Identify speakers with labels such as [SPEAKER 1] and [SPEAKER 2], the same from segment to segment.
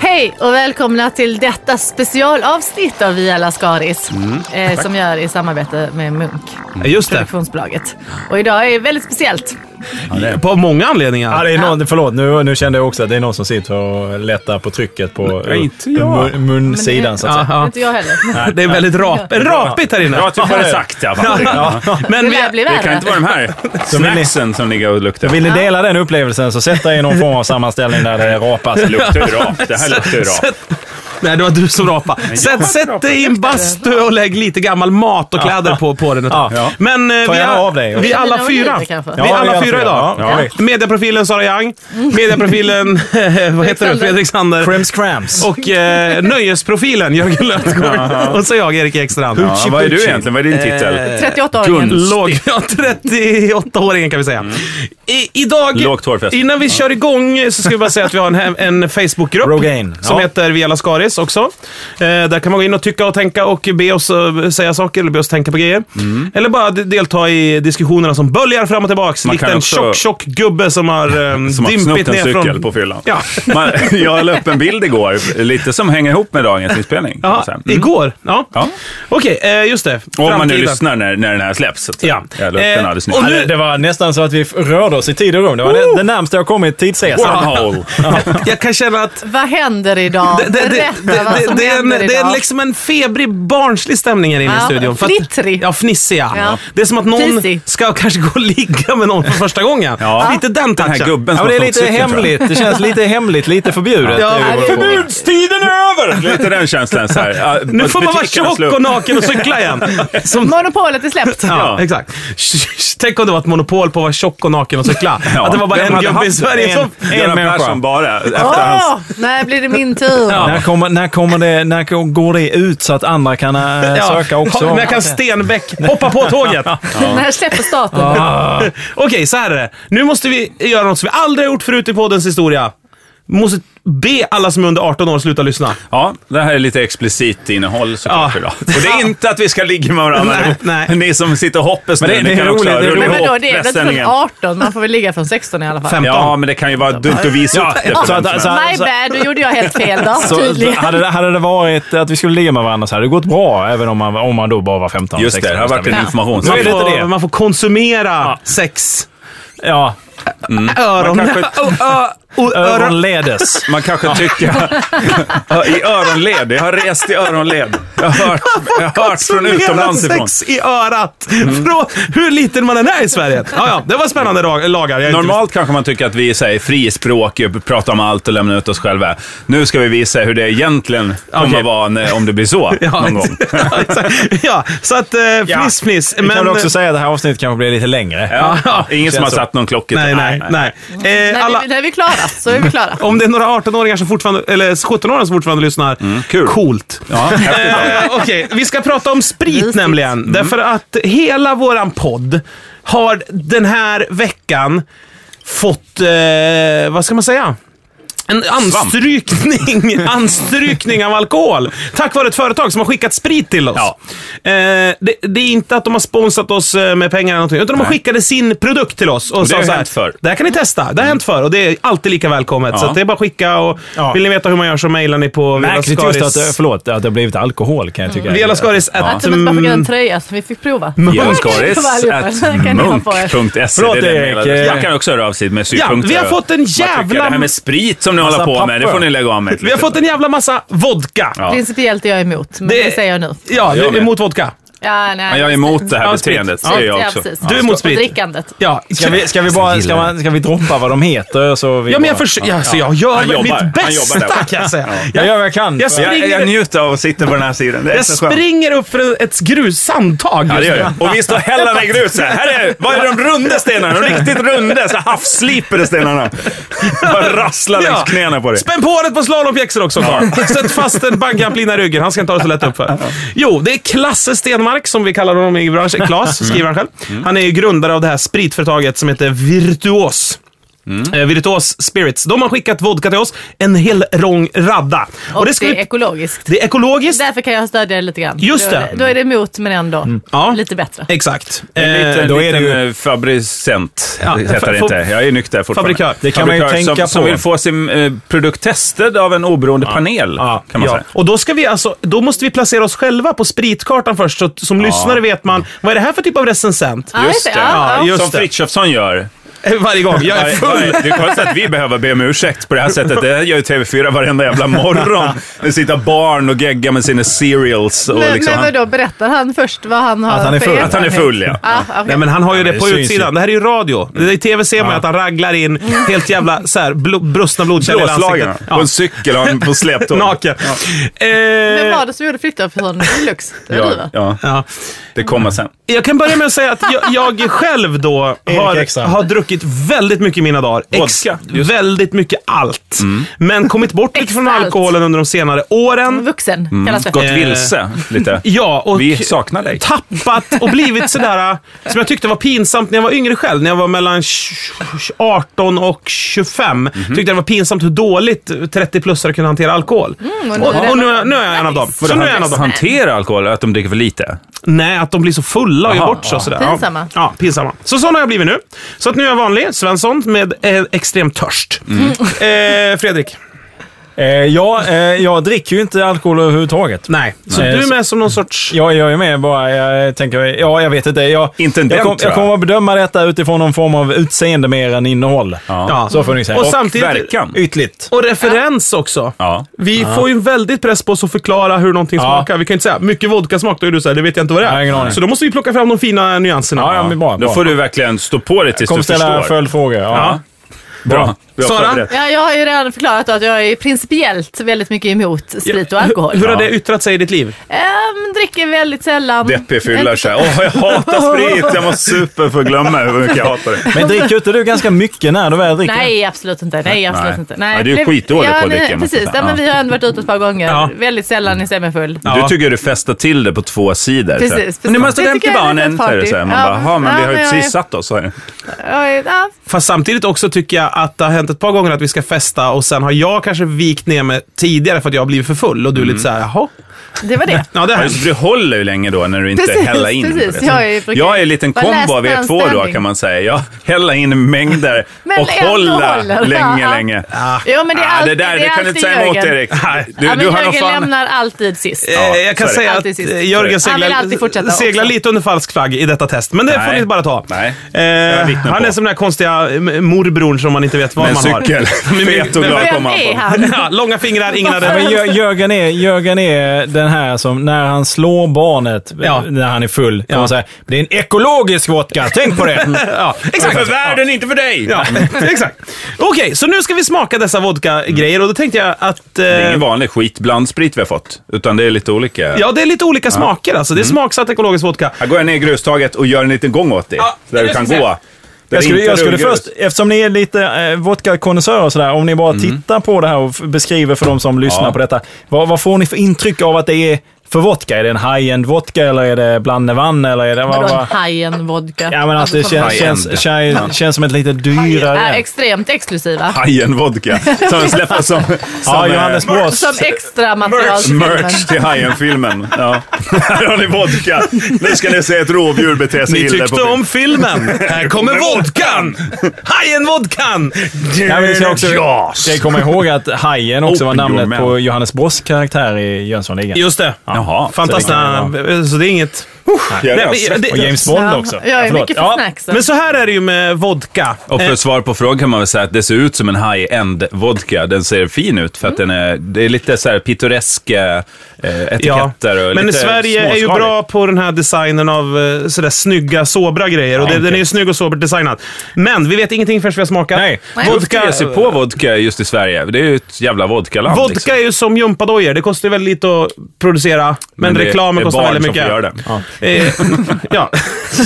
[SPEAKER 1] Hej och välkomna till detta specialavsnitt av Via Lascaris.
[SPEAKER 2] Mm,
[SPEAKER 1] eh, som gör i samarbete med Munk,
[SPEAKER 2] Just det.
[SPEAKER 1] produktionsbolaget. Och idag är väldigt speciellt.
[SPEAKER 2] På många anledningar.
[SPEAKER 3] Ja, det är någon, förlåt, nu, nu kände jag också att det är någon som sitter och lättar på trycket på
[SPEAKER 2] Nej, inte jag.
[SPEAKER 3] mun- munsidan. Så att
[SPEAKER 2] Ja,
[SPEAKER 3] säga.
[SPEAKER 2] ja.
[SPEAKER 1] Inte jag heller.
[SPEAKER 2] Det är väldigt rap, rapigt här inne.
[SPEAKER 4] Bra att vi får det typ sagt i alla fall.
[SPEAKER 2] Men
[SPEAKER 1] Det
[SPEAKER 2] vi,
[SPEAKER 1] lär bli
[SPEAKER 4] Det kan
[SPEAKER 1] värre.
[SPEAKER 4] inte vara de här
[SPEAKER 3] vill ni-
[SPEAKER 4] snacksen som ligger och luktar.
[SPEAKER 3] Vill ni dela den upplevelsen så sätt dig i någon form av sammanställning där det rapas.
[SPEAKER 4] Alltså, Det luktar ju rap. Det här luktar ju rap.
[SPEAKER 2] nej, det var du som rapade. Sätt, sätt dig i en bastu och lägg lite gammal mat och kläder på, på den. ett tag.
[SPEAKER 3] Ja.
[SPEAKER 2] Men eh,
[SPEAKER 3] Ta
[SPEAKER 2] vi,
[SPEAKER 3] gärna
[SPEAKER 2] är-
[SPEAKER 3] av dig.
[SPEAKER 2] vi är alla
[SPEAKER 1] Mina
[SPEAKER 2] fyra.
[SPEAKER 1] oliver kanske. Mm.
[SPEAKER 2] Vi är alla fyra idag.
[SPEAKER 3] Ja, korrekt.
[SPEAKER 2] Mediaprofilen Sara Young, mediaprofilen vad heter du? Fredrik Sander
[SPEAKER 3] Crims crams.
[SPEAKER 2] och eh, nöjesprofilen Jörgen Lötgård. och så jag, Erik Ekstrand.
[SPEAKER 4] Ja, vad är du egentligen? Vad är din
[SPEAKER 2] Eh,
[SPEAKER 4] titel?
[SPEAKER 1] 38-åringen.
[SPEAKER 2] Låg, ja, 38-åringen kan vi säga. I, idag,
[SPEAKER 4] Lågt hårfäste.
[SPEAKER 2] innan vi kör igång så ska vi bara säga att vi har en, he- en Facebookgrupp
[SPEAKER 3] Rogaine,
[SPEAKER 2] som
[SPEAKER 3] ja.
[SPEAKER 2] heter Via Lascaris också. Eh, där kan man gå in och tycka och tänka och be oss eh, säga saker eller be oss tänka på grejer.
[SPEAKER 4] Mm.
[SPEAKER 2] Eller bara d- delta i diskussionerna som böljar fram och tillbaks.
[SPEAKER 4] Man
[SPEAKER 2] Likt
[SPEAKER 4] kan
[SPEAKER 2] en
[SPEAKER 4] också-
[SPEAKER 2] tjock, tjock gubbe som har eh,
[SPEAKER 4] Som har
[SPEAKER 2] dimpit
[SPEAKER 4] snott en
[SPEAKER 2] ner
[SPEAKER 4] cykel
[SPEAKER 2] från...
[SPEAKER 4] på fyllan.
[SPEAKER 2] Ja.
[SPEAKER 4] Man, jag la upp en bild igår, lite som hänger ihop med dagens inspelning.
[SPEAKER 2] Jaha,
[SPEAKER 4] Så här, mm.
[SPEAKER 2] igår? Ja.
[SPEAKER 4] Ja.
[SPEAKER 2] Okej, eh, just det.
[SPEAKER 4] Om man nu
[SPEAKER 2] Framtiden.
[SPEAKER 4] lyssnar när, när den här släpps. Så att
[SPEAKER 2] Ja.
[SPEAKER 4] Jag la upp den
[SPEAKER 2] Eh,
[SPEAKER 4] alldeles
[SPEAKER 2] och
[SPEAKER 3] Ja,
[SPEAKER 4] nyss.
[SPEAKER 3] det- Det var nästan så att vi f- rörde oss i tid och rum. Det var det, det närmaste jag kommit tidsresan.
[SPEAKER 4] Wormhole.
[SPEAKER 2] Jag kan känna att
[SPEAKER 1] Vad händer idag?
[SPEAKER 2] Det, det, det,
[SPEAKER 1] Berätta
[SPEAKER 2] det,
[SPEAKER 1] vad
[SPEAKER 2] det,
[SPEAKER 1] som
[SPEAKER 2] det, är en,
[SPEAKER 1] händer
[SPEAKER 2] det är
[SPEAKER 1] idag.
[SPEAKER 2] liksom en febrig, barnslig stämning här inne i
[SPEAKER 1] Ja,
[SPEAKER 2] studion. För att-
[SPEAKER 1] fnittrig.
[SPEAKER 2] Ja, fnissig. Ja.
[SPEAKER 1] Ja.
[SPEAKER 2] Det är som att någon
[SPEAKER 1] Fnissig.
[SPEAKER 2] ska kanske gå och ligga med någon för första gången.
[SPEAKER 4] Ja.
[SPEAKER 2] Lite den
[SPEAKER 4] Den här
[SPEAKER 2] touchen.
[SPEAKER 4] gubben
[SPEAKER 3] Ja,
[SPEAKER 4] som
[SPEAKER 3] men det är
[SPEAKER 4] har snott
[SPEAKER 3] lite
[SPEAKER 4] cykeln, tror jag.
[SPEAKER 3] hemligt. Det känns lite hemligt, lite förbjudet.
[SPEAKER 2] Ja,
[SPEAKER 3] det vi
[SPEAKER 2] nej,
[SPEAKER 3] håller på med.
[SPEAKER 4] Förbudstiden är över! Lite den känslan. Så här. Ja,
[SPEAKER 2] Nu får man vara
[SPEAKER 4] butikerna
[SPEAKER 2] tjock
[SPEAKER 4] slår upp.
[SPEAKER 2] och naken och cykla igen. Som,
[SPEAKER 1] Monopolet är släppt.
[SPEAKER 2] ja,
[SPEAKER 4] Ja.
[SPEAKER 2] exakt. Tänk om det var ett monopol på att vara tjock och naken och cykla.
[SPEAKER 4] Ja.
[SPEAKER 2] Att det var bara
[SPEAKER 4] Vem
[SPEAKER 2] en
[SPEAKER 4] hade
[SPEAKER 2] gubbe i
[SPEAKER 4] haft
[SPEAKER 2] Sverige som...
[SPEAKER 4] Göran
[SPEAKER 3] människa.
[SPEAKER 4] Persson bara. Efter
[SPEAKER 2] Ah!
[SPEAKER 4] hans
[SPEAKER 1] Åh, när blir det min tur?
[SPEAKER 3] När, kommer, när, kommer det, när ko- går det ut så att andra kan äh, söka också?
[SPEAKER 2] Men jag kan Stenbeck hoppa på tåget.
[SPEAKER 1] När släpper staten?
[SPEAKER 3] Ah.
[SPEAKER 2] Okej, så här är det. Nu måste vi göra något som vi aldrig har gjort förut i poddens historia. Måste be alla som är under 18 år sluta lyssna.
[SPEAKER 4] Ja, det här är lite explicit innehåll såklart
[SPEAKER 2] Ja.
[SPEAKER 4] idag. Och det är inte att vi ska ligga med varandra.
[SPEAKER 2] Nej, nej.
[SPEAKER 4] Ni som sitter och hoppas
[SPEAKER 3] Men det-
[SPEAKER 4] nu,
[SPEAKER 3] det
[SPEAKER 4] ni
[SPEAKER 3] är
[SPEAKER 4] kan också
[SPEAKER 3] roligt, det är
[SPEAKER 4] rulla
[SPEAKER 1] Men
[SPEAKER 3] roligt.
[SPEAKER 1] vadå,
[SPEAKER 4] ihop
[SPEAKER 1] det är väl inte från
[SPEAKER 4] pressändningen.
[SPEAKER 1] 18? Man får väl ligga från 16 i alla fall.
[SPEAKER 2] Fem. 15.
[SPEAKER 4] Ja, men det kan ju vara dumt att visa upp det.
[SPEAKER 3] så
[SPEAKER 4] för
[SPEAKER 3] att-
[SPEAKER 4] vem
[SPEAKER 3] så
[SPEAKER 4] som
[SPEAKER 3] att-
[SPEAKER 1] My bad, då gjorde jag helt fel då.
[SPEAKER 3] Så,
[SPEAKER 1] Tydligen.
[SPEAKER 3] hade, det, hade det varit att vi skulle ligga med varandra så hade det gått bra, även om man, om man då bara var 15
[SPEAKER 4] helst. Just det,
[SPEAKER 3] 16,
[SPEAKER 4] det har varit en
[SPEAKER 3] stämmer.
[SPEAKER 4] information.
[SPEAKER 3] Nu
[SPEAKER 2] Man
[SPEAKER 3] är det
[SPEAKER 2] får,
[SPEAKER 3] inte det.
[SPEAKER 2] man får konsumera sex.
[SPEAKER 3] Ja,
[SPEAKER 2] Öron.
[SPEAKER 4] Man kanske-
[SPEAKER 2] Ö- ö- o- öron.
[SPEAKER 3] öronledes.
[SPEAKER 4] Man kanske tycker... Ja, I öronled. Jag har rest i öronled. Jag har hört, jag har hört från
[SPEAKER 2] Konsumera
[SPEAKER 4] utomlands ifrån.
[SPEAKER 2] sex i örat. Från hur liten man än är i Sverige. Ja, ja, det var spännande dag- lagar. Jag är inte-
[SPEAKER 4] Normalt kanske man tycker att vi säger frispråk, pratar om allt och lämnar ut oss själva. Nu ska vi visa hur det egentligen kommer
[SPEAKER 2] Okej.
[SPEAKER 4] att vara när- om det blir så någon gång.
[SPEAKER 2] ja, exakt. ja, så att eh, fniss, fniss.
[SPEAKER 3] Vi kan
[SPEAKER 2] Men,
[SPEAKER 3] väl också säga att det här avsnittet kanske blir lite längre.
[SPEAKER 4] Ja, ingen som har
[SPEAKER 3] Känns så.
[SPEAKER 4] satt någon klocka.
[SPEAKER 2] nej, nej, nej. Eh,
[SPEAKER 1] När,
[SPEAKER 2] alla,
[SPEAKER 1] vi, när vi är klara, så är vi klara.
[SPEAKER 2] om det är några 18-åringar som fortfarande, eller 17-åringar som fortfarande lyssnar.
[SPEAKER 4] kul.
[SPEAKER 2] Coolt.
[SPEAKER 4] Ja, häftigt.
[SPEAKER 2] Eh, Okej, vi ska prata om sprit
[SPEAKER 1] Mysigt.
[SPEAKER 2] nämligen.
[SPEAKER 4] Mm.
[SPEAKER 2] Därför att hela våran podd har den här veckan fått, eh, vad ska man säga? En anstrykning, anstrykning av alkohol. Tack vare ett företag som har skickat sprit till oss.
[SPEAKER 4] Ja.
[SPEAKER 2] Eh, det, det är inte att de har sponsrat oss eh, med pengar eller någonting, utan de har
[SPEAKER 4] Nej.
[SPEAKER 2] skickade sin produkt till oss. Och,
[SPEAKER 4] det
[SPEAKER 2] sa
[SPEAKER 4] har
[SPEAKER 2] så här,
[SPEAKER 4] hänt förr. Mm.
[SPEAKER 2] Det här kan ni testa. Det har hänt förr och det är alltid lika välkommet.
[SPEAKER 4] Ja.
[SPEAKER 2] Så att det är bara att skicka och
[SPEAKER 3] Ja.
[SPEAKER 2] vill ni veta hur man gör så mejlar ni på
[SPEAKER 3] Märkligt
[SPEAKER 2] Velascaris-
[SPEAKER 3] just att, det- förlåt, att det har blivit alkohol kan jag tycka.
[SPEAKER 2] Velascaris
[SPEAKER 1] Att Thomas
[SPEAKER 2] Mm.
[SPEAKER 1] bara fick en tröja som vi fick prova.
[SPEAKER 4] Genomskaris
[SPEAKER 1] Kan ni ha på er.
[SPEAKER 4] munk.se.
[SPEAKER 3] Förlåt,
[SPEAKER 4] det är den
[SPEAKER 3] Erik,
[SPEAKER 4] mailadressen.
[SPEAKER 3] eh,
[SPEAKER 4] Man kan också höra av sig med
[SPEAKER 2] Ja,
[SPEAKER 4] synpunkter.
[SPEAKER 2] vi har fått en
[SPEAKER 4] Vad tycker jag?
[SPEAKER 2] jävla-
[SPEAKER 4] Det här med sprit som ni
[SPEAKER 3] Massa
[SPEAKER 4] håller på med, det
[SPEAKER 3] papper.
[SPEAKER 4] får ni lägga av med.
[SPEAKER 2] Vi har fått en jävla massa vodka.
[SPEAKER 4] Ja.
[SPEAKER 1] Principiellt är jag emot, men det, säger jag nu.
[SPEAKER 2] Ja,
[SPEAKER 4] Jag
[SPEAKER 2] du är
[SPEAKER 4] med.
[SPEAKER 2] emot vodka.
[SPEAKER 1] Ja, nej,
[SPEAKER 4] Men jag är
[SPEAKER 1] just det.
[SPEAKER 4] emot det här
[SPEAKER 2] Ja,
[SPEAKER 4] beteendet. Det är jag också.
[SPEAKER 1] precis.
[SPEAKER 2] Du är emot
[SPEAKER 1] Och
[SPEAKER 2] sprit.
[SPEAKER 1] drickandet.
[SPEAKER 2] Ja,
[SPEAKER 3] Ska vi, ska vi, bara, ska man, ska vi droppa vad de heter? Så vi
[SPEAKER 2] ja, men jag,
[SPEAKER 3] bara-
[SPEAKER 2] förs- ja, alltså, jag gör
[SPEAKER 4] Han jobbar. Han
[SPEAKER 2] mitt
[SPEAKER 4] jobbar där.
[SPEAKER 2] bästa kan jag säga.
[SPEAKER 3] Jag gör vad jag kan.
[SPEAKER 2] Jag
[SPEAKER 3] för-
[SPEAKER 2] springer-
[SPEAKER 4] Jag, jag njuter av att sitta på den här sidan. Det är
[SPEAKER 2] Jag
[SPEAKER 4] så skönt.
[SPEAKER 2] springer upp för ett grussandtag
[SPEAKER 4] Ja, det
[SPEAKER 2] just
[SPEAKER 4] gör
[SPEAKER 2] nu.
[SPEAKER 4] jag. Och vi står och häller ner gruset. Här är, vad är de runda stenarna? De riktigt runda, så här havsslipade stenarna. Bara rasslar längs
[SPEAKER 2] Ja.
[SPEAKER 4] knäna på dig.
[SPEAKER 2] Spänn på håret på slalomfjäxor också Karl. Sätt fast en bankramplina i ryggen. Han ska inte ha det så lätt upp för. Jo, det är Klasse Stenmark som vi kallar honom i branschen. Klas skriver han själv. Han är ju grundare av det här spritföretaget som heter Virtuos. Eh, Virtuos Spirits. De har skickat vodka till oss. En hel lång radda.
[SPEAKER 1] Och, det,
[SPEAKER 2] ska
[SPEAKER 1] är
[SPEAKER 2] vi-
[SPEAKER 1] ekologiskt.
[SPEAKER 2] det är ekologiskt.
[SPEAKER 1] Därför kan jag stödja det lite grann.
[SPEAKER 2] Just
[SPEAKER 1] då, är
[SPEAKER 2] det.
[SPEAKER 1] Då är det emot, men ändå
[SPEAKER 2] Ja.
[SPEAKER 1] lite bättre.
[SPEAKER 2] Exakt.
[SPEAKER 4] Lite,
[SPEAKER 2] Eh,
[SPEAKER 3] då är det ju-
[SPEAKER 4] ju... fabricent
[SPEAKER 2] Ja,
[SPEAKER 4] heter det
[SPEAKER 2] fa-
[SPEAKER 4] inte. Jag är nykter fortfarande.
[SPEAKER 2] Fabrikör.
[SPEAKER 3] Det kan man ju
[SPEAKER 4] Fabrikör
[SPEAKER 3] tänka
[SPEAKER 4] som, som
[SPEAKER 3] på.
[SPEAKER 4] vill få sin eh, produkt testad av en oberoende panel, kan man
[SPEAKER 2] ja.
[SPEAKER 4] säga.
[SPEAKER 2] Och då, ska vi alltså, då måste vi placera oss själva på spritkartan först, så att som lyssnare vet man vad är det här för typ av recensent
[SPEAKER 1] Ja, just det. Ja,
[SPEAKER 2] Ja,
[SPEAKER 1] ja.
[SPEAKER 2] just
[SPEAKER 4] som
[SPEAKER 2] det.
[SPEAKER 4] Frithiofsson gör.
[SPEAKER 2] varje gång. Jag är
[SPEAKER 4] Varje- varje-
[SPEAKER 2] full.
[SPEAKER 4] Det är konstigt att vi behöver be om ursäkt på det här sättet. Det här gör ju TV4 varenda jävla morgon. Det sitter barn och geggar med sina cereals. Och
[SPEAKER 1] Men,
[SPEAKER 4] liksom,
[SPEAKER 1] men vadå, berättar han först vad han har
[SPEAKER 3] Att han är
[SPEAKER 1] för
[SPEAKER 3] full.
[SPEAKER 4] Att han är full, ja.
[SPEAKER 1] Ja, okej.
[SPEAKER 2] Nej, men han har ju det
[SPEAKER 3] det
[SPEAKER 2] på
[SPEAKER 3] syns ju.
[SPEAKER 2] utsidan. Det här är ju radio. Det- I tv ser man ju att han raglar in helt jävla så här, bl- brustna blodkärl i
[SPEAKER 4] Blåslagen.
[SPEAKER 2] ansiktet.
[SPEAKER 4] På en cykel och han på släptåg.
[SPEAKER 2] Naken.
[SPEAKER 1] Vem
[SPEAKER 2] Eh,
[SPEAKER 1] var det som gjorde Frithiofsson Deluxe? Det var du
[SPEAKER 4] Ja,
[SPEAKER 1] va?
[SPEAKER 4] ja,
[SPEAKER 2] ja.
[SPEAKER 4] det kommer sen.
[SPEAKER 2] Jag kan börja med att säga att jag, jag själv då har,
[SPEAKER 3] Ekstrand.
[SPEAKER 2] har druckit väldigt mycket i mina dagar. Ex-
[SPEAKER 4] Vodka,
[SPEAKER 2] väldigt mycket allt. Men kommit bort lite från
[SPEAKER 1] Extra allt.
[SPEAKER 2] alkoholen under de senare åren.
[SPEAKER 1] Mm. Vuxen kallas det.
[SPEAKER 4] Gått
[SPEAKER 2] Eh,
[SPEAKER 4] vilse lite.
[SPEAKER 2] Ja, och
[SPEAKER 4] Vi saknar dig.
[SPEAKER 2] tappat och blivit sådär äh, som jag tyckte var pinsamt när jag var yngre själv. När jag var mellan 18 och
[SPEAKER 3] Mhm.
[SPEAKER 2] 25. Tyckte jag det var pinsamt hur dåligt 30-plussare kunde hantera alkohol.
[SPEAKER 1] Mm, och nu
[SPEAKER 2] och
[SPEAKER 1] är det-
[SPEAKER 2] och nu, är- nu är jag en av dem. Så
[SPEAKER 4] Vadå,
[SPEAKER 2] nu är jag en av
[SPEAKER 4] han,
[SPEAKER 2] dem.
[SPEAKER 4] hantera alkohol, att de dricker för lite?
[SPEAKER 2] Nej, att de blir så fulla och gör
[SPEAKER 4] Aha,
[SPEAKER 2] bort sig och sådär.
[SPEAKER 1] Pinsamma.
[SPEAKER 2] Ja, ja, pinsamma. Så sån har jag blivit nu. Så att nu är jag vanlig, Svensson, med eh, extrem törst.
[SPEAKER 1] Mm.
[SPEAKER 2] Eh, Fredrik?
[SPEAKER 3] Eh, ja, eh, jag dricker ju inte alkohol överhuvudtaget.
[SPEAKER 2] Nej. Så
[SPEAKER 3] Nej,
[SPEAKER 2] du är
[SPEAKER 3] så-
[SPEAKER 2] med som någon sorts...
[SPEAKER 3] Jag, jag är med bara. Jag tänker, ja, jag vet inte. Jag,
[SPEAKER 4] Inte en
[SPEAKER 3] jag,
[SPEAKER 4] dunk,
[SPEAKER 3] kom, jag
[SPEAKER 4] tror jag.
[SPEAKER 3] kommer att bedöma detta utifrån någon form av utseende mer än innehåll.
[SPEAKER 2] Ja.
[SPEAKER 3] Så får ni säga.
[SPEAKER 2] Och
[SPEAKER 3] Och,
[SPEAKER 2] samtidigt...
[SPEAKER 4] Verkan.
[SPEAKER 3] ytligt.
[SPEAKER 2] Och referens också.
[SPEAKER 4] Ja.
[SPEAKER 2] Vi får ju en väldigt press på oss att förklara hur någonting
[SPEAKER 3] Ja.
[SPEAKER 2] smakar. Vi kan ju inte säga mycket vodkasmak, då är du såhär, det vet jag inte vad det
[SPEAKER 3] Jag har
[SPEAKER 2] är.
[SPEAKER 3] ingen aning.
[SPEAKER 2] så då måste vi plocka fram de fina nyanserna.
[SPEAKER 3] Ja, ja, men bra.
[SPEAKER 4] Då
[SPEAKER 3] bra.
[SPEAKER 4] får du verkligen stå på dig tills
[SPEAKER 3] Kom
[SPEAKER 4] du
[SPEAKER 3] ställa
[SPEAKER 4] förstår.
[SPEAKER 3] följdfrågor. Ja.
[SPEAKER 4] Ja. Bra. Bra
[SPEAKER 2] Sara?
[SPEAKER 4] förberett.
[SPEAKER 1] Ja, jag har ju redan förklarat då att jag är principiellt väldigt mycket emot sprit och alkohol.
[SPEAKER 2] Hur, hur har det yttrat sig i ditt liv?
[SPEAKER 1] Ehm, dricker väldigt sällan.
[SPEAKER 4] Deppig fylla
[SPEAKER 1] Inte-
[SPEAKER 4] så här. Åh, jag hatar sprit. Jag var super för att glömma hur mycket jag hatar det.
[SPEAKER 3] Men dricker inte du ganska mycket när du väl dricker?
[SPEAKER 1] Nej, absolut inte. Nej, absolut
[SPEAKER 4] Nej.
[SPEAKER 1] inte.
[SPEAKER 4] Ja, du är
[SPEAKER 1] Blev-
[SPEAKER 4] skitdålig
[SPEAKER 1] ja,
[SPEAKER 4] på att
[SPEAKER 1] nej,
[SPEAKER 4] dricka, men
[SPEAKER 1] Precis,
[SPEAKER 4] sånt där.
[SPEAKER 1] ja, men
[SPEAKER 4] Ja. Mm.
[SPEAKER 1] vi har ändå varit ute ett par gånger.
[SPEAKER 2] Ja.
[SPEAKER 1] Väldigt sällan i semifull.
[SPEAKER 2] Ja.
[SPEAKER 4] Du tycker du festar till det på två sidor.
[SPEAKER 1] Precis,
[SPEAKER 4] så här.
[SPEAKER 1] precis.
[SPEAKER 4] Men nu måste
[SPEAKER 1] Det
[SPEAKER 4] du hem till
[SPEAKER 1] tycker jag är lite
[SPEAKER 4] barnen, säger du så här. Man
[SPEAKER 1] party.
[SPEAKER 4] bara,
[SPEAKER 1] Ja.
[SPEAKER 4] jaha, men vi
[SPEAKER 1] Ja,
[SPEAKER 4] har ju
[SPEAKER 1] men jag
[SPEAKER 4] precis
[SPEAKER 1] är-
[SPEAKER 4] satt oss här.
[SPEAKER 1] Ja, ja.
[SPEAKER 2] Fast samtidigt också tycker jag att det har hänt ett par gånger att vi ska festa och sen har jag kanske vikt ner mig tidigare för att jag har blivit för full och du är
[SPEAKER 3] Mm.
[SPEAKER 2] lite såhär, jaha?
[SPEAKER 1] Det var det.
[SPEAKER 2] Ja, det har
[SPEAKER 4] Ja,
[SPEAKER 2] hänt.
[SPEAKER 4] just, det, du håller ju länge då när du inte
[SPEAKER 1] Precis,
[SPEAKER 4] häller in. på det
[SPEAKER 1] precis.
[SPEAKER 4] sättet.
[SPEAKER 1] Jag är- brukar-
[SPEAKER 4] jag är en liten
[SPEAKER 1] Var
[SPEAKER 4] kombo av
[SPEAKER 1] last
[SPEAKER 4] er
[SPEAKER 1] man
[SPEAKER 4] två då
[SPEAKER 1] standing.
[SPEAKER 4] kan man säga. Jag häller in mängder
[SPEAKER 1] Men
[SPEAKER 4] och
[SPEAKER 1] ändå
[SPEAKER 4] håller
[SPEAKER 1] håller.
[SPEAKER 4] länge,
[SPEAKER 1] Ja.
[SPEAKER 4] länge.
[SPEAKER 1] Jo, men det är
[SPEAKER 4] Ah,
[SPEAKER 1] alltid,
[SPEAKER 4] det där det kan du inte
[SPEAKER 1] alltid
[SPEAKER 4] säga emot
[SPEAKER 1] Jörgen.
[SPEAKER 4] Erik.
[SPEAKER 2] Nej.
[SPEAKER 1] ja,
[SPEAKER 4] Du, du
[SPEAKER 1] men
[SPEAKER 4] har nog
[SPEAKER 1] Jörgen
[SPEAKER 4] fan...
[SPEAKER 1] lämnar alltid sist.
[SPEAKER 2] Eh,
[SPEAKER 4] Ja,
[SPEAKER 2] jag kan
[SPEAKER 4] så är det.
[SPEAKER 2] säga att
[SPEAKER 1] Alltid sist.
[SPEAKER 2] eh,
[SPEAKER 4] Så är
[SPEAKER 2] Jörgen
[SPEAKER 4] det.
[SPEAKER 1] Han vill alltid
[SPEAKER 2] seglar,
[SPEAKER 1] fortsätta
[SPEAKER 2] seglar
[SPEAKER 1] också.
[SPEAKER 2] lite under falsk flagg i detta test, men det får
[SPEAKER 4] Nej.
[SPEAKER 2] ni bara ta.
[SPEAKER 4] Nej.
[SPEAKER 2] Eh,
[SPEAKER 4] Jag vittnar
[SPEAKER 2] han
[SPEAKER 4] på.
[SPEAKER 2] är som den här konstiga eh, morbrorn som man inte vet vad
[SPEAKER 4] Med en
[SPEAKER 2] man har.
[SPEAKER 4] cykel. Fet och glad
[SPEAKER 1] Vem
[SPEAKER 4] kommer
[SPEAKER 1] är
[SPEAKER 4] han på.
[SPEAKER 1] han?
[SPEAKER 2] Ja, långa fingrar, ingen
[SPEAKER 3] Ja,
[SPEAKER 2] hade...
[SPEAKER 3] men Jö- Jörgen är, Jörgen är den här som när han slår barnet
[SPEAKER 2] Ja.
[SPEAKER 3] när han är full, kan
[SPEAKER 2] Ja.
[SPEAKER 3] man säga det är en ekologisk vodka, tänk på det!
[SPEAKER 2] Ja,
[SPEAKER 4] Men
[SPEAKER 2] exakt.
[SPEAKER 4] För världen, inte för dig!
[SPEAKER 2] Ja, exakt. Okej, så nu ska vi smaka dessa vodka-grejer och då tänkte jag att... Eh,
[SPEAKER 4] Det är ingen vanlig skitblandsprit vi har fått, utan det är lite olika.
[SPEAKER 2] ja, det är lite olika smaker alltså.
[SPEAKER 4] Mm.
[SPEAKER 2] Det är smaksatt ekologisk vodka.
[SPEAKER 4] Här går jag ner i grustaget och gör en liten gång åt dig.
[SPEAKER 2] Ja,
[SPEAKER 4] så där
[SPEAKER 2] det
[SPEAKER 4] du kan
[SPEAKER 2] ska jag
[SPEAKER 4] gå. Där
[SPEAKER 3] Jag skulle,
[SPEAKER 4] inte
[SPEAKER 3] jag skulle
[SPEAKER 4] rullgrus.
[SPEAKER 3] först, eftersom ni är lite eh, vodkakonnässörer och sådär, om ni
[SPEAKER 2] Mm.
[SPEAKER 3] bara tittar på det här och f- beskriver för de som lyssnar
[SPEAKER 4] Ja.
[SPEAKER 3] på detta. Vad, vad får ni för intryck av att det är för vodka? Är det en high-end vodka eller är det blandevann eller är det... Vad,
[SPEAKER 1] Vadå,
[SPEAKER 3] vad?
[SPEAKER 1] en hajen vodka?
[SPEAKER 3] Ja men
[SPEAKER 4] alltså,
[SPEAKER 3] att det
[SPEAKER 1] kom igen.
[SPEAKER 3] känns, känns, känns, känns som ett lite
[SPEAKER 1] Ja,
[SPEAKER 3] dyrare...
[SPEAKER 1] extremt exklusiva.
[SPEAKER 4] Hajen vodka. Som de släpper som, som
[SPEAKER 3] Ja,
[SPEAKER 4] eh,
[SPEAKER 3] Johannes Brost.
[SPEAKER 1] Som extra material. till filmen.
[SPEAKER 4] merch till Hajen-filmen. Ja. Här har ni vodka. Nu ska ni se ett rovdjur bete sig
[SPEAKER 2] Ni
[SPEAKER 4] illa på
[SPEAKER 2] tyckte
[SPEAKER 4] film.
[SPEAKER 2] om filmen. Här kommer vodkan! Hajen-vodkan!
[SPEAKER 3] Ja, men det ska också ska jag komma ihåg att Hajen också var
[SPEAKER 4] Open your
[SPEAKER 3] namnet
[SPEAKER 4] mouth.
[SPEAKER 3] på Johannes Brosts karaktär i Jönssonligan.
[SPEAKER 2] Just det.
[SPEAKER 4] Jaha.
[SPEAKER 2] Fantastiskt.
[SPEAKER 3] Så det kan
[SPEAKER 2] Så det är inget...
[SPEAKER 4] Jag
[SPEAKER 2] men
[SPEAKER 4] är redan
[SPEAKER 2] jag-
[SPEAKER 4] svettig.
[SPEAKER 2] det-
[SPEAKER 3] Och James Bond också.
[SPEAKER 1] Ja, jag är
[SPEAKER 3] förlåt.
[SPEAKER 1] mycket för snacksen.
[SPEAKER 2] Men så här är det ju med vodka.
[SPEAKER 4] Och
[SPEAKER 2] Eh,
[SPEAKER 4] för svar på frågan kan man väl säga att det ser ut som en high-end vodka. Den ser fin ut för att
[SPEAKER 2] Mm.
[SPEAKER 4] den är, det är lite så här pittoreska eh,
[SPEAKER 2] Ja.
[SPEAKER 4] etiketter och
[SPEAKER 2] Men
[SPEAKER 4] lite
[SPEAKER 2] Sverige är ju
[SPEAKER 4] småskaligt.
[SPEAKER 2] bra på den här designen av eh, sådär snygga, sobra grejer. Och det, den är ju snygg och sobert designad. Men vi vet ingenting förrän vi har smakat.
[SPEAKER 4] Nej,
[SPEAKER 1] Nej.
[SPEAKER 4] vodka ger sig på vodka just i Sverige. Det är ju ett jävla vodkaland. liksom.
[SPEAKER 2] Vodka är ju som gympadojor. Det kostar ju väldigt lite att producera, men,
[SPEAKER 4] det-
[SPEAKER 2] reklamen
[SPEAKER 4] det är
[SPEAKER 2] kostar
[SPEAKER 4] barn
[SPEAKER 2] väldigt
[SPEAKER 4] som
[SPEAKER 2] mycket.
[SPEAKER 4] får göra det.
[SPEAKER 2] Eh, ja.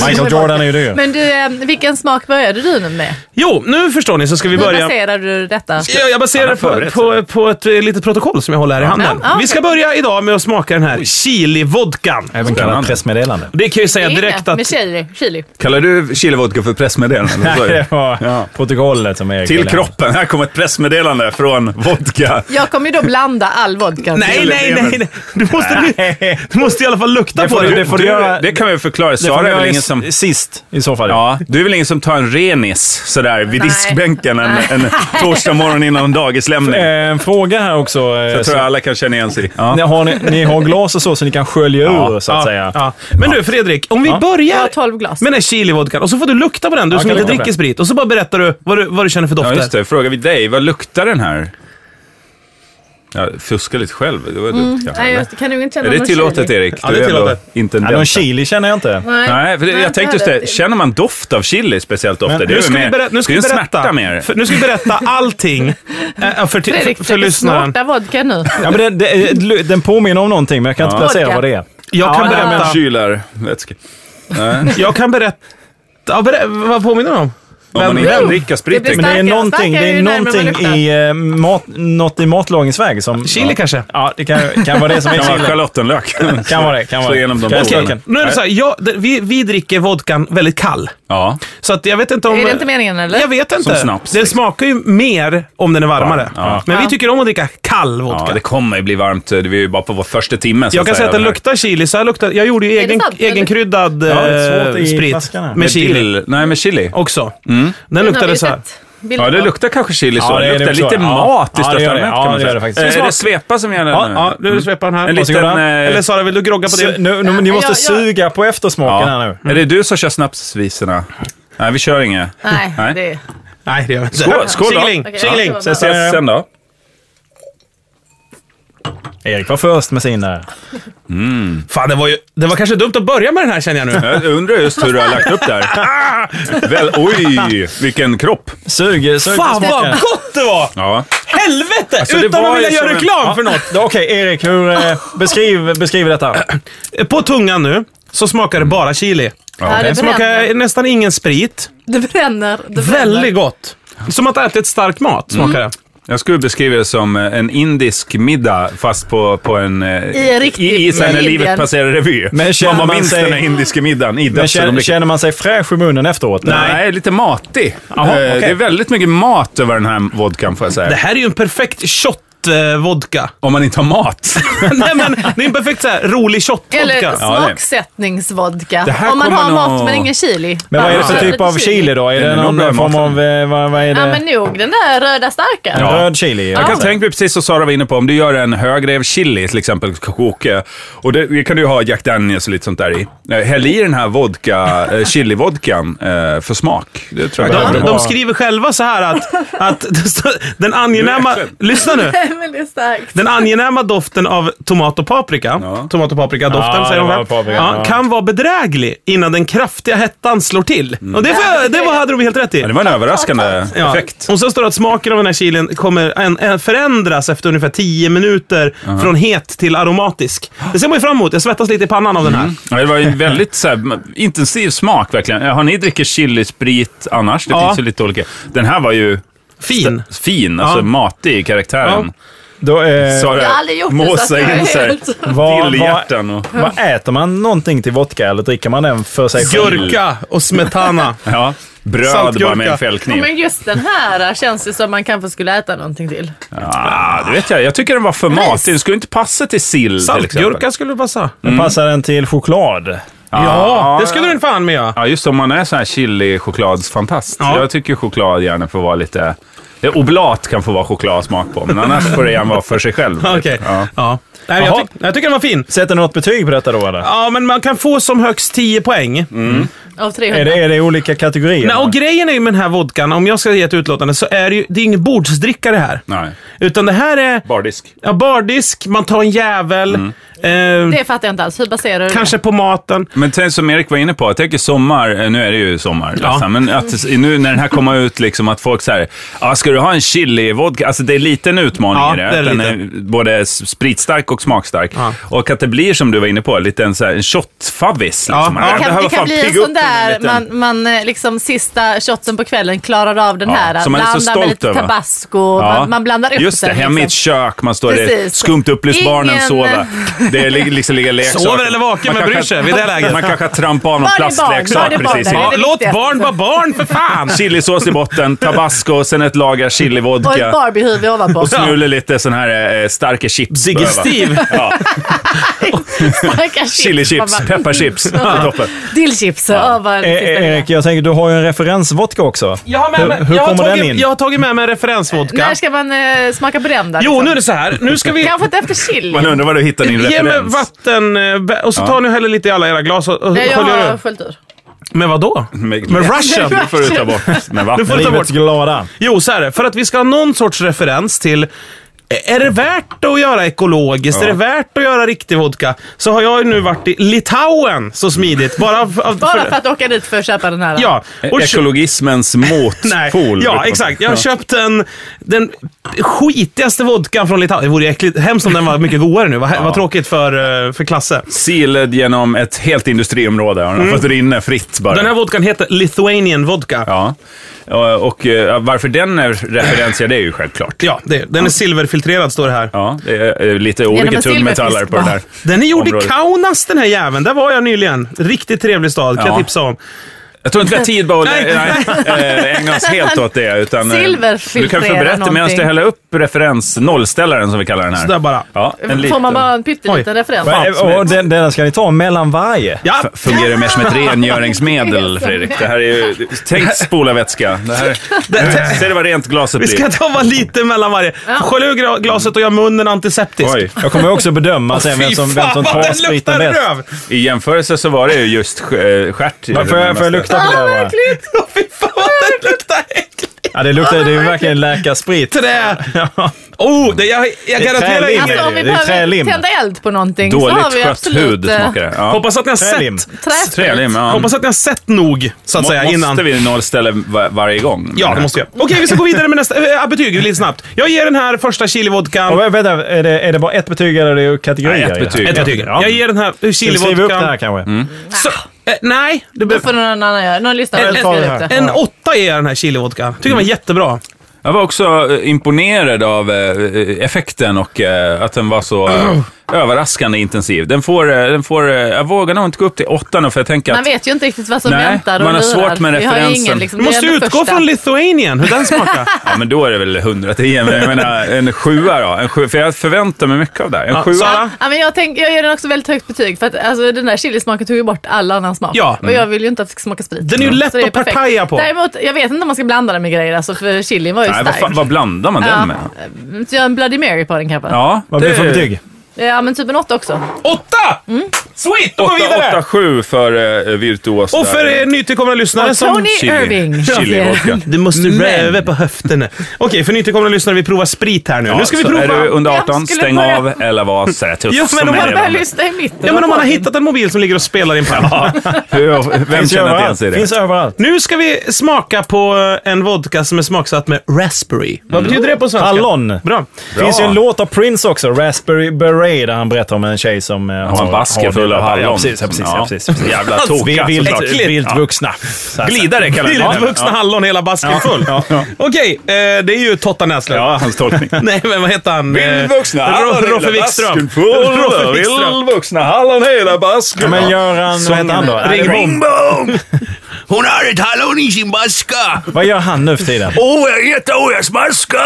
[SPEAKER 3] Michael Jordan är ju det.
[SPEAKER 1] Men du, eh, vilken smak började du nu med?
[SPEAKER 2] Jo, nu förstår ni så ska vi
[SPEAKER 1] Hur
[SPEAKER 2] börja.
[SPEAKER 1] baserar du detta?
[SPEAKER 2] Ja, jag baserar det på,
[SPEAKER 4] förberett
[SPEAKER 2] på, på ett eh, litet protokoll som jag håller här i handen.
[SPEAKER 1] Ja, ja,
[SPEAKER 2] Vi ska
[SPEAKER 1] okej.
[SPEAKER 2] börja idag med att smaka den här chili-vodkan.
[SPEAKER 3] Även kallat
[SPEAKER 4] Spännande.
[SPEAKER 3] pressmeddelande.
[SPEAKER 2] Det kan jag ju säga direkt att...
[SPEAKER 1] Med chili. chili.
[SPEAKER 4] Kallar du chilivodka för pressmeddelande?
[SPEAKER 3] Nej, det var
[SPEAKER 4] Ja.
[SPEAKER 3] protokollet som Erik
[SPEAKER 4] Till
[SPEAKER 3] ville ha.
[SPEAKER 4] kroppen. Här kommer ett pressmeddelande från vodka.
[SPEAKER 1] Jag kommer ju då blanda all vodka.
[SPEAKER 2] Nej, nej, nej, nej. Du måste,
[SPEAKER 3] Nej.
[SPEAKER 2] du måste i alla fall lukta
[SPEAKER 3] Det
[SPEAKER 2] på
[SPEAKER 3] får du-
[SPEAKER 2] det.
[SPEAKER 3] det får du göra-
[SPEAKER 4] det kan vi förklara.
[SPEAKER 3] Det får
[SPEAKER 4] Sara är väl
[SPEAKER 3] jag
[SPEAKER 4] ingen
[SPEAKER 3] s-
[SPEAKER 4] som...
[SPEAKER 3] Sist i så fall.
[SPEAKER 4] Ja, du är väl ingen som tar en renis sådär vid
[SPEAKER 1] Nej.
[SPEAKER 4] diskbänken en, en torsdag morgon innan dagislämning?
[SPEAKER 3] Eh, En fråga här också. eh,
[SPEAKER 4] Jag tror alla kan känna igen sig. Ja.
[SPEAKER 3] Ni har, ni, ni har glas och så, så ni kan skölja
[SPEAKER 4] Ja,
[SPEAKER 3] ur så att
[SPEAKER 2] Ja,
[SPEAKER 3] säga.
[SPEAKER 2] ja. Men du Fredrik, om vi
[SPEAKER 1] Jag
[SPEAKER 2] börjar
[SPEAKER 1] har 12 glas.
[SPEAKER 2] med den här chilivodkan och så får du lukta på den, du som
[SPEAKER 3] kan
[SPEAKER 2] inte
[SPEAKER 3] lukta på
[SPEAKER 2] dricker
[SPEAKER 3] den.
[SPEAKER 2] sprit. Och så bara berättar du vad du, vad du känner för
[SPEAKER 4] ja,
[SPEAKER 2] dofter.
[SPEAKER 4] just det. Frågar vi dig, vad luktar den här? Jag fuskar lite själv. Det var dumt kanske.
[SPEAKER 1] Mm. Nej,
[SPEAKER 4] eller?
[SPEAKER 1] jag kan nog inte känna
[SPEAKER 4] Är det
[SPEAKER 1] någon
[SPEAKER 4] tillåtet
[SPEAKER 1] chili.
[SPEAKER 4] Erik?
[SPEAKER 2] Ja, det
[SPEAKER 4] Du
[SPEAKER 2] är
[SPEAKER 4] ändå
[SPEAKER 2] tillåtet.
[SPEAKER 4] Inte en
[SPEAKER 3] Nej, någon
[SPEAKER 4] delta.
[SPEAKER 3] chili känner jag inte.
[SPEAKER 4] Nej, för det, jag tänkte just det. Känner man doft av chili speciellt
[SPEAKER 3] Men
[SPEAKER 4] ofta? det är
[SPEAKER 2] Nu
[SPEAKER 4] ju
[SPEAKER 2] ska, vi
[SPEAKER 4] mer-
[SPEAKER 2] berä- nu, ska
[SPEAKER 4] det
[SPEAKER 2] vi
[SPEAKER 4] är en smärta
[SPEAKER 2] berätta,
[SPEAKER 4] mer.
[SPEAKER 2] för, nu ska vi berätta allting eh, för, för,
[SPEAKER 1] Fredrik
[SPEAKER 2] för, för
[SPEAKER 1] försöker
[SPEAKER 2] lyssnaren.
[SPEAKER 1] snorta vodka nu.
[SPEAKER 3] Ja, men det, det, det, den påminner om någonting, men jag kan inte
[SPEAKER 4] Ja.
[SPEAKER 3] placera
[SPEAKER 1] Vodka.
[SPEAKER 3] vad det är.
[SPEAKER 2] Jag kan
[SPEAKER 3] Ja, nej,
[SPEAKER 2] berätta...
[SPEAKER 4] Kylar vätska. Nej.
[SPEAKER 2] Jag kan berätta... Ja, berä- vad påminner det om?
[SPEAKER 4] Om man
[SPEAKER 2] Vem-
[SPEAKER 4] inte
[SPEAKER 1] vem?
[SPEAKER 4] dricker sprit.
[SPEAKER 1] Det blir
[SPEAKER 4] tänker jag.
[SPEAKER 3] Det är
[SPEAKER 1] Starkare,
[SPEAKER 3] någonting,
[SPEAKER 1] starkare
[SPEAKER 3] det
[SPEAKER 1] ju
[SPEAKER 3] är
[SPEAKER 1] närmare man
[SPEAKER 3] någonting
[SPEAKER 1] luktar.
[SPEAKER 3] i, eh, mat, något i matlagningsväg som...
[SPEAKER 2] Chili
[SPEAKER 3] ja.
[SPEAKER 2] kanske?
[SPEAKER 3] Ja, det kan, kan vara det som är
[SPEAKER 4] Kan vara
[SPEAKER 3] chili.
[SPEAKER 4] schalottenlök.
[SPEAKER 3] Kan vara det. Kan vara
[SPEAKER 4] Slå
[SPEAKER 3] det.
[SPEAKER 4] igenom de
[SPEAKER 3] Kan-
[SPEAKER 4] bollarna.
[SPEAKER 3] kan-
[SPEAKER 2] Nu är det så här, jag, det- vi, vi dricker vodkan väldigt kall.
[SPEAKER 4] Ja.
[SPEAKER 2] Så att jag vet inte om...
[SPEAKER 1] Är det inte meningen eller?
[SPEAKER 2] Jag vet inte.
[SPEAKER 4] snaps,
[SPEAKER 2] den
[SPEAKER 4] liksom.
[SPEAKER 2] smakar ju mer om den är varmare.
[SPEAKER 4] Ja, ja.
[SPEAKER 2] Men vi
[SPEAKER 1] Ja.
[SPEAKER 2] tycker om att dricka kall vodka.
[SPEAKER 4] ja, det kommer ju bli varmt. Vi är ju bara på vår första timme. så
[SPEAKER 2] jag kan säga att den luktar chili, så jag, luktar, jag gjorde ju
[SPEAKER 1] det
[SPEAKER 2] egen,
[SPEAKER 1] sant, eller?
[SPEAKER 2] egenkryddad
[SPEAKER 3] Ja, det är
[SPEAKER 2] eh,
[SPEAKER 3] svårt i
[SPEAKER 2] sprit
[SPEAKER 3] flaskan här.
[SPEAKER 2] med chili
[SPEAKER 4] dill- Nej, med chili.
[SPEAKER 2] också.
[SPEAKER 4] Mm.
[SPEAKER 2] Den luktade så här.
[SPEAKER 4] Ja, det luktar kanske chili så.
[SPEAKER 3] Ja, det
[SPEAKER 4] det,
[SPEAKER 3] är det
[SPEAKER 4] luktar
[SPEAKER 3] så.
[SPEAKER 4] lite
[SPEAKER 3] Ja.
[SPEAKER 4] mat i
[SPEAKER 3] Ja, det gör
[SPEAKER 4] största
[SPEAKER 3] det.
[SPEAKER 4] allmänhet
[SPEAKER 3] Ja,
[SPEAKER 4] kan man
[SPEAKER 3] det
[SPEAKER 4] säga.
[SPEAKER 3] gör det faktiskt.
[SPEAKER 4] Eh, Är det svepa som gäller?
[SPEAKER 2] Ja, ja, nu är det svepan här.
[SPEAKER 4] En liten...
[SPEAKER 3] Varsågoda.
[SPEAKER 4] eh,
[SPEAKER 2] Eller Sara, vill du grogga på
[SPEAKER 3] Så,
[SPEAKER 2] det?
[SPEAKER 3] nu, nu, ni
[SPEAKER 1] Nej,
[SPEAKER 3] måste
[SPEAKER 1] jag-
[SPEAKER 3] suga på eftersmaken här nu.
[SPEAKER 4] ja. Är det du som kör snapsvisorna? Nej, vi kör inget.
[SPEAKER 1] Nej,
[SPEAKER 4] Nej.
[SPEAKER 1] det är...
[SPEAKER 2] Nej, det gör vi inte.
[SPEAKER 4] Skål, skål då.
[SPEAKER 2] Tjingeling,
[SPEAKER 1] Okej,
[SPEAKER 2] tjingeling.
[SPEAKER 1] ja, det
[SPEAKER 4] Sen
[SPEAKER 1] var bra.
[SPEAKER 4] ses sen då.
[SPEAKER 3] Erik var först med sin där.
[SPEAKER 2] Fan, det var ju... Det var kanske dumt att börja med den här känner jag nu.
[SPEAKER 4] Jag undrar just hur du har lagt upp det här. Väl, oj, vilken kropp.
[SPEAKER 3] Sug, sug på
[SPEAKER 2] Fan vad
[SPEAKER 3] smaken.
[SPEAKER 2] gott det var!
[SPEAKER 4] Ja.
[SPEAKER 2] Helvete!
[SPEAKER 4] Alltså, det
[SPEAKER 2] Utan
[SPEAKER 4] var
[SPEAKER 2] att vilja
[SPEAKER 4] ju som
[SPEAKER 2] göra
[SPEAKER 4] en-
[SPEAKER 2] reklam för något.
[SPEAKER 3] Okej, Erik. Hur, eh, beskriv, beskriv detta.
[SPEAKER 2] På tungan nu så smakar det bara chili.
[SPEAKER 1] Ja,
[SPEAKER 4] okej.
[SPEAKER 1] det
[SPEAKER 2] Det smakar
[SPEAKER 1] bränner.
[SPEAKER 2] nästan ingen sprit.
[SPEAKER 1] Det bränner. Det bränner.
[SPEAKER 2] Väldigt gott. Mm. Som att äta ett starkt mat smakar det.
[SPEAKER 4] Jag skulle beskriva det som eh, en indisk middag fast på, på en... eh,
[SPEAKER 1] I en riktig-
[SPEAKER 4] I, i sen när
[SPEAKER 1] i
[SPEAKER 4] livet
[SPEAKER 1] Indien.
[SPEAKER 4] passerar revy.
[SPEAKER 3] Men känner
[SPEAKER 4] man
[SPEAKER 3] man
[SPEAKER 4] minns
[SPEAKER 3] sig-
[SPEAKER 4] den här indiska middagen i
[SPEAKER 3] Men känner,
[SPEAKER 4] dödsögonblicket.
[SPEAKER 3] känner man sig fräsch i munnen efteråt? eller?
[SPEAKER 4] Nej, lite matig. Eh,
[SPEAKER 3] okej.
[SPEAKER 4] Det är väldigt mycket mat över den här vodkan får jag säga.
[SPEAKER 2] Det här är ju en perfekt shot-vodka.
[SPEAKER 4] Om man inte har mat.
[SPEAKER 2] Nej men, det är en perfekt så här, rolig
[SPEAKER 1] Eller
[SPEAKER 2] shot-vodka.
[SPEAKER 4] Ja, det är-
[SPEAKER 1] smaksättningsvodka.
[SPEAKER 4] här
[SPEAKER 1] Om man
[SPEAKER 4] kommer
[SPEAKER 1] har mat
[SPEAKER 4] nog-
[SPEAKER 1] men ingen chili.
[SPEAKER 3] Men vad är det
[SPEAKER 1] Ja.
[SPEAKER 3] för typ av chili då? Är
[SPEAKER 4] Den
[SPEAKER 3] det
[SPEAKER 4] är nog
[SPEAKER 3] någon
[SPEAKER 4] bra i
[SPEAKER 3] form
[SPEAKER 4] maten.
[SPEAKER 3] av... eh, Vad, vad är det?
[SPEAKER 1] Ja, men nog den där röda starka.
[SPEAKER 3] En Röd chili?
[SPEAKER 4] Jag kan
[SPEAKER 1] Ja.
[SPEAKER 4] tänka mig precis som Sara var inne på, om du gör en högrev chili till exempel, kokoke, och det, det kan du ju ha Jack Daniels och lite sånt där i. Eh, Häll i den här vodka, eh, chilivodkan eh, för smak. Det tror jag
[SPEAKER 2] De,
[SPEAKER 4] behöver
[SPEAKER 2] de
[SPEAKER 4] vara.
[SPEAKER 2] skriver själva så här att, att den angenäma...
[SPEAKER 4] Du är äcklad.
[SPEAKER 2] Lyssna nu.
[SPEAKER 1] Men det är starkt.
[SPEAKER 2] Den angenäma doften av tomat och paprika,
[SPEAKER 4] Ja.
[SPEAKER 2] tomat och paprika-doften
[SPEAKER 3] Ja,
[SPEAKER 2] säger de
[SPEAKER 3] det var
[SPEAKER 2] väl?
[SPEAKER 3] paprika,
[SPEAKER 2] ja,
[SPEAKER 3] ja.
[SPEAKER 2] Kan vara bedräglig innan den kraftiga hettan slår till. Och det, var, det var, hade de helt rätt i.
[SPEAKER 4] Ja, det var en överraskande
[SPEAKER 2] Ja.
[SPEAKER 4] effekt.
[SPEAKER 2] Och så står det att smaken av den här chilin kommer en, en förändras efter ungefär 10 minuter från het till aromatisk. Det ser man ju fram emot. Jag svettas lite i pannan av den här.
[SPEAKER 4] Ja, det var ju en väldigt så här, intensiv smak verkligen. Eh, Har ni dricker chilisprit annars? Det
[SPEAKER 2] Ja.
[SPEAKER 4] finns ju lite olika. Den här var ju
[SPEAKER 2] Fin.
[SPEAKER 4] fin, alltså
[SPEAKER 2] Ja.
[SPEAKER 4] matig i karaktären.
[SPEAKER 3] Då, eh,
[SPEAKER 4] Sara
[SPEAKER 1] Jag har aldrig gjort det, så att
[SPEAKER 4] måsar
[SPEAKER 1] jag
[SPEAKER 4] in
[SPEAKER 1] är
[SPEAKER 4] sig
[SPEAKER 1] helt-
[SPEAKER 3] Vad-
[SPEAKER 4] till hjärtan. Och,
[SPEAKER 3] Vad äter man någonting till vodka eller dricker man den för sig själv?
[SPEAKER 2] Gurka och smetana.
[SPEAKER 4] ja, bröd
[SPEAKER 2] Saltgurka.
[SPEAKER 4] bara med en
[SPEAKER 1] Ja,
[SPEAKER 4] fällkniv.
[SPEAKER 1] men just den här känns ju som man kanske skulle äta någonting till.
[SPEAKER 4] Ah, det vet jag. Jag tycker den var för matig. Den skulle inte passa till sill till exempel.
[SPEAKER 2] Saltgurka skulle passa.
[SPEAKER 3] Passar den till choklad?
[SPEAKER 2] Ja, det skulle den fan med ja.
[SPEAKER 4] Ja, just om man är sån här chili-chokladsfantast.
[SPEAKER 2] Ja.
[SPEAKER 4] Jag tycker choklad gärna får vara lite Det- Oblat kan få vara chokladsmak på, men annars får det gärna vara för sig själv.
[SPEAKER 2] Okej. Ja.
[SPEAKER 4] Ja.
[SPEAKER 2] Nej, jag,
[SPEAKER 3] Jaha.
[SPEAKER 2] tyck- jag tycker den var fin.
[SPEAKER 3] Sätter ni något betyg på detta då eller?
[SPEAKER 2] Ja, men man kan få som högst 10 poäng.
[SPEAKER 1] Av
[SPEAKER 3] Är
[SPEAKER 1] 300.
[SPEAKER 3] det, är det olika kategorier?
[SPEAKER 2] Nej, och grejen är ju med den här vodkan, om jag ska ge ett utlåtande, så är det ju det är ingen bordsdricka det här.
[SPEAKER 4] Nej.
[SPEAKER 2] Utan det här är
[SPEAKER 4] Bardisk.
[SPEAKER 2] ja, bardisk, man tar en jävel, eh,
[SPEAKER 1] Det fattar jag inte alls. Hur baserar du
[SPEAKER 2] kanske på maten.
[SPEAKER 4] Men tänk som Erik var inne på, jag tänker sommar, eh, nu är det ju sommar,
[SPEAKER 2] Ja.
[SPEAKER 4] ledsen, men att nu när den här kommer ut, liksom att folk säger, ah, ska du ha en chili-vodka? Alltså det är en liten utmaning
[SPEAKER 2] Ja,
[SPEAKER 4] i det.
[SPEAKER 2] det är
[SPEAKER 4] att den
[SPEAKER 2] lite.
[SPEAKER 4] är både s- spritstark och smakstark.
[SPEAKER 2] Ja.
[SPEAKER 4] Och att det blir, som du var inne på, lite en, så här, en
[SPEAKER 2] Ja,
[SPEAKER 4] shot-favvis. Liksom.
[SPEAKER 2] ja.
[SPEAKER 4] Ah,
[SPEAKER 2] Det
[SPEAKER 1] det?
[SPEAKER 4] här
[SPEAKER 1] Kan,
[SPEAKER 4] var
[SPEAKER 1] det
[SPEAKER 4] fan
[SPEAKER 1] kan bli en
[SPEAKER 4] pigg upp
[SPEAKER 1] sån där,
[SPEAKER 4] liten-
[SPEAKER 1] man, man eh, liksom sista shotten på kvällen klarar av den
[SPEAKER 4] Ja,
[SPEAKER 1] här.
[SPEAKER 4] som man är så
[SPEAKER 1] blandar med
[SPEAKER 4] stolt
[SPEAKER 1] lite
[SPEAKER 4] över.
[SPEAKER 1] tabasco,
[SPEAKER 4] Ja.
[SPEAKER 1] man, man blandar upp
[SPEAKER 4] Just det,
[SPEAKER 1] den,
[SPEAKER 4] hemma i ett
[SPEAKER 1] liksom.
[SPEAKER 4] kök. Man står i
[SPEAKER 1] Precis.
[SPEAKER 4] skumt upplyst, barnen
[SPEAKER 1] Ingen-
[SPEAKER 4] sover. Det är li- liksom ligger leksaker.
[SPEAKER 2] Sover eller vaken,
[SPEAKER 4] Man
[SPEAKER 2] men bryr
[SPEAKER 4] kanske-
[SPEAKER 2] sig vid det läget.
[SPEAKER 4] Man kanske trampar av någon
[SPEAKER 1] Var är barn? Var
[SPEAKER 4] plastleksak
[SPEAKER 1] är barn?
[SPEAKER 4] precis
[SPEAKER 1] Där är
[SPEAKER 2] Ja,
[SPEAKER 1] det
[SPEAKER 2] låt
[SPEAKER 1] viktigaste.
[SPEAKER 2] barn vara barn för fan!
[SPEAKER 4] Chilisås i botten, tabasco, sen ett lager
[SPEAKER 1] liksom. Och ett
[SPEAKER 4] chilivodka.
[SPEAKER 1] barbiehuvud ovanpå.
[SPEAKER 4] Och smuler lite sån här eh, starka chips.
[SPEAKER 2] Ziggy
[SPEAKER 4] Behöva.
[SPEAKER 2] Steve.
[SPEAKER 4] Ja,
[SPEAKER 1] Stackars
[SPEAKER 4] chilichips,
[SPEAKER 1] mamma.
[SPEAKER 4] pepparchips. Det är toppen. Eh,
[SPEAKER 1] Dillchips. Ja. vad
[SPEAKER 3] E-
[SPEAKER 1] det sista vi gör.
[SPEAKER 3] Erik, jag tänker du har ju en referensvodka också.
[SPEAKER 2] Jag har, med
[SPEAKER 3] Hur-
[SPEAKER 2] mig,
[SPEAKER 3] hur
[SPEAKER 2] jag, har
[SPEAKER 3] kommer den
[SPEAKER 2] tagit,
[SPEAKER 3] in?
[SPEAKER 2] jag har tagit med mig en referensvodka.
[SPEAKER 1] När ska man eh, smaka på den då?
[SPEAKER 2] Jo,
[SPEAKER 1] liksom?
[SPEAKER 2] nu är det så här. Nu ska vi...
[SPEAKER 1] Kanske inte efter chili.
[SPEAKER 4] Man undrar var du hittar din
[SPEAKER 2] Ge mig
[SPEAKER 4] referens.
[SPEAKER 2] vatten eh, bä- och så tar ni och häller lite i alla era glas och, och
[SPEAKER 1] Nej, jag
[SPEAKER 2] sköljer
[SPEAKER 1] har
[SPEAKER 2] ur.
[SPEAKER 1] sköljt ur.
[SPEAKER 2] Men vadå?
[SPEAKER 4] Med-
[SPEAKER 2] Med Russian.
[SPEAKER 4] Nu får du ta bort med vatten.
[SPEAKER 2] får du ta bort.
[SPEAKER 3] Livets glada.
[SPEAKER 2] Jo, så här är det. För att vi ska ha någon sorts referens till eh, är det värt att göra ekologiskt? Är det värt att göra riktig vodka? Så har jag ju nu varit i Litauen så smidigt. Bara, av, av,
[SPEAKER 1] Bara för att åka dit för att köpa den här.
[SPEAKER 2] Ja. Och
[SPEAKER 4] E-
[SPEAKER 2] kö-
[SPEAKER 4] Ekologismens
[SPEAKER 2] Nej.
[SPEAKER 4] motpol. Liksom.
[SPEAKER 2] Ja, exakt. Jag har köpt en, den skitigaste vodkan från Litauen. Det vore ju äckligt. Hemskt om den var mycket godare nu. Vad, vad tråkigt för, eh, för Klasse.
[SPEAKER 4] Silad genom ett helt industriområde. Har Den har fått rinna fritt bara.
[SPEAKER 2] Mm. Den här vodkan heter Lithuanian Vodka. Ja,
[SPEAKER 4] Ja. Och, och eh, varför den är referens, ja, det är ju självklart.
[SPEAKER 2] det, är- den är silverfiltrerad står det här.
[SPEAKER 4] Ja, det är eh, lite olika
[SPEAKER 1] en
[SPEAKER 4] tungmetaller på det där.
[SPEAKER 2] Den är gjord i
[SPEAKER 4] Området.
[SPEAKER 2] Kaunas den här jäveln. Där var jag nyligen. Riktigt trevlig stad, kan
[SPEAKER 4] Ja.
[SPEAKER 2] jag tipsa om.
[SPEAKER 4] Jag tror inte vi har tid bara att
[SPEAKER 2] Nej.
[SPEAKER 4] nej, eh, ägna oss helt åt det. Utan, eh,
[SPEAKER 1] Silverfiltrera
[SPEAKER 4] du kan få berätta medan
[SPEAKER 1] någonting.
[SPEAKER 4] du häller upp referens, nollställaren som vi kallar den här.
[SPEAKER 2] Sådär bara.
[SPEAKER 4] Ja, en
[SPEAKER 1] Får
[SPEAKER 4] liten.
[SPEAKER 1] man bara en pytteliten
[SPEAKER 2] Oj.
[SPEAKER 1] referens?
[SPEAKER 4] Va?
[SPEAKER 3] Och, eh, och den, den där ska ni ta mellan varje.
[SPEAKER 2] Ja,
[SPEAKER 4] F- Fungerar det mer som ett rengöringsmedel, Fredrik? Det här är ju... Tänk spolarvätska. Det här, ser du vad rent glaset
[SPEAKER 2] vi
[SPEAKER 4] blir?
[SPEAKER 2] ska ta bara lite mellan varje. Skölj ur gra- glaset och gör munnen antiseptisk.
[SPEAKER 4] Oj.
[SPEAKER 3] Jag kommer också bedöma sen vem som, vem som tar spriten bäst.
[SPEAKER 4] I jämförelse så var det ju just eh, stjärt.
[SPEAKER 3] Ja, Får jag, får jag lukta på det? här, va?
[SPEAKER 1] Äckligt!
[SPEAKER 2] Fy fan vad den luktar äckligt!
[SPEAKER 3] Ja, det luktar det är ju verkligen läkarsprit.
[SPEAKER 2] Trä! Oh, det, jag, jag
[SPEAKER 3] Det är
[SPEAKER 2] garanterar
[SPEAKER 3] trälim.
[SPEAKER 2] ingen.
[SPEAKER 1] Alltså om vi
[SPEAKER 3] Det är
[SPEAKER 1] behöver
[SPEAKER 3] trälim.
[SPEAKER 1] tända eld på någonting så har vi
[SPEAKER 4] Dåligt skött
[SPEAKER 1] absolut... eh,
[SPEAKER 4] hud smakar det. Ja.
[SPEAKER 2] Hoppas att ni har
[SPEAKER 3] Trälim.
[SPEAKER 2] sett.
[SPEAKER 1] Träsprit.
[SPEAKER 4] Trälim, ja.
[SPEAKER 2] Hoppas att ni har sett nog, så att säga,
[SPEAKER 4] Måste
[SPEAKER 2] innan.
[SPEAKER 4] vi nollställa va- varje gång?
[SPEAKER 2] Ja, det måste jag. Okej, vi ska gå vidare med nästa. Äh, betyg lite snabbt. Jag ger den här första chilivodkan.
[SPEAKER 3] Och vä- vänta, är det, är det bara ett betyg eller är det kategorier?
[SPEAKER 4] Nej, ett betyg. Mm.
[SPEAKER 2] Ett betyg. Jag ger den här
[SPEAKER 3] Ska vi skriva upp det här
[SPEAKER 2] chilivodkan.
[SPEAKER 3] kanske?
[SPEAKER 2] Så, eh, nej, det
[SPEAKER 1] Då
[SPEAKER 2] behöver...
[SPEAKER 1] får någon annan göra. Någon lyssnare
[SPEAKER 2] En-
[SPEAKER 1] får skriva
[SPEAKER 3] en-
[SPEAKER 1] upp det.
[SPEAKER 2] En åtta ger jag den här chilivodkan. Tycker den
[SPEAKER 3] Mm.
[SPEAKER 2] var jättebra.
[SPEAKER 4] Jag var också eh, imponerad av eh, effekten och eh, att den var så eh, överraskande intensiv. Den får, eh, den får, eh, jag vågar nog inte gå upp till åtta nu för jag tänker
[SPEAKER 1] Man
[SPEAKER 4] att
[SPEAKER 1] vet ju inte riktigt vad som
[SPEAKER 4] Nej,
[SPEAKER 1] väntar och
[SPEAKER 4] man har
[SPEAKER 1] lurar.
[SPEAKER 4] svårt med
[SPEAKER 1] Vi har ju
[SPEAKER 4] referensen.
[SPEAKER 1] ingen, liksom,
[SPEAKER 2] Du
[SPEAKER 1] det är
[SPEAKER 2] måste
[SPEAKER 1] ändå
[SPEAKER 2] utgå
[SPEAKER 1] första.
[SPEAKER 2] från Lithuanien, hur den smakar.
[SPEAKER 4] ja, men då är det väl 110, men jag menar en sjua då. En sjua, för jag förväntar mig mycket av det. här. En
[SPEAKER 2] Ja,
[SPEAKER 4] sjua.
[SPEAKER 2] Sara?
[SPEAKER 1] Ja, men jag, tänk, jag ger den också väldigt högt betyg för att alltså, den där chilismaken tog ju bort all annan smak.
[SPEAKER 2] Ja.
[SPEAKER 1] Och jag vill ju inte att det ska smaka sprit. Mm.
[SPEAKER 2] Den är ju
[SPEAKER 1] Så
[SPEAKER 2] lätt
[SPEAKER 1] det
[SPEAKER 2] att
[SPEAKER 1] perfekt.
[SPEAKER 2] partaja på.
[SPEAKER 1] Däremot, jag vet inte om man ska blanda den med grejer alltså, för chilin var ju
[SPEAKER 4] Nej, vad,
[SPEAKER 1] stark.
[SPEAKER 4] fan, vad blandar man den med?
[SPEAKER 1] Ja, så jag har en Bloody Mary på den kanske. Ja.
[SPEAKER 4] Ja,
[SPEAKER 3] Vad blir det för betyg?
[SPEAKER 1] men typ en åtta också.
[SPEAKER 2] Åtta!
[SPEAKER 1] Mm.
[SPEAKER 2] Sweet, då går vi
[SPEAKER 4] 8,
[SPEAKER 2] vidare.
[SPEAKER 4] 8, 7 för eh, virtuos.
[SPEAKER 2] Och för
[SPEAKER 4] där.
[SPEAKER 2] er nytillkomna lyssnare
[SPEAKER 1] Och
[SPEAKER 2] som...
[SPEAKER 1] Tony
[SPEAKER 4] Chili-
[SPEAKER 1] Irving.
[SPEAKER 4] Chilivodka.
[SPEAKER 2] Du måste röva på höften. Okej, för nytillkomna lyssnare, vi provar sprit här nu. nu ska vi
[SPEAKER 4] så
[SPEAKER 2] prova.
[SPEAKER 4] Är du under
[SPEAKER 1] Jag
[SPEAKER 4] 18,
[SPEAKER 1] skulle
[SPEAKER 4] stäng
[SPEAKER 1] börja-
[SPEAKER 4] av eller var så här tuff
[SPEAKER 2] Ja, men om
[SPEAKER 4] som är
[SPEAKER 2] man
[SPEAKER 1] Man
[SPEAKER 4] det
[SPEAKER 1] börjar
[SPEAKER 4] vanligt.
[SPEAKER 1] lyssna i mitten.
[SPEAKER 2] Ja, men om man har
[SPEAKER 1] Vad fan?
[SPEAKER 2] hittat en mobil som ligger och spelar i en pärm.
[SPEAKER 4] Hur- Vem
[SPEAKER 3] Finns
[SPEAKER 4] känner inte igen
[SPEAKER 3] överallt.
[SPEAKER 4] sig i det?
[SPEAKER 3] Finns överallt.
[SPEAKER 2] Nu ska vi smaka på en vodka som är smaksatt med raspberry. Vad betyder det på svenska?
[SPEAKER 3] Hallon.
[SPEAKER 2] Bra.
[SPEAKER 3] Finns ju en låt av Prince också, Raspberry Beret, där han berättar om en tjej som eh,
[SPEAKER 4] Har en basker full av hallon.
[SPEAKER 3] Ja, precis. Ja, precis, ja.
[SPEAKER 4] Ja.
[SPEAKER 3] precis, precis.
[SPEAKER 4] Jävla
[SPEAKER 3] Vi-
[SPEAKER 4] tokat
[SPEAKER 3] vilt-
[SPEAKER 4] såklart.
[SPEAKER 3] Vilt vuxna.
[SPEAKER 4] Glidare kallar vi det.
[SPEAKER 2] Vildvuxna hallon, hela basken full. Okej, eh, det är ju Totta Näslund.
[SPEAKER 4] Ja, hans tolkning.
[SPEAKER 2] Nej, men vad heter han? Eh, Ro- Roffe Wikström. Roffe Wikström.
[SPEAKER 4] Vildvuxna hallon hela basken
[SPEAKER 3] Äh, Ja, men Göran, vad heter han då?
[SPEAKER 4] Ringbom! Hon har ett hallon i sin maska.
[SPEAKER 3] Vad gör han nu för tiden?
[SPEAKER 4] Åh, jag heter Åhjas maska!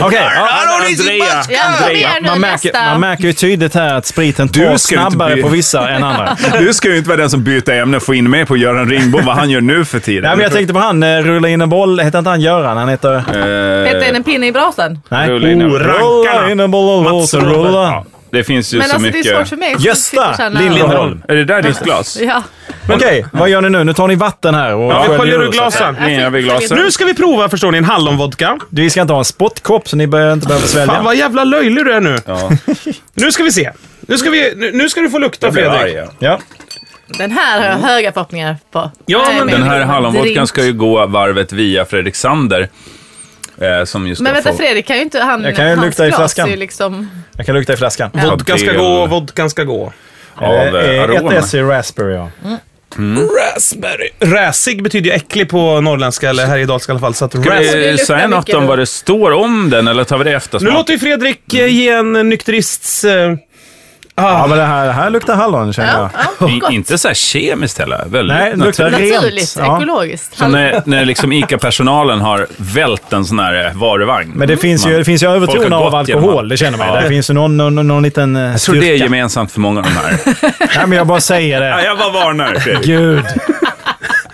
[SPEAKER 3] Okej, ja.
[SPEAKER 4] Hallon i sin
[SPEAKER 2] Andrea.
[SPEAKER 4] maska!
[SPEAKER 1] Ja, kom igen nu,
[SPEAKER 3] Man märker,
[SPEAKER 1] nästa.
[SPEAKER 3] man märker ju tydligt här att spriten
[SPEAKER 4] Du
[SPEAKER 3] tar
[SPEAKER 4] ska ju inte
[SPEAKER 3] snabbare
[SPEAKER 4] bli-
[SPEAKER 3] på vissa än andra.
[SPEAKER 4] Du ska ju inte vara den som byter ämne och få in mig på Göran Ringbom, vad han gör nu för tiden.
[SPEAKER 3] Nej, men jag tänkte på han, eh, rulla in en boll. Heter inte han Göran? Han heter...
[SPEAKER 1] Peta in en pinne i brasan.
[SPEAKER 3] Nej.
[SPEAKER 4] rulla Eh, in en-
[SPEAKER 3] Oh, rulla in en boll och
[SPEAKER 2] Mats
[SPEAKER 3] så rulla.
[SPEAKER 2] Rulla.
[SPEAKER 4] Det finns ju
[SPEAKER 1] Men
[SPEAKER 4] så
[SPEAKER 1] alltså
[SPEAKER 4] mycket...
[SPEAKER 1] det är svårt för mig. som sitter och
[SPEAKER 3] Gösta
[SPEAKER 1] känner-
[SPEAKER 3] Lindholm.
[SPEAKER 4] Är det där ditt glas?
[SPEAKER 1] Ja.
[SPEAKER 3] Okej, vad gör ni nu? Nu tar ni vatten här och
[SPEAKER 2] Ja, vi
[SPEAKER 3] sköljer
[SPEAKER 2] sköljer
[SPEAKER 3] ur
[SPEAKER 2] ur
[SPEAKER 3] så att säga.
[SPEAKER 2] glasen.
[SPEAKER 4] Nej, jag vill glasen.
[SPEAKER 2] Nu ska vi prova, förstår ni, en hallonvodka.
[SPEAKER 3] Vi ska inte ha en spottkopp så ni behöver inte behöva
[SPEAKER 2] Fan
[SPEAKER 3] svälja.
[SPEAKER 2] vad jävla löjlig du är nu.
[SPEAKER 4] Ja,
[SPEAKER 2] Nu ska vi se. Nu ska, vi, nu- nu ska du få lukta,
[SPEAKER 4] jag blev
[SPEAKER 2] Fredrik.
[SPEAKER 4] arg. ja.
[SPEAKER 3] Ja.
[SPEAKER 1] Den här har jag höga förhoppningar på.
[SPEAKER 2] Ja,
[SPEAKER 1] Nej,
[SPEAKER 2] men
[SPEAKER 1] men-
[SPEAKER 4] Mm. Den här hallonvodkan
[SPEAKER 1] Drink.
[SPEAKER 4] ska ju gå varvet via Fredrik Sander. Eh, som just
[SPEAKER 1] Men
[SPEAKER 4] har
[SPEAKER 1] vänta
[SPEAKER 4] fått-
[SPEAKER 1] Fredrik, kan ju inte han...
[SPEAKER 3] Jag kan ju
[SPEAKER 1] hans
[SPEAKER 3] lukta i
[SPEAKER 1] glas
[SPEAKER 3] flaskan.
[SPEAKER 1] är ju Liksom,
[SPEAKER 3] Jag kan lukta i flaskan.
[SPEAKER 2] Vodkan ska
[SPEAKER 4] Del-
[SPEAKER 2] gå, vodkan ska gå.
[SPEAKER 4] Av eh,
[SPEAKER 3] Ett
[SPEAKER 4] aroma.
[SPEAKER 3] S i raspberry, ja.
[SPEAKER 2] Raspberry. Räsig betyder ju äcklig på norrländska, eller härjedalska i alla fall. Så att
[SPEAKER 4] Ska
[SPEAKER 2] ras-
[SPEAKER 1] det
[SPEAKER 4] vi
[SPEAKER 1] luktar
[SPEAKER 4] säga något
[SPEAKER 1] mycket
[SPEAKER 4] om
[SPEAKER 1] nu.
[SPEAKER 4] vad det står om den eller tar vi det efter
[SPEAKER 2] nu
[SPEAKER 4] smak?
[SPEAKER 2] låter ju Fredrik eh, ge en eh, nykterists... eh,
[SPEAKER 3] Ja,
[SPEAKER 2] ah,
[SPEAKER 3] men det här, det här luktar hallon känner jag.
[SPEAKER 1] ja, ja,
[SPEAKER 4] I-
[SPEAKER 1] gott.
[SPEAKER 4] Inte så här kemiskt heller. Väldigt
[SPEAKER 3] Nej, det
[SPEAKER 4] naturligt.
[SPEAKER 3] luktar
[SPEAKER 1] Naturligt,
[SPEAKER 3] rent. Ja.
[SPEAKER 1] ekologiskt.
[SPEAKER 4] Som när, när liksom ICA-personalen har vält en sån här eh, varuvagn.
[SPEAKER 3] Men det finns ju,
[SPEAKER 4] Man-
[SPEAKER 3] det finns ju
[SPEAKER 4] Folk
[SPEAKER 3] övertoner
[SPEAKER 4] har
[SPEAKER 3] av
[SPEAKER 4] gått genom
[SPEAKER 3] alkohol,
[SPEAKER 4] allt.
[SPEAKER 3] det känner man.
[SPEAKER 4] Ja.
[SPEAKER 3] Det finns ju någon, någon, någon liten eh,
[SPEAKER 4] Jag tror det är
[SPEAKER 3] styrka.
[SPEAKER 4] gemensamt för många av de här.
[SPEAKER 3] Nej, men jag bara säger
[SPEAKER 4] Ja,
[SPEAKER 3] det.
[SPEAKER 4] jag bara varnar. Fredrik.
[SPEAKER 3] Gud.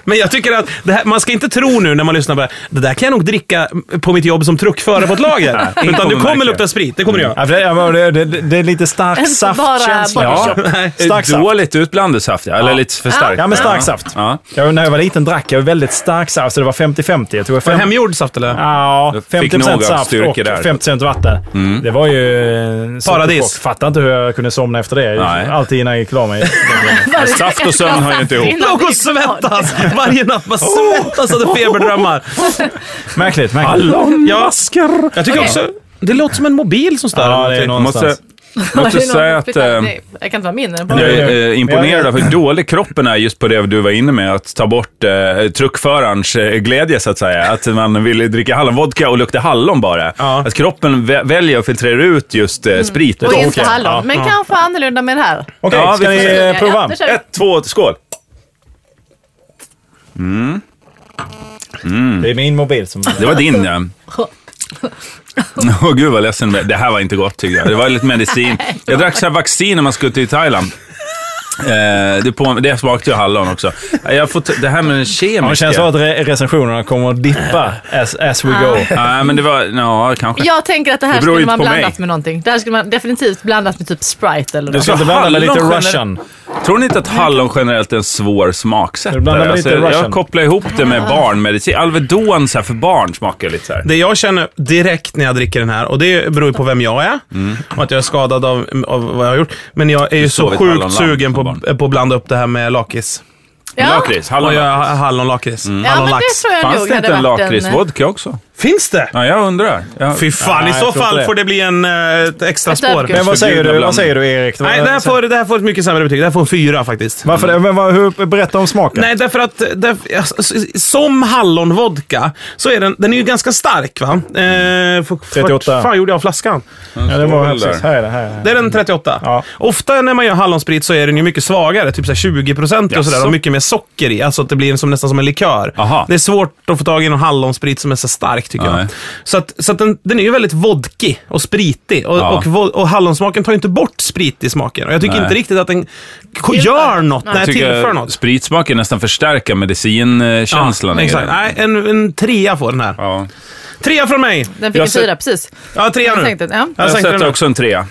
[SPEAKER 2] Men jag tycker att det här, man ska inte tro nu när man lyssnar på det här, det där kan jag nog dricka på mitt jobb som truckförare på ett lager.
[SPEAKER 4] ingen
[SPEAKER 2] Utan
[SPEAKER 4] kommer
[SPEAKER 2] du kommer
[SPEAKER 4] märka.
[SPEAKER 2] lukta sprit, det kommer du göra.
[SPEAKER 3] Ja, för det, ja, men det, det, det är lite stark
[SPEAKER 1] Inte bara
[SPEAKER 3] saftkänsla.
[SPEAKER 1] bottle
[SPEAKER 3] Ja. Stark saft.
[SPEAKER 4] Dåligt utblandat saft, ja. Eller lite för starkt.
[SPEAKER 3] Ja, men stark saft.
[SPEAKER 4] Ja.
[SPEAKER 3] Jag, när jag var liten drack jag väldigt stark saft, så det var 50-50. Jag tror jag
[SPEAKER 2] Var
[SPEAKER 4] Mm.
[SPEAKER 2] det
[SPEAKER 3] fem-
[SPEAKER 2] hemgjord saft eller?
[SPEAKER 3] Ja,
[SPEAKER 4] Jag fick
[SPEAKER 3] 50
[SPEAKER 4] nog av
[SPEAKER 3] saft och
[SPEAKER 4] styrka där. Mm.
[SPEAKER 3] 50 vatten. Det var ju... en stor
[SPEAKER 2] Paradis.
[SPEAKER 3] chock. Fattar inte hur jag kunde somna efter det.
[SPEAKER 4] Nej.
[SPEAKER 3] Alltid innan jag gick klar mig.
[SPEAKER 1] Var det
[SPEAKER 4] saft
[SPEAKER 1] ett
[SPEAKER 4] och sömn
[SPEAKER 1] glas
[SPEAKER 4] hör ju inte ihop.
[SPEAKER 1] innan vi
[SPEAKER 2] Någon
[SPEAKER 1] gick klar?
[SPEAKER 2] svettas varje natt. Man
[SPEAKER 4] Oh!
[SPEAKER 2] svettas av feberdrömmar.
[SPEAKER 3] märkligt, märkligt.
[SPEAKER 2] Hallonmasker. Jag tycker
[SPEAKER 1] Okej.
[SPEAKER 2] också... Det låter som en mobil som stör.
[SPEAKER 3] Ja, det är någon-
[SPEAKER 4] Måste,
[SPEAKER 3] Någonstans.
[SPEAKER 1] Var det
[SPEAKER 4] måste
[SPEAKER 1] någon
[SPEAKER 4] säga
[SPEAKER 1] som
[SPEAKER 4] att...
[SPEAKER 1] flyttade?
[SPEAKER 4] eh,
[SPEAKER 1] Nej, Jag kan inte vara min.
[SPEAKER 4] Jag
[SPEAKER 3] Nej,
[SPEAKER 4] är
[SPEAKER 3] nej.
[SPEAKER 4] eh, imponerad av hur dålig kroppen är just på det du var inne med, att ta bort eh, truckförarens eh, glädje så att säga. Att man vill dricka hallonvodka och lukta hallon bara.
[SPEAKER 2] Ja.
[SPEAKER 4] Att kroppen vä- väljer och filtrerar ut just eh, sprit.
[SPEAKER 1] Och inte
[SPEAKER 3] Okej.
[SPEAKER 1] hallon.
[SPEAKER 3] Ja,
[SPEAKER 1] men kanske annorlunda med det här.
[SPEAKER 3] Okej,
[SPEAKER 4] Ja,
[SPEAKER 3] ska
[SPEAKER 4] vi får
[SPEAKER 3] ni
[SPEAKER 4] se.
[SPEAKER 3] eh, prova?
[SPEAKER 1] Ja, då kör vi.
[SPEAKER 4] Ett, två, skål!
[SPEAKER 3] Det är min mobil som...
[SPEAKER 4] Det var din ja. Åh gud vad ledsen jag blev. Det här var inte gott tycker jag. Det var lite medicin. Jag drack så här vaccin när man skulle till Thailand. Eh, det, på, det smakade ju hallon också. Eh, Jag får ta, det här med
[SPEAKER 3] Ja,
[SPEAKER 4] den
[SPEAKER 3] det
[SPEAKER 4] kemiska.
[SPEAKER 3] känns som att re- recensionerna kommer att dippa as, as we go.
[SPEAKER 4] Nej, men det var... Ja, kanske.
[SPEAKER 1] Jag tänker att det här
[SPEAKER 4] Det beror
[SPEAKER 1] skulle
[SPEAKER 4] inte
[SPEAKER 1] man
[SPEAKER 4] på
[SPEAKER 1] blandat
[SPEAKER 4] mig.
[SPEAKER 1] med någonting. Det här skulle man definitivt blandat med typ Sprite eller
[SPEAKER 3] Du
[SPEAKER 1] något.
[SPEAKER 3] ska inte blanda med lite
[SPEAKER 4] Hallon
[SPEAKER 3] russian.
[SPEAKER 4] Tror ni inte att hallon generellt är en
[SPEAKER 3] Du
[SPEAKER 4] svår
[SPEAKER 3] blandar
[SPEAKER 4] smaksättare? Alltså,
[SPEAKER 3] med lite Russian.
[SPEAKER 4] jag kopplar ihop det med barnmedicin. Alvedon så här, för barn smakar lite så här.
[SPEAKER 2] Det jag känner direkt när jag dricker den här, och det beror ju på vem jag är
[SPEAKER 3] Mm.
[SPEAKER 2] och att jag är skadad av, av vad jag har gjort. Men jag är ju så
[SPEAKER 4] sov i ett
[SPEAKER 2] sjukt
[SPEAKER 4] hallonland
[SPEAKER 2] sugen
[SPEAKER 4] som
[SPEAKER 2] på, på att blanda upp det här med lakrits.
[SPEAKER 1] Ja.
[SPEAKER 4] Lakrits,
[SPEAKER 2] Och
[SPEAKER 4] hallon.
[SPEAKER 2] göra ha- hallonlakrits.
[SPEAKER 3] Mm.
[SPEAKER 1] Ja, men det
[SPEAKER 2] Hallonlax.
[SPEAKER 1] tror jag
[SPEAKER 4] Fanns
[SPEAKER 1] nog
[SPEAKER 4] det inte
[SPEAKER 1] hade
[SPEAKER 4] en
[SPEAKER 1] varit en... eh,
[SPEAKER 4] lakritsvodka också?
[SPEAKER 2] Finns det?
[SPEAKER 4] Ja, jag undrar. Jag...
[SPEAKER 2] eh, Fy fan,
[SPEAKER 3] Nej,
[SPEAKER 2] i
[SPEAKER 3] jag
[SPEAKER 2] så
[SPEAKER 3] tror inte
[SPEAKER 2] fall
[SPEAKER 3] det.
[SPEAKER 2] får det bli en, eh, ett extra
[SPEAKER 1] Ett
[SPEAKER 2] spår.
[SPEAKER 1] öppet.
[SPEAKER 3] Men vad eh, säger, du,
[SPEAKER 4] Förbjudna
[SPEAKER 3] vad säger du, Erik?
[SPEAKER 2] Nej, det här, får, det här får ett mycket sämre betyg. Det här får en fyra faktiskt.
[SPEAKER 3] Varför det? Men, vad, hur, berätta om smaken.
[SPEAKER 2] Nej, därför att därför, alltså, s- som hallonvodka så är den, den är ju ganska stark va? Eh, för,
[SPEAKER 3] 38.
[SPEAKER 2] Vart fan gjorde jag av flaskan?
[SPEAKER 3] ja, det var
[SPEAKER 4] väl där.
[SPEAKER 3] precis. Här är det. Här är det.
[SPEAKER 2] Det är den 38.
[SPEAKER 3] Ja.
[SPEAKER 2] Ofta när man gör hallonsprit så är den ju mycket svagare, typ så här 20 procent och sådär.
[SPEAKER 4] Jaså?
[SPEAKER 2] Och mycket mer socker i. Alltså att det blir som, nästan som en likör.
[SPEAKER 4] Aha.
[SPEAKER 2] Det är svårt att få tag i någon hallonsprit som är så stark tycker
[SPEAKER 4] Nej.
[SPEAKER 2] jag. Så att, så att den, den är ju väldigt vodkig och spritig. Och,
[SPEAKER 4] Ja.
[SPEAKER 2] och, vo- och hallonsmaken tar ju inte bort sprit i smaken. Och jag tycker
[SPEAKER 4] Nej.
[SPEAKER 2] inte riktigt att den k- gör något.
[SPEAKER 1] Nej.
[SPEAKER 2] Nej,
[SPEAKER 4] tycker
[SPEAKER 2] tillför
[SPEAKER 4] jag
[SPEAKER 2] något.
[SPEAKER 4] Spritsmaken nästan förstärker medicinkänslan.
[SPEAKER 2] ja,
[SPEAKER 4] i
[SPEAKER 2] exakt.
[SPEAKER 4] den.
[SPEAKER 2] Nej, en, en trea får den här.
[SPEAKER 4] Ja.
[SPEAKER 2] Trea från mig!
[SPEAKER 1] Den fick
[SPEAKER 4] Jag
[SPEAKER 1] en
[SPEAKER 4] ser- Mm.
[SPEAKER 1] fyra precis.
[SPEAKER 2] Ja, trea
[SPEAKER 1] Jag
[SPEAKER 2] nu.
[SPEAKER 1] tänkte, ja.
[SPEAKER 2] Jag
[SPEAKER 4] Jag
[SPEAKER 2] sänkte den
[SPEAKER 4] sätter
[SPEAKER 2] nu.
[SPEAKER 4] också en trea.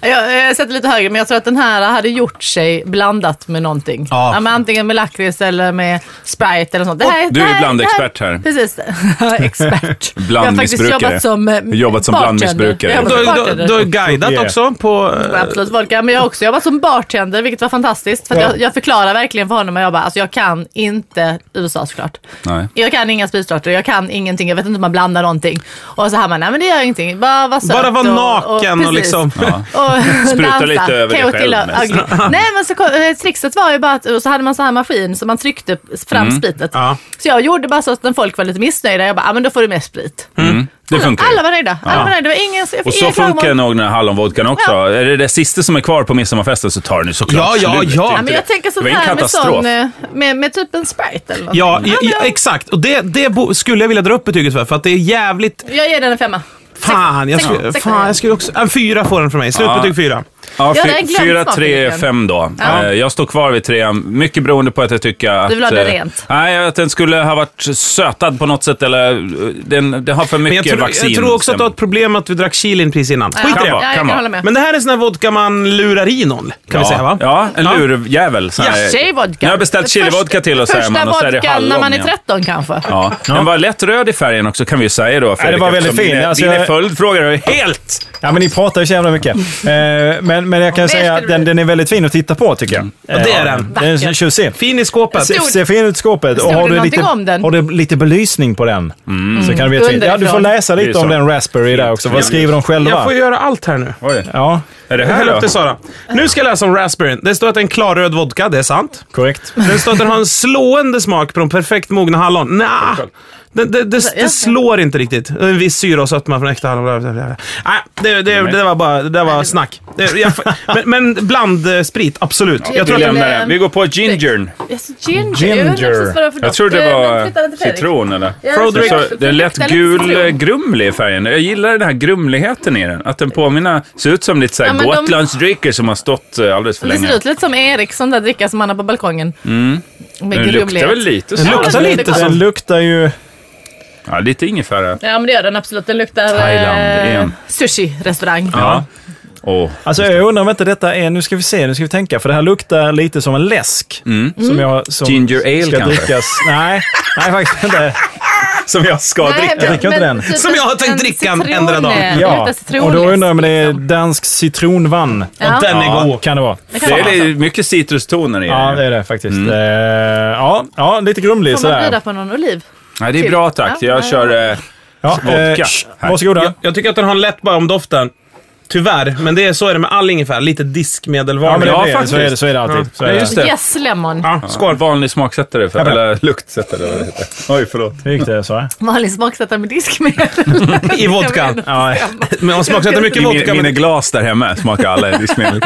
[SPEAKER 1] Jag, jag sätter lite högre, men jag tror att den här hade gjort sig blandat med någonting.
[SPEAKER 2] Ja.
[SPEAKER 1] Ja. men antingen med lakrits eller med Sprite eller sånt. Det här,
[SPEAKER 4] du är
[SPEAKER 1] det här-
[SPEAKER 4] blandexpert
[SPEAKER 1] det
[SPEAKER 4] här.
[SPEAKER 1] Precis. expert. Jag har faktiskt
[SPEAKER 4] Blandmissbrukare.
[SPEAKER 1] jobbat som eh,
[SPEAKER 4] Jobbat som
[SPEAKER 1] bartender.
[SPEAKER 4] blandmissbrukare.
[SPEAKER 1] Jag har
[SPEAKER 2] Du
[SPEAKER 1] jobbat som
[SPEAKER 2] har du,
[SPEAKER 1] bartender.
[SPEAKER 2] du har guidat
[SPEAKER 3] Yeah.
[SPEAKER 2] också på... eh,
[SPEAKER 1] Absolut vodka. Men jag har också jobbat som bartender, vilket var fantastiskt. För att
[SPEAKER 3] Ja.
[SPEAKER 1] jag, jag förklarar verkligen för honom och jag bara, alltså jag kan inte USA såklart.
[SPEAKER 4] Nej.
[SPEAKER 1] Jag kan inga spissorter, jag kan ingenting, jag vet inte hur man blandar någonting. Och så här man, nej men det gör ingenting. Bara vara söt
[SPEAKER 2] Bara vara
[SPEAKER 1] och-
[SPEAKER 2] naken och,
[SPEAKER 1] precis.
[SPEAKER 2] liksom...
[SPEAKER 4] Ja.
[SPEAKER 1] och
[SPEAKER 4] Spruta
[SPEAKER 1] dansa.
[SPEAKER 4] lite över dig
[SPEAKER 1] Kaoti
[SPEAKER 4] själv
[SPEAKER 1] Lo-
[SPEAKER 4] mest.
[SPEAKER 1] Ugly. Nej men så, kom- eh, trixet var ju bara att, och så hade man så här maskin så man tryckte fram
[SPEAKER 4] Mm.
[SPEAKER 1] spritet.
[SPEAKER 2] Ja.
[SPEAKER 1] Så jag gjorde bara så att när folk var lite missnöjda, jag bara, ah, men då får du mer sprit.
[SPEAKER 4] Mm. Det funkar ju.
[SPEAKER 1] Alla var nöjda. Alla var nöjda. Det var ingen, jag fick
[SPEAKER 4] Och så
[SPEAKER 1] inga klagomål.
[SPEAKER 4] funkar det nog den här hallonvodkan också.
[SPEAKER 1] Ja.
[SPEAKER 4] Är det det sista som är kvar på midsommarfesten så tar den ju såklart
[SPEAKER 2] Ja, ja,
[SPEAKER 4] slut.
[SPEAKER 2] ja.
[SPEAKER 4] Det
[SPEAKER 1] Ja,
[SPEAKER 4] är inte
[SPEAKER 1] men jag
[SPEAKER 4] det.
[SPEAKER 1] tänker sånt
[SPEAKER 4] Det var en
[SPEAKER 1] här med,
[SPEAKER 4] katastrof.
[SPEAKER 1] sån, eh, med, med typ en Sprite eller något.
[SPEAKER 2] Ja, ja,
[SPEAKER 1] men
[SPEAKER 2] ja,
[SPEAKER 1] jag-
[SPEAKER 2] exakt. Och det, det bo- skulle jag vilja dra upp betyget för, för att det är jävligt...
[SPEAKER 1] Jag ger den en femma.
[SPEAKER 2] Fan, jag
[SPEAKER 1] Sexa,
[SPEAKER 2] skulle,
[SPEAKER 1] sexa.
[SPEAKER 2] fan, jag skulle också... En fyra får den från mig. Slutbetyg fyra.
[SPEAKER 4] Ja,
[SPEAKER 1] Ja, det är en glömd
[SPEAKER 4] fyra,
[SPEAKER 1] smak i
[SPEAKER 4] tre,
[SPEAKER 1] micken.
[SPEAKER 4] fem då.
[SPEAKER 1] Ja.
[SPEAKER 4] Eh, Jag står kvar vid trean, mycket beroende på att jag tycker att...
[SPEAKER 1] Du vill ha det
[SPEAKER 4] eh,
[SPEAKER 1] rent.
[SPEAKER 4] Nej, att den skulle ha varit sötad på något sätt eller eh, den, den har för
[SPEAKER 2] Men jag,
[SPEAKER 4] mycket
[SPEAKER 2] tror-
[SPEAKER 4] vaccin.
[SPEAKER 2] jag tror också att du har ett problem med att vi drack chilin precis innan. Skit i
[SPEAKER 4] Kan
[SPEAKER 2] det.
[SPEAKER 4] vara,
[SPEAKER 1] ja,
[SPEAKER 4] kan
[SPEAKER 1] jag
[SPEAKER 4] vara.
[SPEAKER 1] kan hålla med.
[SPEAKER 2] Men det här är sån här vodka man lurar i någon, kan vi säga va?
[SPEAKER 4] Ja, en lurjävel. sån
[SPEAKER 1] Ja,
[SPEAKER 4] här-
[SPEAKER 1] tjejvodka.
[SPEAKER 4] eh, Nu har jag beställt
[SPEAKER 1] Ah, Det
[SPEAKER 4] chilivodka
[SPEAKER 1] första-
[SPEAKER 4] till och säger man och så är det
[SPEAKER 1] Första vodkan
[SPEAKER 4] hallon.
[SPEAKER 1] när man är
[SPEAKER 4] igen.
[SPEAKER 1] 13 kanske.
[SPEAKER 4] Ja. Den var lätt röd i färgen också kan vi ju säga då Fredrik.
[SPEAKER 3] det var väldigt
[SPEAKER 4] eftersom
[SPEAKER 3] fin.
[SPEAKER 4] Din,
[SPEAKER 3] Alltså,
[SPEAKER 4] din
[SPEAKER 3] jag-
[SPEAKER 4] följdfråga är helt...
[SPEAKER 3] Ja, men ni pratar ju så jävla mycket. Eh, men, men jag kan
[SPEAKER 1] Mer
[SPEAKER 3] säga
[SPEAKER 1] skulle
[SPEAKER 3] att
[SPEAKER 1] du-
[SPEAKER 3] den, den är väldigt fin att titta på tycker jag. Eh,
[SPEAKER 2] det är den.
[SPEAKER 3] Den är
[SPEAKER 1] Vacker.
[SPEAKER 3] tjusig.
[SPEAKER 2] Fin i skåpet.
[SPEAKER 1] Stor-
[SPEAKER 3] Ser fin ut i skåpet.
[SPEAKER 1] Stod
[SPEAKER 3] Och har
[SPEAKER 1] det
[SPEAKER 3] du, lite,
[SPEAKER 1] någonting om den?
[SPEAKER 3] har du lite belysning på den så kan det bli ett fint. Ja, du får
[SPEAKER 1] Underifrån.
[SPEAKER 3] läsa
[SPEAKER 4] Det är
[SPEAKER 3] lite
[SPEAKER 4] så.
[SPEAKER 3] om den Raspberry där också. Vad skriver de
[SPEAKER 2] Jag
[SPEAKER 3] själva?
[SPEAKER 2] får göra allt här nu.
[SPEAKER 4] Oj.
[SPEAKER 3] Ja,
[SPEAKER 4] Är det
[SPEAKER 2] Jag häller
[SPEAKER 4] här
[SPEAKER 2] upp
[SPEAKER 4] då?
[SPEAKER 2] till Sara. Nu ska jag läsa om raspberryn. Det står att det är en klarröd vodka, det är sant.
[SPEAKER 3] korrekt.
[SPEAKER 2] Den står att den har en slående smak på de perfekt mogna hallon. Nja, det, det, det, det slår inte riktigt. En viss syra och sötma från äkta hallon. Nej, det, det, det, var bara det där var snack. Det, jag, men, men bland eh, sprit, absolut. Jag
[SPEAKER 4] Vi
[SPEAKER 2] tror
[SPEAKER 1] den-
[SPEAKER 2] att
[SPEAKER 4] lämnar den. Vi går på gingern.
[SPEAKER 1] Yes, ginger.
[SPEAKER 3] Ginger.
[SPEAKER 1] Jag undrar precis vad det var för
[SPEAKER 4] Jag
[SPEAKER 1] doft.
[SPEAKER 4] tror det
[SPEAKER 1] Eh,
[SPEAKER 4] var
[SPEAKER 1] men flytta den till Fredrik.
[SPEAKER 4] citron eller?
[SPEAKER 1] Ja,
[SPEAKER 2] Fredrik.
[SPEAKER 1] jag tror
[SPEAKER 4] Så, den lät
[SPEAKER 1] luktar lite
[SPEAKER 4] gul, eh,
[SPEAKER 1] citron.
[SPEAKER 4] grumlig i färgen. Jag gillar den här grumligheten i den. Att den påminner, ser ut som lite såhär
[SPEAKER 1] Ja, men de-
[SPEAKER 4] Gotlandsdrycker som har stått eh, alldeles för
[SPEAKER 1] Det
[SPEAKER 4] länge.
[SPEAKER 1] ser ut lite som Eriksson där dricka som han har på balkongen. Mm. Med
[SPEAKER 4] Den luktar väl lite så.
[SPEAKER 2] Den luktar
[SPEAKER 3] Alltså,
[SPEAKER 1] Ja, det
[SPEAKER 2] lite
[SPEAKER 1] är
[SPEAKER 2] så.
[SPEAKER 1] gott.
[SPEAKER 3] Den luktar ju...
[SPEAKER 4] Ja, lite ingefära.
[SPEAKER 1] Ja men det gör den absolut. Den luktar
[SPEAKER 4] Thailand, det är
[SPEAKER 1] eh,
[SPEAKER 4] en-
[SPEAKER 1] sushi-restaurang.
[SPEAKER 4] Ja. Åh.
[SPEAKER 3] Alltså jag undrar om inte detta är... Nu ska vi se, nu ska vi tänka. För det här luktar lite som en läsk. Som jag, som
[SPEAKER 4] Mm. Ginger ale
[SPEAKER 3] ska
[SPEAKER 4] kanske?
[SPEAKER 3] drickas. Nej, nej faktiskt inte.
[SPEAKER 4] Som jag ska dricka.
[SPEAKER 3] dricker inte den.
[SPEAKER 1] typ
[SPEAKER 2] Som jag har tänkt
[SPEAKER 1] en
[SPEAKER 2] dricka
[SPEAKER 1] citron,
[SPEAKER 2] ändra dagen.
[SPEAKER 1] eh,
[SPEAKER 3] Ja,
[SPEAKER 1] luktar citron,
[SPEAKER 3] och då undrar jag om det är
[SPEAKER 1] liksom.
[SPEAKER 3] dansk citronvann.
[SPEAKER 1] Ja.
[SPEAKER 2] den är god.
[SPEAKER 3] Ja, kan det vara.
[SPEAKER 1] Det kan
[SPEAKER 4] Det
[SPEAKER 1] vara
[SPEAKER 4] är
[SPEAKER 1] så.
[SPEAKER 4] lite- mycket citrustoner i
[SPEAKER 3] Ja,
[SPEAKER 4] den.
[SPEAKER 3] det är det faktiskt.
[SPEAKER 4] Mm.
[SPEAKER 3] Eh, ja, ja, lite grumlig
[SPEAKER 1] Får man
[SPEAKER 3] sådär.
[SPEAKER 1] bjuda på någon oliv?
[SPEAKER 4] Nej, det är bra tack.
[SPEAKER 1] Ja,
[SPEAKER 4] Jag
[SPEAKER 1] ja,
[SPEAKER 4] kör... Eh,
[SPEAKER 3] Ja,
[SPEAKER 4] Vodka.
[SPEAKER 3] eh, shh, varsågoda.
[SPEAKER 2] Jag, jag tycker att den har en lätt bara om doften. Tyvärr, men det är, så är det med all ingefära. Lite diskmedelvarning.
[SPEAKER 3] Ja, men det,
[SPEAKER 4] Ja,
[SPEAKER 3] är det, så, är det, så är det alltid.
[SPEAKER 2] Ja.
[SPEAKER 3] Så är
[SPEAKER 4] Ja,
[SPEAKER 3] det.
[SPEAKER 4] just det.
[SPEAKER 1] Yes lemon.
[SPEAKER 2] Ja,
[SPEAKER 4] Skål.
[SPEAKER 2] skål.
[SPEAKER 4] Vanlig smaksättare, för,
[SPEAKER 3] bra.
[SPEAKER 4] eller luktsättare. vad det heter. Oj, förlåt.
[SPEAKER 3] Hur gick det Sara?
[SPEAKER 1] Vanlig smaksättare med diskmedel.
[SPEAKER 2] I vodkan.
[SPEAKER 3] Ja,
[SPEAKER 2] Men hon smaksätter mycket
[SPEAKER 4] I min,
[SPEAKER 2] vodka.
[SPEAKER 4] mina
[SPEAKER 2] Men
[SPEAKER 4] glas där hemma smakar alla diskmedel.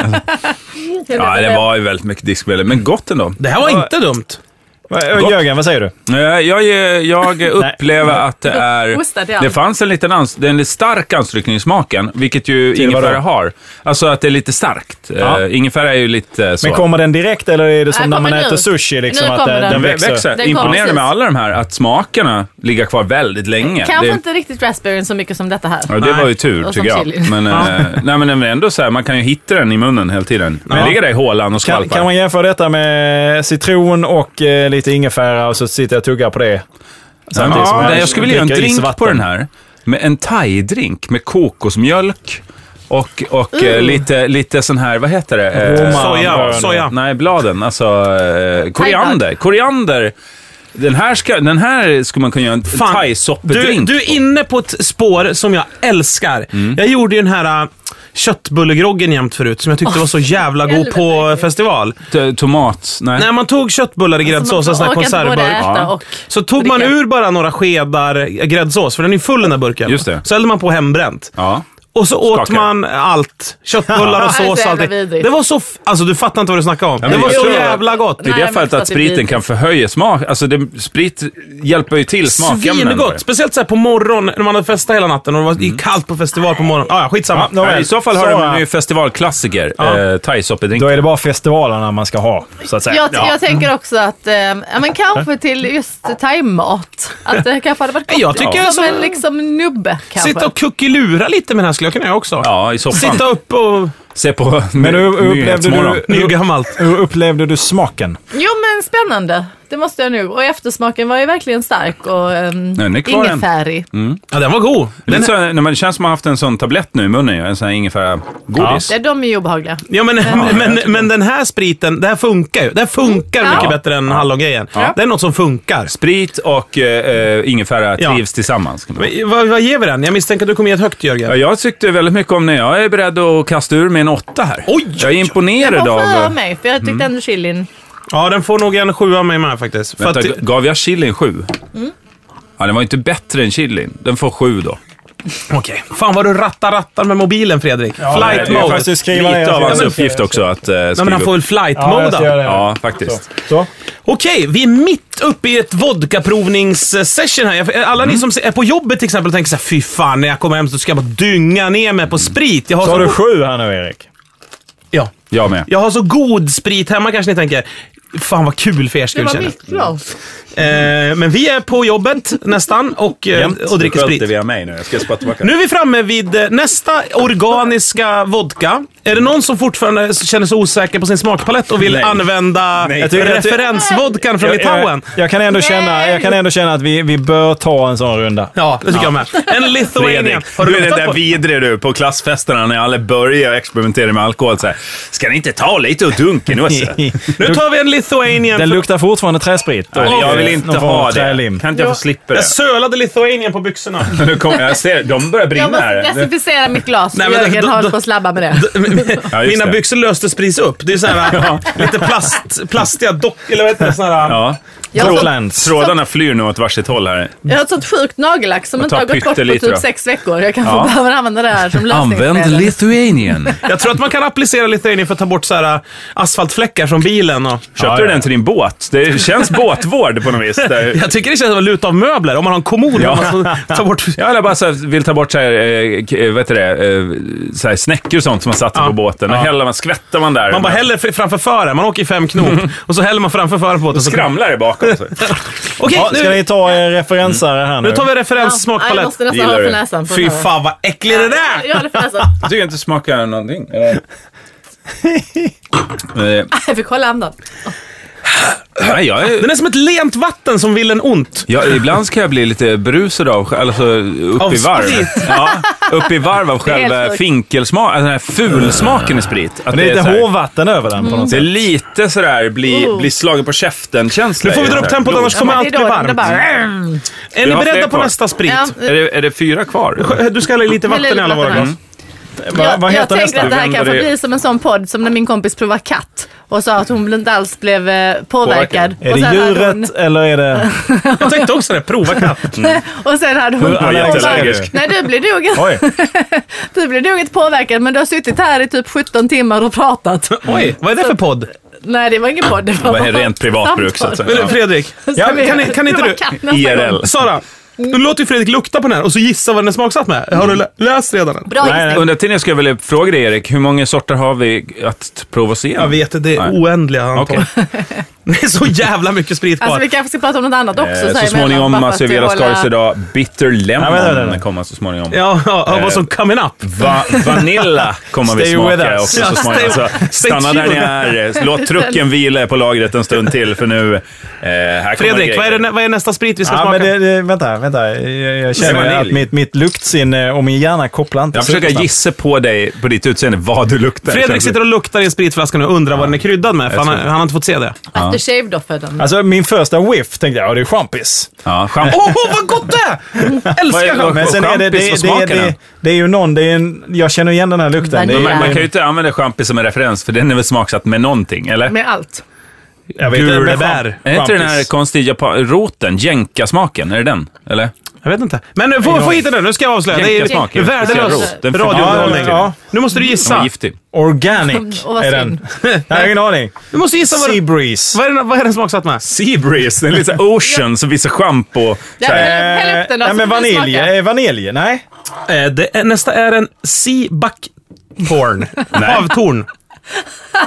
[SPEAKER 4] ja, det var ju väldigt mycket diskmedel, men gott ändå.
[SPEAKER 2] det här var inte dumt.
[SPEAKER 3] Vad- Jörgen, vad säger du?
[SPEAKER 4] Eh, Jag, jag upplever att det är...
[SPEAKER 1] Ostad i allt.
[SPEAKER 4] Det fanns en liten ans, det är en stark anstrykning i smaken, vilket ju ingefära
[SPEAKER 3] vadå?
[SPEAKER 4] har. Alltså att det är lite starkt.
[SPEAKER 3] Ja.
[SPEAKER 4] Eh, Ingefära är ju lite så.
[SPEAKER 3] Men kommer den direkt eller är det som
[SPEAKER 1] Nej,
[SPEAKER 3] när man
[SPEAKER 1] kommer
[SPEAKER 3] äter
[SPEAKER 1] nu.
[SPEAKER 3] sushi? Liksom,
[SPEAKER 1] Nu
[SPEAKER 3] att
[SPEAKER 1] kommer
[SPEAKER 3] den,
[SPEAKER 1] den.
[SPEAKER 3] den
[SPEAKER 4] den
[SPEAKER 3] växer?
[SPEAKER 4] växer.
[SPEAKER 1] Den kommer
[SPEAKER 4] Imponerande
[SPEAKER 1] precis.
[SPEAKER 4] med alla de här, att smakerna ligger kvar väldigt länge.
[SPEAKER 1] Kanske
[SPEAKER 4] Det-
[SPEAKER 1] inte riktigt raspberryn så mycket som detta här.
[SPEAKER 4] Ja, det
[SPEAKER 2] Nej.
[SPEAKER 4] var ju tur,
[SPEAKER 1] Och som
[SPEAKER 4] tycker jag.
[SPEAKER 1] chili.
[SPEAKER 4] Men, eh, nej, men ändå så här, man kan ju hitta den i munnen hela tiden. Den ligger där i hålan
[SPEAKER 3] Kan,
[SPEAKER 4] och skvalpar.
[SPEAKER 3] kan man jämföra detta med citron och eh, lite ingefära och så sitter jag och tuggar på det? samtidigt som
[SPEAKER 4] ja,
[SPEAKER 3] jag
[SPEAKER 4] nej, jag skulle vilja göra en
[SPEAKER 3] dricker
[SPEAKER 4] drink på
[SPEAKER 3] isvatten?
[SPEAKER 4] den här. Med en thai-drink med kokosmjölk och, och eh, lite, lite sån här, vad heter det? Eh,
[SPEAKER 3] Roman-
[SPEAKER 2] Soja, soja.
[SPEAKER 4] Nej, bladen. Alltså eh, koriander.
[SPEAKER 1] Thai-blad.
[SPEAKER 4] Koriander. Den här, ska, den här skulle man kunna göra en
[SPEAKER 2] Fan, du,
[SPEAKER 4] thai-soppedrink.
[SPEAKER 2] du är inne på ett spår som jag älskar.
[SPEAKER 4] Mm.
[SPEAKER 2] Jag gjorde ju den här äh, köttbullegroggen jämt förut, som jag tyckte var så jävla god
[SPEAKER 1] helvete, Alltså,
[SPEAKER 2] på
[SPEAKER 1] verkligen.
[SPEAKER 2] festival.
[SPEAKER 4] T- Tomat. Nej.
[SPEAKER 2] När man tog köttbullar i gräddsås, en sån här
[SPEAKER 1] orkar inte både
[SPEAKER 2] konservburk.
[SPEAKER 1] äta
[SPEAKER 4] Ja.
[SPEAKER 1] och...
[SPEAKER 2] Så tog man
[SPEAKER 1] dricka.
[SPEAKER 2] ur bara några skedar äh, gräddsås, för den är ju full den här burken.
[SPEAKER 4] Just det.
[SPEAKER 2] Så hällde man på hembränt.
[SPEAKER 4] Ja.
[SPEAKER 2] Och så åt
[SPEAKER 4] Skakar.
[SPEAKER 2] man allt. Köttbullar
[SPEAKER 1] Ja, det
[SPEAKER 2] och
[SPEAKER 1] är
[SPEAKER 2] sås
[SPEAKER 1] så
[SPEAKER 2] och
[SPEAKER 1] jävla
[SPEAKER 2] allting.
[SPEAKER 1] vidrigt.
[SPEAKER 2] Det var så... F- alltså du fattar inte vad du snackar om.
[SPEAKER 4] men
[SPEAKER 2] det var
[SPEAKER 4] jag
[SPEAKER 2] så
[SPEAKER 4] tror-
[SPEAKER 2] jävla gott.
[SPEAKER 4] I
[SPEAKER 1] Nej,
[SPEAKER 4] det
[SPEAKER 1] men
[SPEAKER 4] fallet
[SPEAKER 1] för
[SPEAKER 4] att
[SPEAKER 1] att det blir-
[SPEAKER 4] spriten kan förhöja smak. Alltså det, sprit hjälper ju till smakämnen.
[SPEAKER 2] Svingott! Speciellt så här på morgonen, när man hade festat hela natten och det var gick kallt på festival på morgonen. Ah, ja, skitsamma.
[SPEAKER 3] Ja,
[SPEAKER 4] Mm. Nej, I så fall har
[SPEAKER 3] Sara.
[SPEAKER 4] de ju festivalklassiker,
[SPEAKER 2] Ja.
[SPEAKER 4] eh, thai-soppedrink.
[SPEAKER 3] Då är det bara festivalerna man ska ha, så att säga.
[SPEAKER 1] Jag, jag tänker också att, eh, ja, men kanske till just thaimat. Att det kanske hade varit gott.
[SPEAKER 2] Jag tycker
[SPEAKER 1] som,
[SPEAKER 2] som-
[SPEAKER 1] en liksom nubbe kanske.
[SPEAKER 2] Sitta och kuckelura lite med den här skulle jag kunna göra också.
[SPEAKER 4] Ja, i soffan.
[SPEAKER 2] Sitta upp och...
[SPEAKER 4] Se på
[SPEAKER 3] Men hur- hur upplevde
[SPEAKER 4] Nyhetsmorgon.
[SPEAKER 3] du-
[SPEAKER 2] Nygammalt.
[SPEAKER 3] Hur upplevde du smaken?
[SPEAKER 1] Jo men spännande. det måste jag nog. Och eftersmaken var ju verkligen stark och um,
[SPEAKER 4] den är kvar än.
[SPEAKER 1] ingefärig.
[SPEAKER 2] Ja, den var god.
[SPEAKER 4] Det, är
[SPEAKER 2] Den,
[SPEAKER 4] lite så, när man, det känns som man haft en sån tablett nu i munnen, ju, en sån här ingefära-godis.
[SPEAKER 1] Ja, de är ju obehagliga.
[SPEAKER 2] ja, men, men, men den här spriten, det här funkar ju. Det här funkar
[SPEAKER 1] Ja.
[SPEAKER 2] mycket bättre än hallongrejen. Det är något som funkar.
[SPEAKER 4] Sprit och eh, eh, ingefära
[SPEAKER 2] Ja.
[SPEAKER 4] trivs tillsammans. kan man säga.
[SPEAKER 2] Men Vad, vad ger vi den? Jag misstänker att du kommer ge ett högt, Jörgen.
[SPEAKER 4] Ja, jag tyckte väldigt mycket om när jag är beredd att kasta ur mig en åtta här.
[SPEAKER 2] Oj, oj,
[SPEAKER 4] jag är
[SPEAKER 2] oj.
[SPEAKER 1] Den
[SPEAKER 4] imponerad
[SPEAKER 1] var för
[SPEAKER 4] av...
[SPEAKER 1] mig, för jag tyckte
[SPEAKER 2] Mm.
[SPEAKER 1] ändå chilin.
[SPEAKER 2] Ja, den får nog en sjua av mig med faktiskt. För
[SPEAKER 4] Vänta,
[SPEAKER 2] att, Mm.
[SPEAKER 4] gav jag chilin sju? Ja, den var ju inte bättre än chilin. Den får sju då. Eh,
[SPEAKER 2] Okej. Fan vad du rattar rattar med mobilen, Fredrik. flight
[SPEAKER 4] det är
[SPEAKER 2] mode.
[SPEAKER 3] faktiskt-
[SPEAKER 4] faktiskt
[SPEAKER 3] skriva ner.
[SPEAKER 4] lite av hans
[SPEAKER 3] Ja, men-
[SPEAKER 4] uppgift också att eh,
[SPEAKER 2] Nej,
[SPEAKER 4] skriva
[SPEAKER 2] men han får
[SPEAKER 4] upp.
[SPEAKER 2] väl flight
[SPEAKER 3] Ja, jag
[SPEAKER 2] mode
[SPEAKER 3] ska
[SPEAKER 2] då?
[SPEAKER 3] göra det.
[SPEAKER 4] Ja, faktiskt.
[SPEAKER 3] Så.
[SPEAKER 2] Okej, vi är mitt uppe i ett vodkaprovningssession här. Jag- Alla ni som är på jobbet till exempel tänker så här, fy fan, när jag kommer hem så ska jag bara dynga ner mig på sprit. Jag har,
[SPEAKER 3] Sa
[SPEAKER 2] så,
[SPEAKER 3] du sju här nu, Erik?
[SPEAKER 2] ja,
[SPEAKER 4] Jag med.
[SPEAKER 2] jag har så god sprit hemma kanske ni tänker. Fan vad kul för er
[SPEAKER 1] Det
[SPEAKER 2] skull
[SPEAKER 1] var
[SPEAKER 2] känner
[SPEAKER 1] mitt glas.
[SPEAKER 2] jag. eh, Men vi är på jobbet nästan och, eh,
[SPEAKER 4] Jämt.
[SPEAKER 2] och dricker
[SPEAKER 4] Du sköt
[SPEAKER 2] sprit.
[SPEAKER 4] det via mig nu. Jag ska spotta tillbaka.
[SPEAKER 2] Nu är vi framme vid eh, nästa organiska vodka. Är det någon som fortfarande s- känner sig osäker på sin smakpalett och vill
[SPEAKER 4] Nej.
[SPEAKER 2] använda
[SPEAKER 4] Nej.
[SPEAKER 2] Jag tycker- referensvodkan från Litauen?
[SPEAKER 3] Jag, jag, kan ändå känna, jag kan ändå känna att vi, vi bör ta en sån runda.
[SPEAKER 2] Ja, det tycker jag med. En Lithuanian.
[SPEAKER 4] Fredrik,
[SPEAKER 2] Har
[SPEAKER 4] du
[SPEAKER 2] du
[SPEAKER 4] är den
[SPEAKER 2] luktat
[SPEAKER 4] där
[SPEAKER 2] på?
[SPEAKER 4] vidre du på klassfesterna när alla börjar experimentera med alkohol. Så här, ska ni inte ta lite och alltså? dunken också?
[SPEAKER 2] Nu tar vi en Lithuanian.
[SPEAKER 3] Den
[SPEAKER 2] för-
[SPEAKER 3] luktar fortfarande träsprit.
[SPEAKER 4] Nej, jag vill inte
[SPEAKER 3] Någon form av
[SPEAKER 4] ha det.
[SPEAKER 3] trälim.
[SPEAKER 4] Kan inte jag få slippa det?
[SPEAKER 2] jag sölade Lithuanian på byxorna.
[SPEAKER 4] Nu kom, jag ser, de börjar brinna
[SPEAKER 1] Jag måste
[SPEAKER 4] här.
[SPEAKER 1] desinficera mitt glas.
[SPEAKER 2] Nej, men
[SPEAKER 1] Jörgen
[SPEAKER 2] då-
[SPEAKER 1] har
[SPEAKER 2] då-
[SPEAKER 1] hållit på att slabba med det.
[SPEAKER 4] Ja, just
[SPEAKER 2] Mina
[SPEAKER 4] det.
[SPEAKER 2] byxor löstes precis upp. Det är så här, lite plast, plastiga dock... Eller vad heter det? Sån här,
[SPEAKER 4] Ja.
[SPEAKER 1] Jag har, sånt,
[SPEAKER 3] Flatlands.
[SPEAKER 4] Trådarna flyr nu åt varsitt håll här.
[SPEAKER 1] jag har ett sånt sjukt nagellack som inte
[SPEAKER 4] tar
[SPEAKER 1] har gått bort på
[SPEAKER 4] pyttelite
[SPEAKER 1] typ
[SPEAKER 4] då.
[SPEAKER 1] sex veckor. Jag kanske behöver använda det här som lösningsmedel.
[SPEAKER 4] Lithuanian.
[SPEAKER 2] Jag tror att man kan applicera Lithuanian för att ta bort så här, asfaltfläckar från bilen. Och...
[SPEAKER 4] Köpte
[SPEAKER 3] Ja,
[SPEAKER 4] du
[SPEAKER 3] ja.
[SPEAKER 4] den till din båt? Det känns båtvård på något vis. Där.
[SPEAKER 2] Jag tycker det känns som att luta av möbler. Om man har en kommod.
[SPEAKER 4] Ja.
[SPEAKER 2] Ja. Man ska ta bort...
[SPEAKER 4] Ja, eller bara så här, vill ta bort så här, eh, k- eh, vad heter det, eh, så här snäckor och sånt som man satte på båten. Då häller man, skvätter man där.
[SPEAKER 2] Man bara häller f- framför fören. Man åker i fem knop. Och så häller man framför fören på båten. så-
[SPEAKER 4] Skramlar det bakom. Så.
[SPEAKER 2] Okej,
[SPEAKER 3] Ja, ska
[SPEAKER 2] nu,
[SPEAKER 3] ni ta er referensare här nu?
[SPEAKER 2] nu tar vi
[SPEAKER 1] Ja,
[SPEAKER 2] referenssmakpalett.
[SPEAKER 1] Jag måste nästan
[SPEAKER 4] Gillar
[SPEAKER 1] hålla för
[SPEAKER 4] du?
[SPEAKER 1] näsan. för
[SPEAKER 2] Fy
[SPEAKER 1] att ta det.
[SPEAKER 2] fan vad äcklig det
[SPEAKER 1] Ja,
[SPEAKER 2] där!
[SPEAKER 1] Jag håller för näsan.
[SPEAKER 4] Jag tycker inte det smakar någonting. Eh, eh,
[SPEAKER 1] Jag fick hålla andan.
[SPEAKER 4] Nej, jag är...
[SPEAKER 2] Den är som ett lent vatten som vill en ont.
[SPEAKER 4] Ja, ibland kan jag bli lite brusad av, alltså upp
[SPEAKER 2] Av
[SPEAKER 4] i varv.
[SPEAKER 2] sprit.
[SPEAKER 4] Ja, upp i varv av
[SPEAKER 1] helt
[SPEAKER 4] själva
[SPEAKER 1] sjukt.
[SPEAKER 4] finkelsmaken, alltså den här fulsmaken i sprit. Att
[SPEAKER 3] Det är
[SPEAKER 4] så
[SPEAKER 3] lite
[SPEAKER 4] här-
[SPEAKER 3] hårvatten över den
[SPEAKER 1] Mm.
[SPEAKER 3] på något
[SPEAKER 4] Det är
[SPEAKER 3] sätt.
[SPEAKER 4] lite sådär, bli, bli slagen på käften-känsla.
[SPEAKER 2] Oh. Nu får vi dra upp tempot annars kommer
[SPEAKER 1] Ja,
[SPEAKER 2] allt
[SPEAKER 1] men det
[SPEAKER 2] bli
[SPEAKER 1] är då det
[SPEAKER 2] varmt.
[SPEAKER 1] bara-
[SPEAKER 2] Är ni
[SPEAKER 4] har fler
[SPEAKER 2] beredda på
[SPEAKER 4] kvar.
[SPEAKER 2] nästa sprit?
[SPEAKER 1] Ja.
[SPEAKER 4] Är det, är det fyra kvar?
[SPEAKER 2] Eh, Du ska hälla i lite vatten i alla våra glas.
[SPEAKER 3] Vad- vad
[SPEAKER 1] jag
[SPEAKER 3] heter
[SPEAKER 1] jag
[SPEAKER 3] nästa?
[SPEAKER 1] tänker att det här
[SPEAKER 4] Vi
[SPEAKER 1] kanske
[SPEAKER 4] vänder det-
[SPEAKER 1] blir som en sån podd som när min kompis provade katt och sa att hon inte alls blev eh, påverkad.
[SPEAKER 3] Är
[SPEAKER 1] Och sen
[SPEAKER 3] det
[SPEAKER 1] hade hon-
[SPEAKER 3] djuret eller är det...
[SPEAKER 2] Jag tänkte också det. Prova katt.
[SPEAKER 1] Och sen hade hon...
[SPEAKER 4] är
[SPEAKER 3] Allergisk.
[SPEAKER 4] jätteallergisk.
[SPEAKER 1] Nej, du blir nog,
[SPEAKER 3] Oj.
[SPEAKER 1] du blir Typ, nog inte påverkad men du har suttit här i typ 17 timmar och pratat.
[SPEAKER 2] Oj, vad är det för podd?
[SPEAKER 1] Nej, det var ingen podd. Det var,
[SPEAKER 4] Vad är det rent privat bruk, så att
[SPEAKER 1] samtal.
[SPEAKER 4] säga?
[SPEAKER 2] Men Fredrik,
[SPEAKER 1] Ska vi-
[SPEAKER 2] kan, ni- kan inte
[SPEAKER 1] prova
[SPEAKER 2] du...
[SPEAKER 1] katt nästa gång?
[SPEAKER 4] IRL.
[SPEAKER 2] Sara, nu låter ju Fredrik lukta på den här och så gissa vad den är smaksatt med. Har du lä- läst redan den?
[SPEAKER 1] Bra
[SPEAKER 3] Nej, nej.
[SPEAKER 1] gissning.
[SPEAKER 4] Under tiden ska jag väl fråga dig, Erik, hur många sorter har vi att prova oss igenom?
[SPEAKER 2] Jag vet det är
[SPEAKER 4] Nej.
[SPEAKER 2] oändliga antal.
[SPEAKER 4] Okej.
[SPEAKER 2] Det är så jävla mycket sprit
[SPEAKER 1] Alltså vi
[SPEAKER 2] kvar.
[SPEAKER 1] kanske ska prata om något annat också.
[SPEAKER 4] Eh,
[SPEAKER 1] här
[SPEAKER 4] Så
[SPEAKER 1] emellan,
[SPEAKER 4] småningom,
[SPEAKER 1] bara för
[SPEAKER 4] alltså i
[SPEAKER 1] att
[SPEAKER 4] Vela
[SPEAKER 1] hålla-
[SPEAKER 4] Skaris idag, Bitter Lemon
[SPEAKER 3] Nej, vänta, vänta.
[SPEAKER 4] kommer så småningom.
[SPEAKER 2] Ja, ja,
[SPEAKER 4] Eh.
[SPEAKER 2] ja, vad som coming up.
[SPEAKER 4] Va vanilla kommer vi
[SPEAKER 3] Stay with
[SPEAKER 4] smaka
[SPEAKER 3] us.
[SPEAKER 4] också
[SPEAKER 2] Ja,
[SPEAKER 4] så småningom.
[SPEAKER 2] stay-
[SPEAKER 4] Så
[SPEAKER 2] stay
[SPEAKER 4] stanna där ni
[SPEAKER 2] tuned.
[SPEAKER 4] är. Eh, Låt trucken vila på lagret en stund till för nu... Eh, här kommer
[SPEAKER 2] Fredrik,
[SPEAKER 4] grejer.
[SPEAKER 2] vad är, det, vad är nästa sprit vi ska
[SPEAKER 3] Ja,
[SPEAKER 2] smaka?
[SPEAKER 3] men det, det, vänta, vänta. Jag, jag
[SPEAKER 4] Det är
[SPEAKER 3] känner att
[SPEAKER 4] vanilj.
[SPEAKER 3] mitt, mitt luktsinne och min hjärna kopplar inte.
[SPEAKER 4] Jag försöker
[SPEAKER 3] supersnabbt.
[SPEAKER 4] gissa på dig, på ditt utseende, vad du luktar.
[SPEAKER 2] Fredrik sitter och luktar i en spritflaska nu och undrar vad den är kryddad med, för han,
[SPEAKER 4] tror
[SPEAKER 2] har-
[SPEAKER 4] det.
[SPEAKER 2] han har inte fått se det.
[SPEAKER 1] Aftershave-doften.
[SPEAKER 3] Alltså min första whiff tänkte jag, ja det är champis.
[SPEAKER 4] Ja, schampo.
[SPEAKER 2] Åh, oh, vad gott det är!
[SPEAKER 4] Vad är-
[SPEAKER 2] Älskar
[SPEAKER 4] vad-
[SPEAKER 2] champis!
[SPEAKER 3] Men sen är det,
[SPEAKER 4] Champis,
[SPEAKER 3] det,
[SPEAKER 4] vad
[SPEAKER 3] det, det,
[SPEAKER 4] smakar den?
[SPEAKER 3] det, det är ju någon, det är en, jag känner igen den här lukten. Det är,
[SPEAKER 1] Vanilla.
[SPEAKER 4] Man, man kan ju inte använda schampi som en referens, för den är väl smaksatt med någonting, eller?
[SPEAKER 1] Med allt.
[SPEAKER 3] jag vet inte, men
[SPEAKER 2] Gulebär.
[SPEAKER 3] champ-
[SPEAKER 4] är inte den här
[SPEAKER 3] champis.
[SPEAKER 4] konstiga japan- roten, jänka-smaken, är det den? Eller?
[SPEAKER 2] Jag vet inte. Men nu, få, få hit den nu, nu ska jag avslöja. Det
[SPEAKER 4] Jänkasmak är
[SPEAKER 2] är
[SPEAKER 4] det.
[SPEAKER 2] värdelös
[SPEAKER 4] Den
[SPEAKER 2] radiounderhållning.
[SPEAKER 3] förtjänar- Ja.
[SPEAKER 2] Nu måste du
[SPEAKER 4] Den var
[SPEAKER 2] gissa.
[SPEAKER 4] giftig.
[SPEAKER 3] Organic
[SPEAKER 1] Och vad
[SPEAKER 3] är
[SPEAKER 1] synd.
[SPEAKER 3] den. Jag har ingen aning.
[SPEAKER 2] Du måste gissa vad,
[SPEAKER 3] Sea
[SPEAKER 2] den-
[SPEAKER 3] breeze.
[SPEAKER 2] vad, är, den, vad är den smaksatt med.
[SPEAKER 4] Sea breeze, den är lite ocean, som vissa schampo.
[SPEAKER 1] Ja,
[SPEAKER 4] så här-
[SPEAKER 1] men häll upp den då,
[SPEAKER 3] Eh,
[SPEAKER 1] så
[SPEAKER 3] Nej men
[SPEAKER 1] får vi
[SPEAKER 3] vanilj.
[SPEAKER 1] smaka.
[SPEAKER 3] Eh, Vanilj, nej.
[SPEAKER 2] Eh, det är, nästa är en sea buck porn. Havtorn.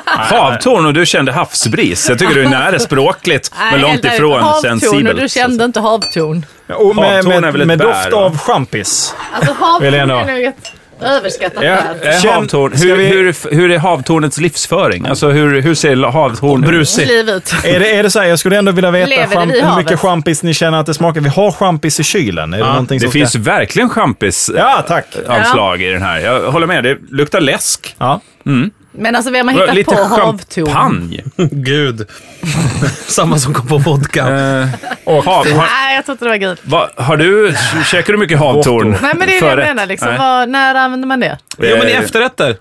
[SPEAKER 4] Havtorn och du kände havsbris. Jag tycker du är nära språkligt, men
[SPEAKER 1] Nej,
[SPEAKER 4] långt
[SPEAKER 1] häll där ut.
[SPEAKER 4] ifrån sen alltså.
[SPEAKER 1] Havtorn och
[SPEAKER 4] Sibel.
[SPEAKER 1] du kände inte havtorn.
[SPEAKER 3] Och med
[SPEAKER 4] Havtorn är väl
[SPEAKER 3] med,
[SPEAKER 4] ett
[SPEAKER 3] med
[SPEAKER 4] bär,
[SPEAKER 3] doft
[SPEAKER 4] va?
[SPEAKER 3] av champis.
[SPEAKER 1] Alltså havtorn
[SPEAKER 3] Vill jag ändå.
[SPEAKER 1] är nog ett... Överskattat
[SPEAKER 4] Ja,
[SPEAKER 1] värld.
[SPEAKER 4] eh,
[SPEAKER 3] Känn-
[SPEAKER 4] havtorn.
[SPEAKER 3] ska
[SPEAKER 4] Hur,
[SPEAKER 3] vi-
[SPEAKER 4] hur, hur är havtornets livsföring? Alltså hur, hur ser havtorn
[SPEAKER 2] Brusig.
[SPEAKER 1] Liv ut.
[SPEAKER 3] Är det, är det så här, jag skulle ändå vilja veta
[SPEAKER 1] Lever det
[SPEAKER 3] champ-
[SPEAKER 1] vid
[SPEAKER 3] hur
[SPEAKER 1] havet?
[SPEAKER 3] mycket champis ni känner att det smakar. Vi har champis i kylen. Är det någonting
[SPEAKER 4] Det
[SPEAKER 3] som
[SPEAKER 4] finns
[SPEAKER 3] Ska...
[SPEAKER 4] verkligen champis
[SPEAKER 3] Ja, tack.
[SPEAKER 4] avslag i den här. Jag håller med, det luktar läsk.
[SPEAKER 3] Ja.
[SPEAKER 1] Men alltså vem har hittat
[SPEAKER 4] Lite
[SPEAKER 1] på havtorn?
[SPEAKER 4] champagne.
[SPEAKER 2] Gud. Samma som kom på vodka.
[SPEAKER 4] Eh, och hav, har,
[SPEAKER 1] Nej, jag tror inte det var gud.
[SPEAKER 4] va, har du, käkar du mycket havtorn?
[SPEAKER 1] Nej, men det är det jag
[SPEAKER 4] Förrätt?
[SPEAKER 1] menar. Liksom.
[SPEAKER 4] Nej. Eh,
[SPEAKER 1] Vad- när använder man det?
[SPEAKER 2] Jo, men i efterrätter.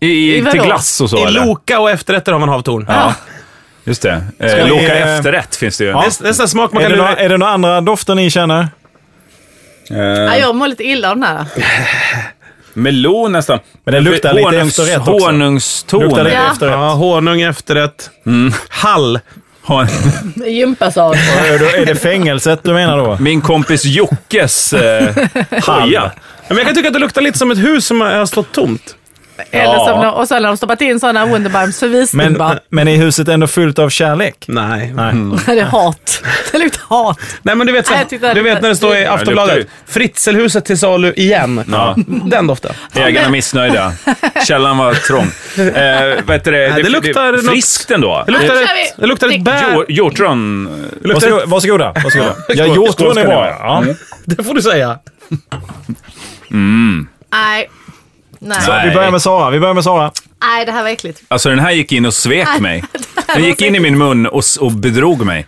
[SPEAKER 4] I,
[SPEAKER 1] I
[SPEAKER 4] i,
[SPEAKER 1] vadå?
[SPEAKER 4] till glass och så
[SPEAKER 2] I
[SPEAKER 4] eller?
[SPEAKER 2] Loka och efterrätter har man havtorn.
[SPEAKER 4] Ja. Just det.
[SPEAKER 3] vi-
[SPEAKER 4] Eh, Loka
[SPEAKER 3] eh,
[SPEAKER 4] efterrätt finns det ju.
[SPEAKER 2] Det är- Det är en sån här smak man
[SPEAKER 3] Är
[SPEAKER 2] kan
[SPEAKER 3] det, några,
[SPEAKER 2] lura.
[SPEAKER 3] är det några andra dofter ni känner?
[SPEAKER 4] Eh,
[SPEAKER 1] Ja, jag mår lite illa av den här.
[SPEAKER 4] Melon nästan.
[SPEAKER 3] Men den luktar lite
[SPEAKER 4] Honungs-
[SPEAKER 3] efterrätt också.
[SPEAKER 4] Honungston.
[SPEAKER 3] Luktar lite
[SPEAKER 1] Ja.
[SPEAKER 3] efterrätt.
[SPEAKER 2] Ja, honung efterrätt. Hall.
[SPEAKER 4] Hon-
[SPEAKER 1] Gympasal.
[SPEAKER 3] Är det- Är det fängelset du menar då?
[SPEAKER 4] Min kompis Jockes eh, hoja.
[SPEAKER 2] Men jag kan tycka att det luktar lite som ett hus som har stått tomt.
[SPEAKER 1] Eller
[SPEAKER 4] Ja.
[SPEAKER 1] som de, och så har de stoppat in sådana Wunderbaums
[SPEAKER 3] Men,
[SPEAKER 1] förvisningar.
[SPEAKER 3] men är huset ändå fullt av kärlek?
[SPEAKER 2] Nej.
[SPEAKER 3] Nej.
[SPEAKER 1] Det är hat. Det luktar hat.
[SPEAKER 2] Nej, men du vet, så,
[SPEAKER 1] Nej, jag tyckte det
[SPEAKER 2] du vet
[SPEAKER 1] luktar-
[SPEAKER 2] när det står i
[SPEAKER 1] Ja,
[SPEAKER 4] det luktar
[SPEAKER 2] Aftonbladet. Fritzelhuset till salu igen.
[SPEAKER 4] Ja.
[SPEAKER 2] Den doften.
[SPEAKER 4] Ägarna missnöjda. Källan var trång. Eh, vad heter det?
[SPEAKER 2] det luktar något-
[SPEAKER 4] friskt ändå.
[SPEAKER 2] Det luktar,
[SPEAKER 1] Nu kör
[SPEAKER 2] ett,
[SPEAKER 1] vi.
[SPEAKER 2] det luktar ett
[SPEAKER 4] Jo-
[SPEAKER 2] bär.
[SPEAKER 4] Hjortron. eh,
[SPEAKER 3] Varsågoda. Varsågoda. varsågoda. Ja,
[SPEAKER 4] Skål, skål
[SPEAKER 3] hjortron
[SPEAKER 4] ska
[SPEAKER 3] är
[SPEAKER 4] ni
[SPEAKER 3] bra.
[SPEAKER 4] ha.
[SPEAKER 3] Ja.
[SPEAKER 2] Det får du säga.
[SPEAKER 1] Nej. Nej.
[SPEAKER 4] Nej.
[SPEAKER 3] Vi börjar med Sara. Vi börjar med Sara.
[SPEAKER 1] Nej, det här var äckligt.
[SPEAKER 4] Alltså den här gick in och svek mig. Den gick in i min mun och, s- och bedrog mig.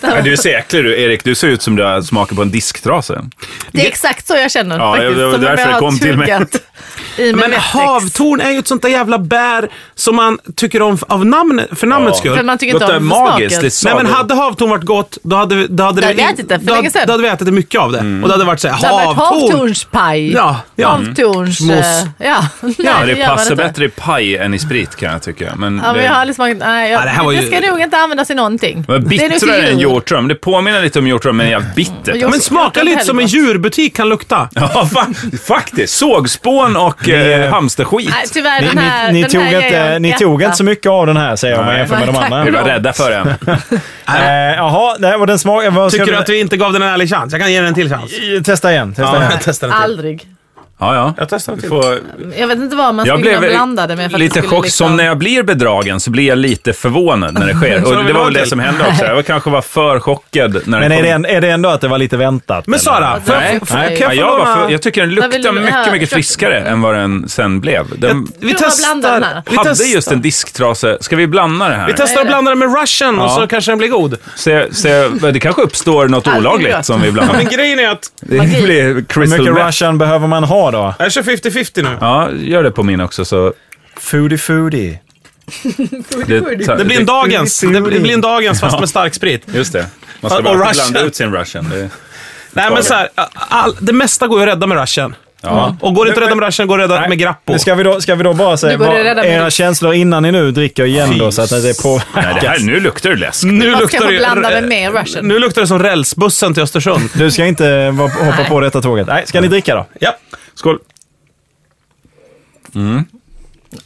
[SPEAKER 4] Men du är så äcklig du, Erik. Du ser ut som du har smakat på en disktrasa.
[SPEAKER 1] Det är exakt så jag känner
[SPEAKER 4] Ja,
[SPEAKER 1] faktiskt.
[SPEAKER 4] det var
[SPEAKER 1] som om jag
[SPEAKER 4] därför det
[SPEAKER 1] har
[SPEAKER 4] kom till mig.
[SPEAKER 1] tuggat I min
[SPEAKER 2] Men
[SPEAKER 1] Netflix.
[SPEAKER 2] havtorn är ju ett sånt där jävla bär som man tycker om av namnet, för namnets skull.
[SPEAKER 1] För man tycker inte
[SPEAKER 4] Luktar
[SPEAKER 1] om
[SPEAKER 4] magiskt,
[SPEAKER 1] smaken.
[SPEAKER 4] lite
[SPEAKER 2] Nej
[SPEAKER 4] sagor.
[SPEAKER 2] men hade havtorn varit gott, då hade, vi- då hade
[SPEAKER 1] Då hade vi ätit det för
[SPEAKER 2] då,
[SPEAKER 1] länge sedan.
[SPEAKER 2] Då hade vi ätit mycket av det. Och det hade varit såhär,
[SPEAKER 1] Det hade varit
[SPEAKER 2] havtorn!
[SPEAKER 1] havtornspaj.
[SPEAKER 2] Ja, ja.
[SPEAKER 1] Havtorns...
[SPEAKER 2] Mm. Mos.
[SPEAKER 1] eh, Ja, Nej,
[SPEAKER 4] Ja, det
[SPEAKER 1] gör man
[SPEAKER 4] passar
[SPEAKER 1] inte.
[SPEAKER 4] bättre i paj än i sprit kan jag tycka. Men
[SPEAKER 1] Ja,
[SPEAKER 4] det,
[SPEAKER 1] men jag har liksom, nej, jag,
[SPEAKER 2] Ja,
[SPEAKER 1] det,
[SPEAKER 2] det här var ju-
[SPEAKER 1] ska nog inte användas i någonting.
[SPEAKER 4] det var
[SPEAKER 1] Det är nog till
[SPEAKER 4] bittrare än
[SPEAKER 1] jul.
[SPEAKER 4] hjortron. Det påminner lite om hjortron, men jävligt bittert.
[SPEAKER 1] Ja,
[SPEAKER 2] Men
[SPEAKER 1] Jag
[SPEAKER 2] smaka
[SPEAKER 1] kan
[SPEAKER 2] lite
[SPEAKER 1] inte
[SPEAKER 2] som en
[SPEAKER 1] heller
[SPEAKER 2] djurbutik kan lukta.
[SPEAKER 4] Ja, fa- faktiskt. Sågspån och eh, hamsterskit.
[SPEAKER 1] Nej, typ- tyvärr
[SPEAKER 3] Ni,
[SPEAKER 1] den här,
[SPEAKER 3] ni, ni,
[SPEAKER 1] den
[SPEAKER 3] tog,
[SPEAKER 1] här ger jag
[SPEAKER 3] inte,
[SPEAKER 1] en
[SPEAKER 3] ni tog
[SPEAKER 1] etta.
[SPEAKER 3] inte så mycket av den här säger jag om jag
[SPEAKER 4] Nej.
[SPEAKER 3] jämför med de
[SPEAKER 1] Nej,
[SPEAKER 3] andra.
[SPEAKER 1] tack.
[SPEAKER 4] Vi var rädda för den.
[SPEAKER 3] Eh, Jaha, nej, och den smaken... vad ska
[SPEAKER 2] Tycker du
[SPEAKER 3] vi-
[SPEAKER 2] att vi inte gav den en ärlig chans? Jag kan ge den en till chans.
[SPEAKER 3] Testa igen. Testa
[SPEAKER 2] Ja,
[SPEAKER 3] igen.
[SPEAKER 2] jag testar den till.
[SPEAKER 1] Aldrig.
[SPEAKER 4] Ja, ja. Jag
[SPEAKER 2] testar till.
[SPEAKER 1] Jag vet inte vad man
[SPEAKER 4] Jag
[SPEAKER 1] skulle
[SPEAKER 4] blev
[SPEAKER 1] kunna blanda det med. för att det
[SPEAKER 4] lite
[SPEAKER 1] skulle
[SPEAKER 4] chock.
[SPEAKER 1] liksom-
[SPEAKER 4] Som när jag blir bedragen så blir jag lite förvånad när det sker.
[SPEAKER 2] Så
[SPEAKER 4] Och det
[SPEAKER 2] vill
[SPEAKER 4] var
[SPEAKER 2] ha
[SPEAKER 4] väl det
[SPEAKER 2] till.
[SPEAKER 4] som hände också. Jag var kanske var för chockad
[SPEAKER 3] Men
[SPEAKER 4] när den
[SPEAKER 3] är
[SPEAKER 4] kom.
[SPEAKER 3] det, en, är det ändå att det var lite väntat?
[SPEAKER 2] Men
[SPEAKER 3] eller?
[SPEAKER 2] Sara, får
[SPEAKER 4] Nej,
[SPEAKER 2] jag- får jag-
[SPEAKER 1] nej.
[SPEAKER 2] kan
[SPEAKER 4] Ja,
[SPEAKER 2] jag
[SPEAKER 4] jag,
[SPEAKER 2] få
[SPEAKER 4] var
[SPEAKER 2] låna-
[SPEAKER 4] för, jag tycker den
[SPEAKER 1] Vad vill
[SPEAKER 4] luktar
[SPEAKER 1] du höra?
[SPEAKER 4] mycket, mycket
[SPEAKER 1] Klart-
[SPEAKER 4] friskare än vad den sen blev. Den
[SPEAKER 2] Vi
[SPEAKER 1] Jag tror jag blandar den här.
[SPEAKER 2] testar. Vi
[SPEAKER 4] hade
[SPEAKER 2] testar.
[SPEAKER 4] just en disktrasa. Ska vi blanda det här?
[SPEAKER 2] Vi testar att blanda den med russian och så kanske den blir god.
[SPEAKER 4] se, se, det kanske uppstår något
[SPEAKER 1] Alltid
[SPEAKER 4] olagligt
[SPEAKER 1] gott.
[SPEAKER 4] som vi blandar.
[SPEAKER 2] Men grejen är att
[SPEAKER 4] Det blir
[SPEAKER 3] Hur
[SPEAKER 4] crystal
[SPEAKER 3] mycket
[SPEAKER 4] meth.
[SPEAKER 3] russian behöver man ha då?
[SPEAKER 2] jag kör 50-50 nu.
[SPEAKER 4] Ja, gör det på min också så...
[SPEAKER 3] Foodie foodie.
[SPEAKER 4] Det, tar-
[SPEAKER 2] Det blir en dagens. Det blir en dagens fast med stark sprit.
[SPEAKER 4] Just det. Man ska
[SPEAKER 2] Och
[SPEAKER 4] bara
[SPEAKER 2] Russian.
[SPEAKER 4] blanda ut sin russian. Det,
[SPEAKER 2] Nej men så här, all, det mesta går ju att rädda med russian.
[SPEAKER 4] ja.
[SPEAKER 2] Och går det inte att rädda med russian går det att rädda
[SPEAKER 3] Nej.
[SPEAKER 2] med grappo.
[SPEAKER 3] Nu Ska vi, då, ska vi då bara säga
[SPEAKER 1] Nu går det
[SPEAKER 3] vad-
[SPEAKER 1] redan med
[SPEAKER 3] era
[SPEAKER 1] risk.
[SPEAKER 3] känslor innan ni nu dricker igen då så att det
[SPEAKER 4] Nej, det här,
[SPEAKER 3] påverkas?
[SPEAKER 4] nu luktar det läsk.
[SPEAKER 2] Nu
[SPEAKER 1] Fast
[SPEAKER 2] luktar,
[SPEAKER 1] kanske blanda
[SPEAKER 2] det, eh,
[SPEAKER 1] det med russian.
[SPEAKER 2] nu luktar det som rälsbussen till Östersund.
[SPEAKER 3] Du ska inte vara- hoppa på detta tåget. Nej, ska ni dricka då?
[SPEAKER 2] ja.
[SPEAKER 4] Skål.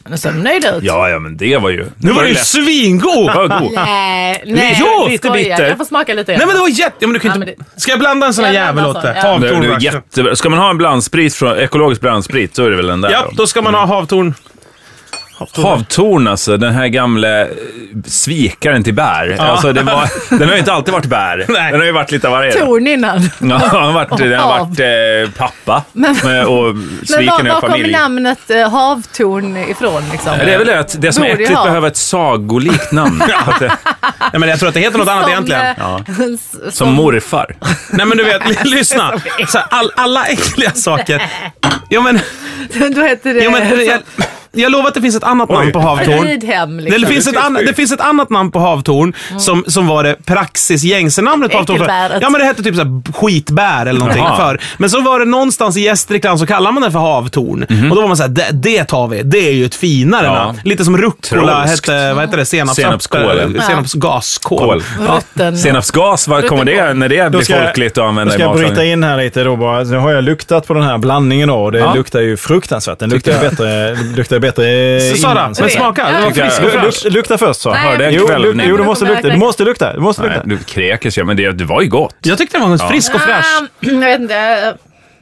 [SPEAKER 1] Nu ser de nöjda ut.
[SPEAKER 4] Ja, ja, men det var ju...
[SPEAKER 2] Nu var det ju
[SPEAKER 4] läsk.
[SPEAKER 2] svingod!
[SPEAKER 4] Det var god.
[SPEAKER 1] Nej, nej.
[SPEAKER 2] Jo,
[SPEAKER 1] jag
[SPEAKER 2] lite
[SPEAKER 1] skojar.
[SPEAKER 2] bitter.
[SPEAKER 1] Jag får smaka lite.
[SPEAKER 2] Nej men det var jätte... Ja, men du kan
[SPEAKER 1] Ja,
[SPEAKER 2] ju inte... Ska jag blanda en sån här
[SPEAKER 1] Jag blandar
[SPEAKER 2] jävel
[SPEAKER 1] sån,
[SPEAKER 2] åt dig?
[SPEAKER 1] ja.
[SPEAKER 4] Det,
[SPEAKER 2] Havtorn
[SPEAKER 4] det är
[SPEAKER 2] russian.
[SPEAKER 4] jättebra. Ska man ha en blandsprit från, ekologisk blandsprit så är det väl den där?
[SPEAKER 2] Ja, då ska man ha havtorn.
[SPEAKER 4] Havtorn alltså, den här gamla eh, svikaren till bär. Alltså, det var, den har ju inte alltid varit bär.
[SPEAKER 2] Nej.
[SPEAKER 4] Den har ju varit lite av varje.
[SPEAKER 1] Torn innan.
[SPEAKER 4] Ja, den har varit, den har
[SPEAKER 1] Hav.
[SPEAKER 4] varit eh, pappa
[SPEAKER 1] Men-
[SPEAKER 4] med, och
[SPEAKER 1] Men var,
[SPEAKER 4] sviken
[SPEAKER 1] var
[SPEAKER 4] en
[SPEAKER 1] kommer
[SPEAKER 4] familj.
[SPEAKER 1] namnet eh, havtorn ifrån liksom?
[SPEAKER 4] Ja, Det är väl det att det som är
[SPEAKER 1] Borde ju
[SPEAKER 4] äckligt
[SPEAKER 1] ha.
[SPEAKER 4] behöver ett sagolikt namn. Att det,
[SPEAKER 2] Nej men jag tror att det heter något annat
[SPEAKER 1] Som,
[SPEAKER 2] egentligen.
[SPEAKER 1] eh, s-
[SPEAKER 4] som morfar.
[SPEAKER 2] Nej men du vet, lyssna. Så här, all, alla äckliga saker. Jo men,
[SPEAKER 1] Då heter det...
[SPEAKER 2] jo, men jag, jag lovar att det finns ett annat namn på havtorn.
[SPEAKER 1] Ridhem
[SPEAKER 2] Det,
[SPEAKER 1] liksom. Mm.
[SPEAKER 2] finns ett anna, det finns ett annat namn på havtorn som, som var det praxisgängsenamnet på havtorn. För,
[SPEAKER 1] Äckelbäret.
[SPEAKER 2] ja, men det hette typ så här skitbär eller någonting
[SPEAKER 4] Jaha.
[SPEAKER 2] förr. Men så var det någonstans i Gästrikland så kallade man det för havtorn. Och då var man såhär, det, det tar vi. Det är ju ett finare
[SPEAKER 4] Mhm. Ja.
[SPEAKER 2] namn. Lite som rucola
[SPEAKER 4] Trolskt.
[SPEAKER 2] hette, vad heter det? Senaps,
[SPEAKER 4] Senapskål, ja.
[SPEAKER 2] Senapsgaskål.
[SPEAKER 4] Kål.
[SPEAKER 1] Rutten.
[SPEAKER 4] Senapsgas, vad kommer det när det blir folkligt att
[SPEAKER 3] då
[SPEAKER 4] använda
[SPEAKER 3] ska
[SPEAKER 4] i
[SPEAKER 3] jag bryta
[SPEAKER 4] matlagning?
[SPEAKER 3] in här lite då bara. Nu har jag luktat på den här blandningen då och det
[SPEAKER 4] Ja.
[SPEAKER 3] luktar ju fruktansvärt. Den luktar ju bättre, luktar ju bättre
[SPEAKER 2] Så,
[SPEAKER 3] innan.
[SPEAKER 2] Sara, men
[SPEAKER 3] så-
[SPEAKER 1] det-
[SPEAKER 2] smaka. Det var
[SPEAKER 4] Tycker jag-
[SPEAKER 2] frisk och
[SPEAKER 3] Lu-
[SPEAKER 2] fräsch.
[SPEAKER 3] luk- Lukta först så.
[SPEAKER 1] Nej,
[SPEAKER 4] Hörde
[SPEAKER 1] jag-
[SPEAKER 4] en
[SPEAKER 3] Jo, luk,
[SPEAKER 4] kvällning.
[SPEAKER 3] jo, du måste
[SPEAKER 1] kommer
[SPEAKER 3] lukta. Du
[SPEAKER 1] verkligen-
[SPEAKER 3] måste lukta. Du måste
[SPEAKER 4] Nej,
[SPEAKER 3] lukta.
[SPEAKER 4] du kräkes ju, men det, det var ju gott.
[SPEAKER 2] Jag tyckte den var frisk och fräsch.
[SPEAKER 1] Ah, Jag vet inte.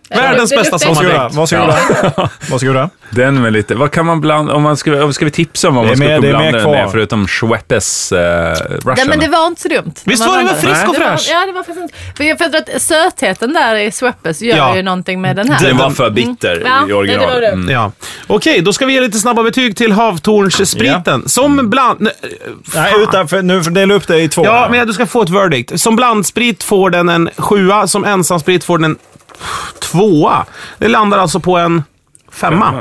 [SPEAKER 2] Världens
[SPEAKER 1] Det
[SPEAKER 2] bästa
[SPEAKER 1] luktar
[SPEAKER 2] sommardräkt.
[SPEAKER 3] Varsågoda. Varsågoda. Varsågoda.
[SPEAKER 4] Den med lite... Vad kan man blanda... Om man ska, om ska vi tipsa om vad
[SPEAKER 3] Det är
[SPEAKER 4] man ska
[SPEAKER 3] mer-
[SPEAKER 4] kunna
[SPEAKER 3] det är mer
[SPEAKER 4] blanda den
[SPEAKER 3] kvar.
[SPEAKER 4] med, förutom Schweppes uh,
[SPEAKER 1] Nej,
[SPEAKER 4] Russian?
[SPEAKER 1] men det var inte så dumt.
[SPEAKER 2] Visst
[SPEAKER 1] Man
[SPEAKER 2] var det väl
[SPEAKER 1] blandade.
[SPEAKER 2] frisk
[SPEAKER 1] Nej,
[SPEAKER 2] och
[SPEAKER 1] det var-
[SPEAKER 2] fräsch?
[SPEAKER 1] Ja, det var fräscht. För jag tror att sötheten där i Sweppes gör
[SPEAKER 2] Ja.
[SPEAKER 1] ju någonting med den här.
[SPEAKER 4] Den var för bitter
[SPEAKER 1] Mm. Ja,
[SPEAKER 4] i
[SPEAKER 1] det var
[SPEAKER 4] originalet.
[SPEAKER 1] det.
[SPEAKER 4] Mm.
[SPEAKER 2] Ja. Okej, då ska vi ge lite snabba betyg till Havtornsspriten. Som bland... nej,
[SPEAKER 3] Nej,
[SPEAKER 2] fan.
[SPEAKER 3] utan för, nu dela upp det i två.
[SPEAKER 2] Ja, men du ska få ett verdict. Som blandsprit får den en sjua, som ensamsprit får den en tvåa. Det landar alltså på en femma.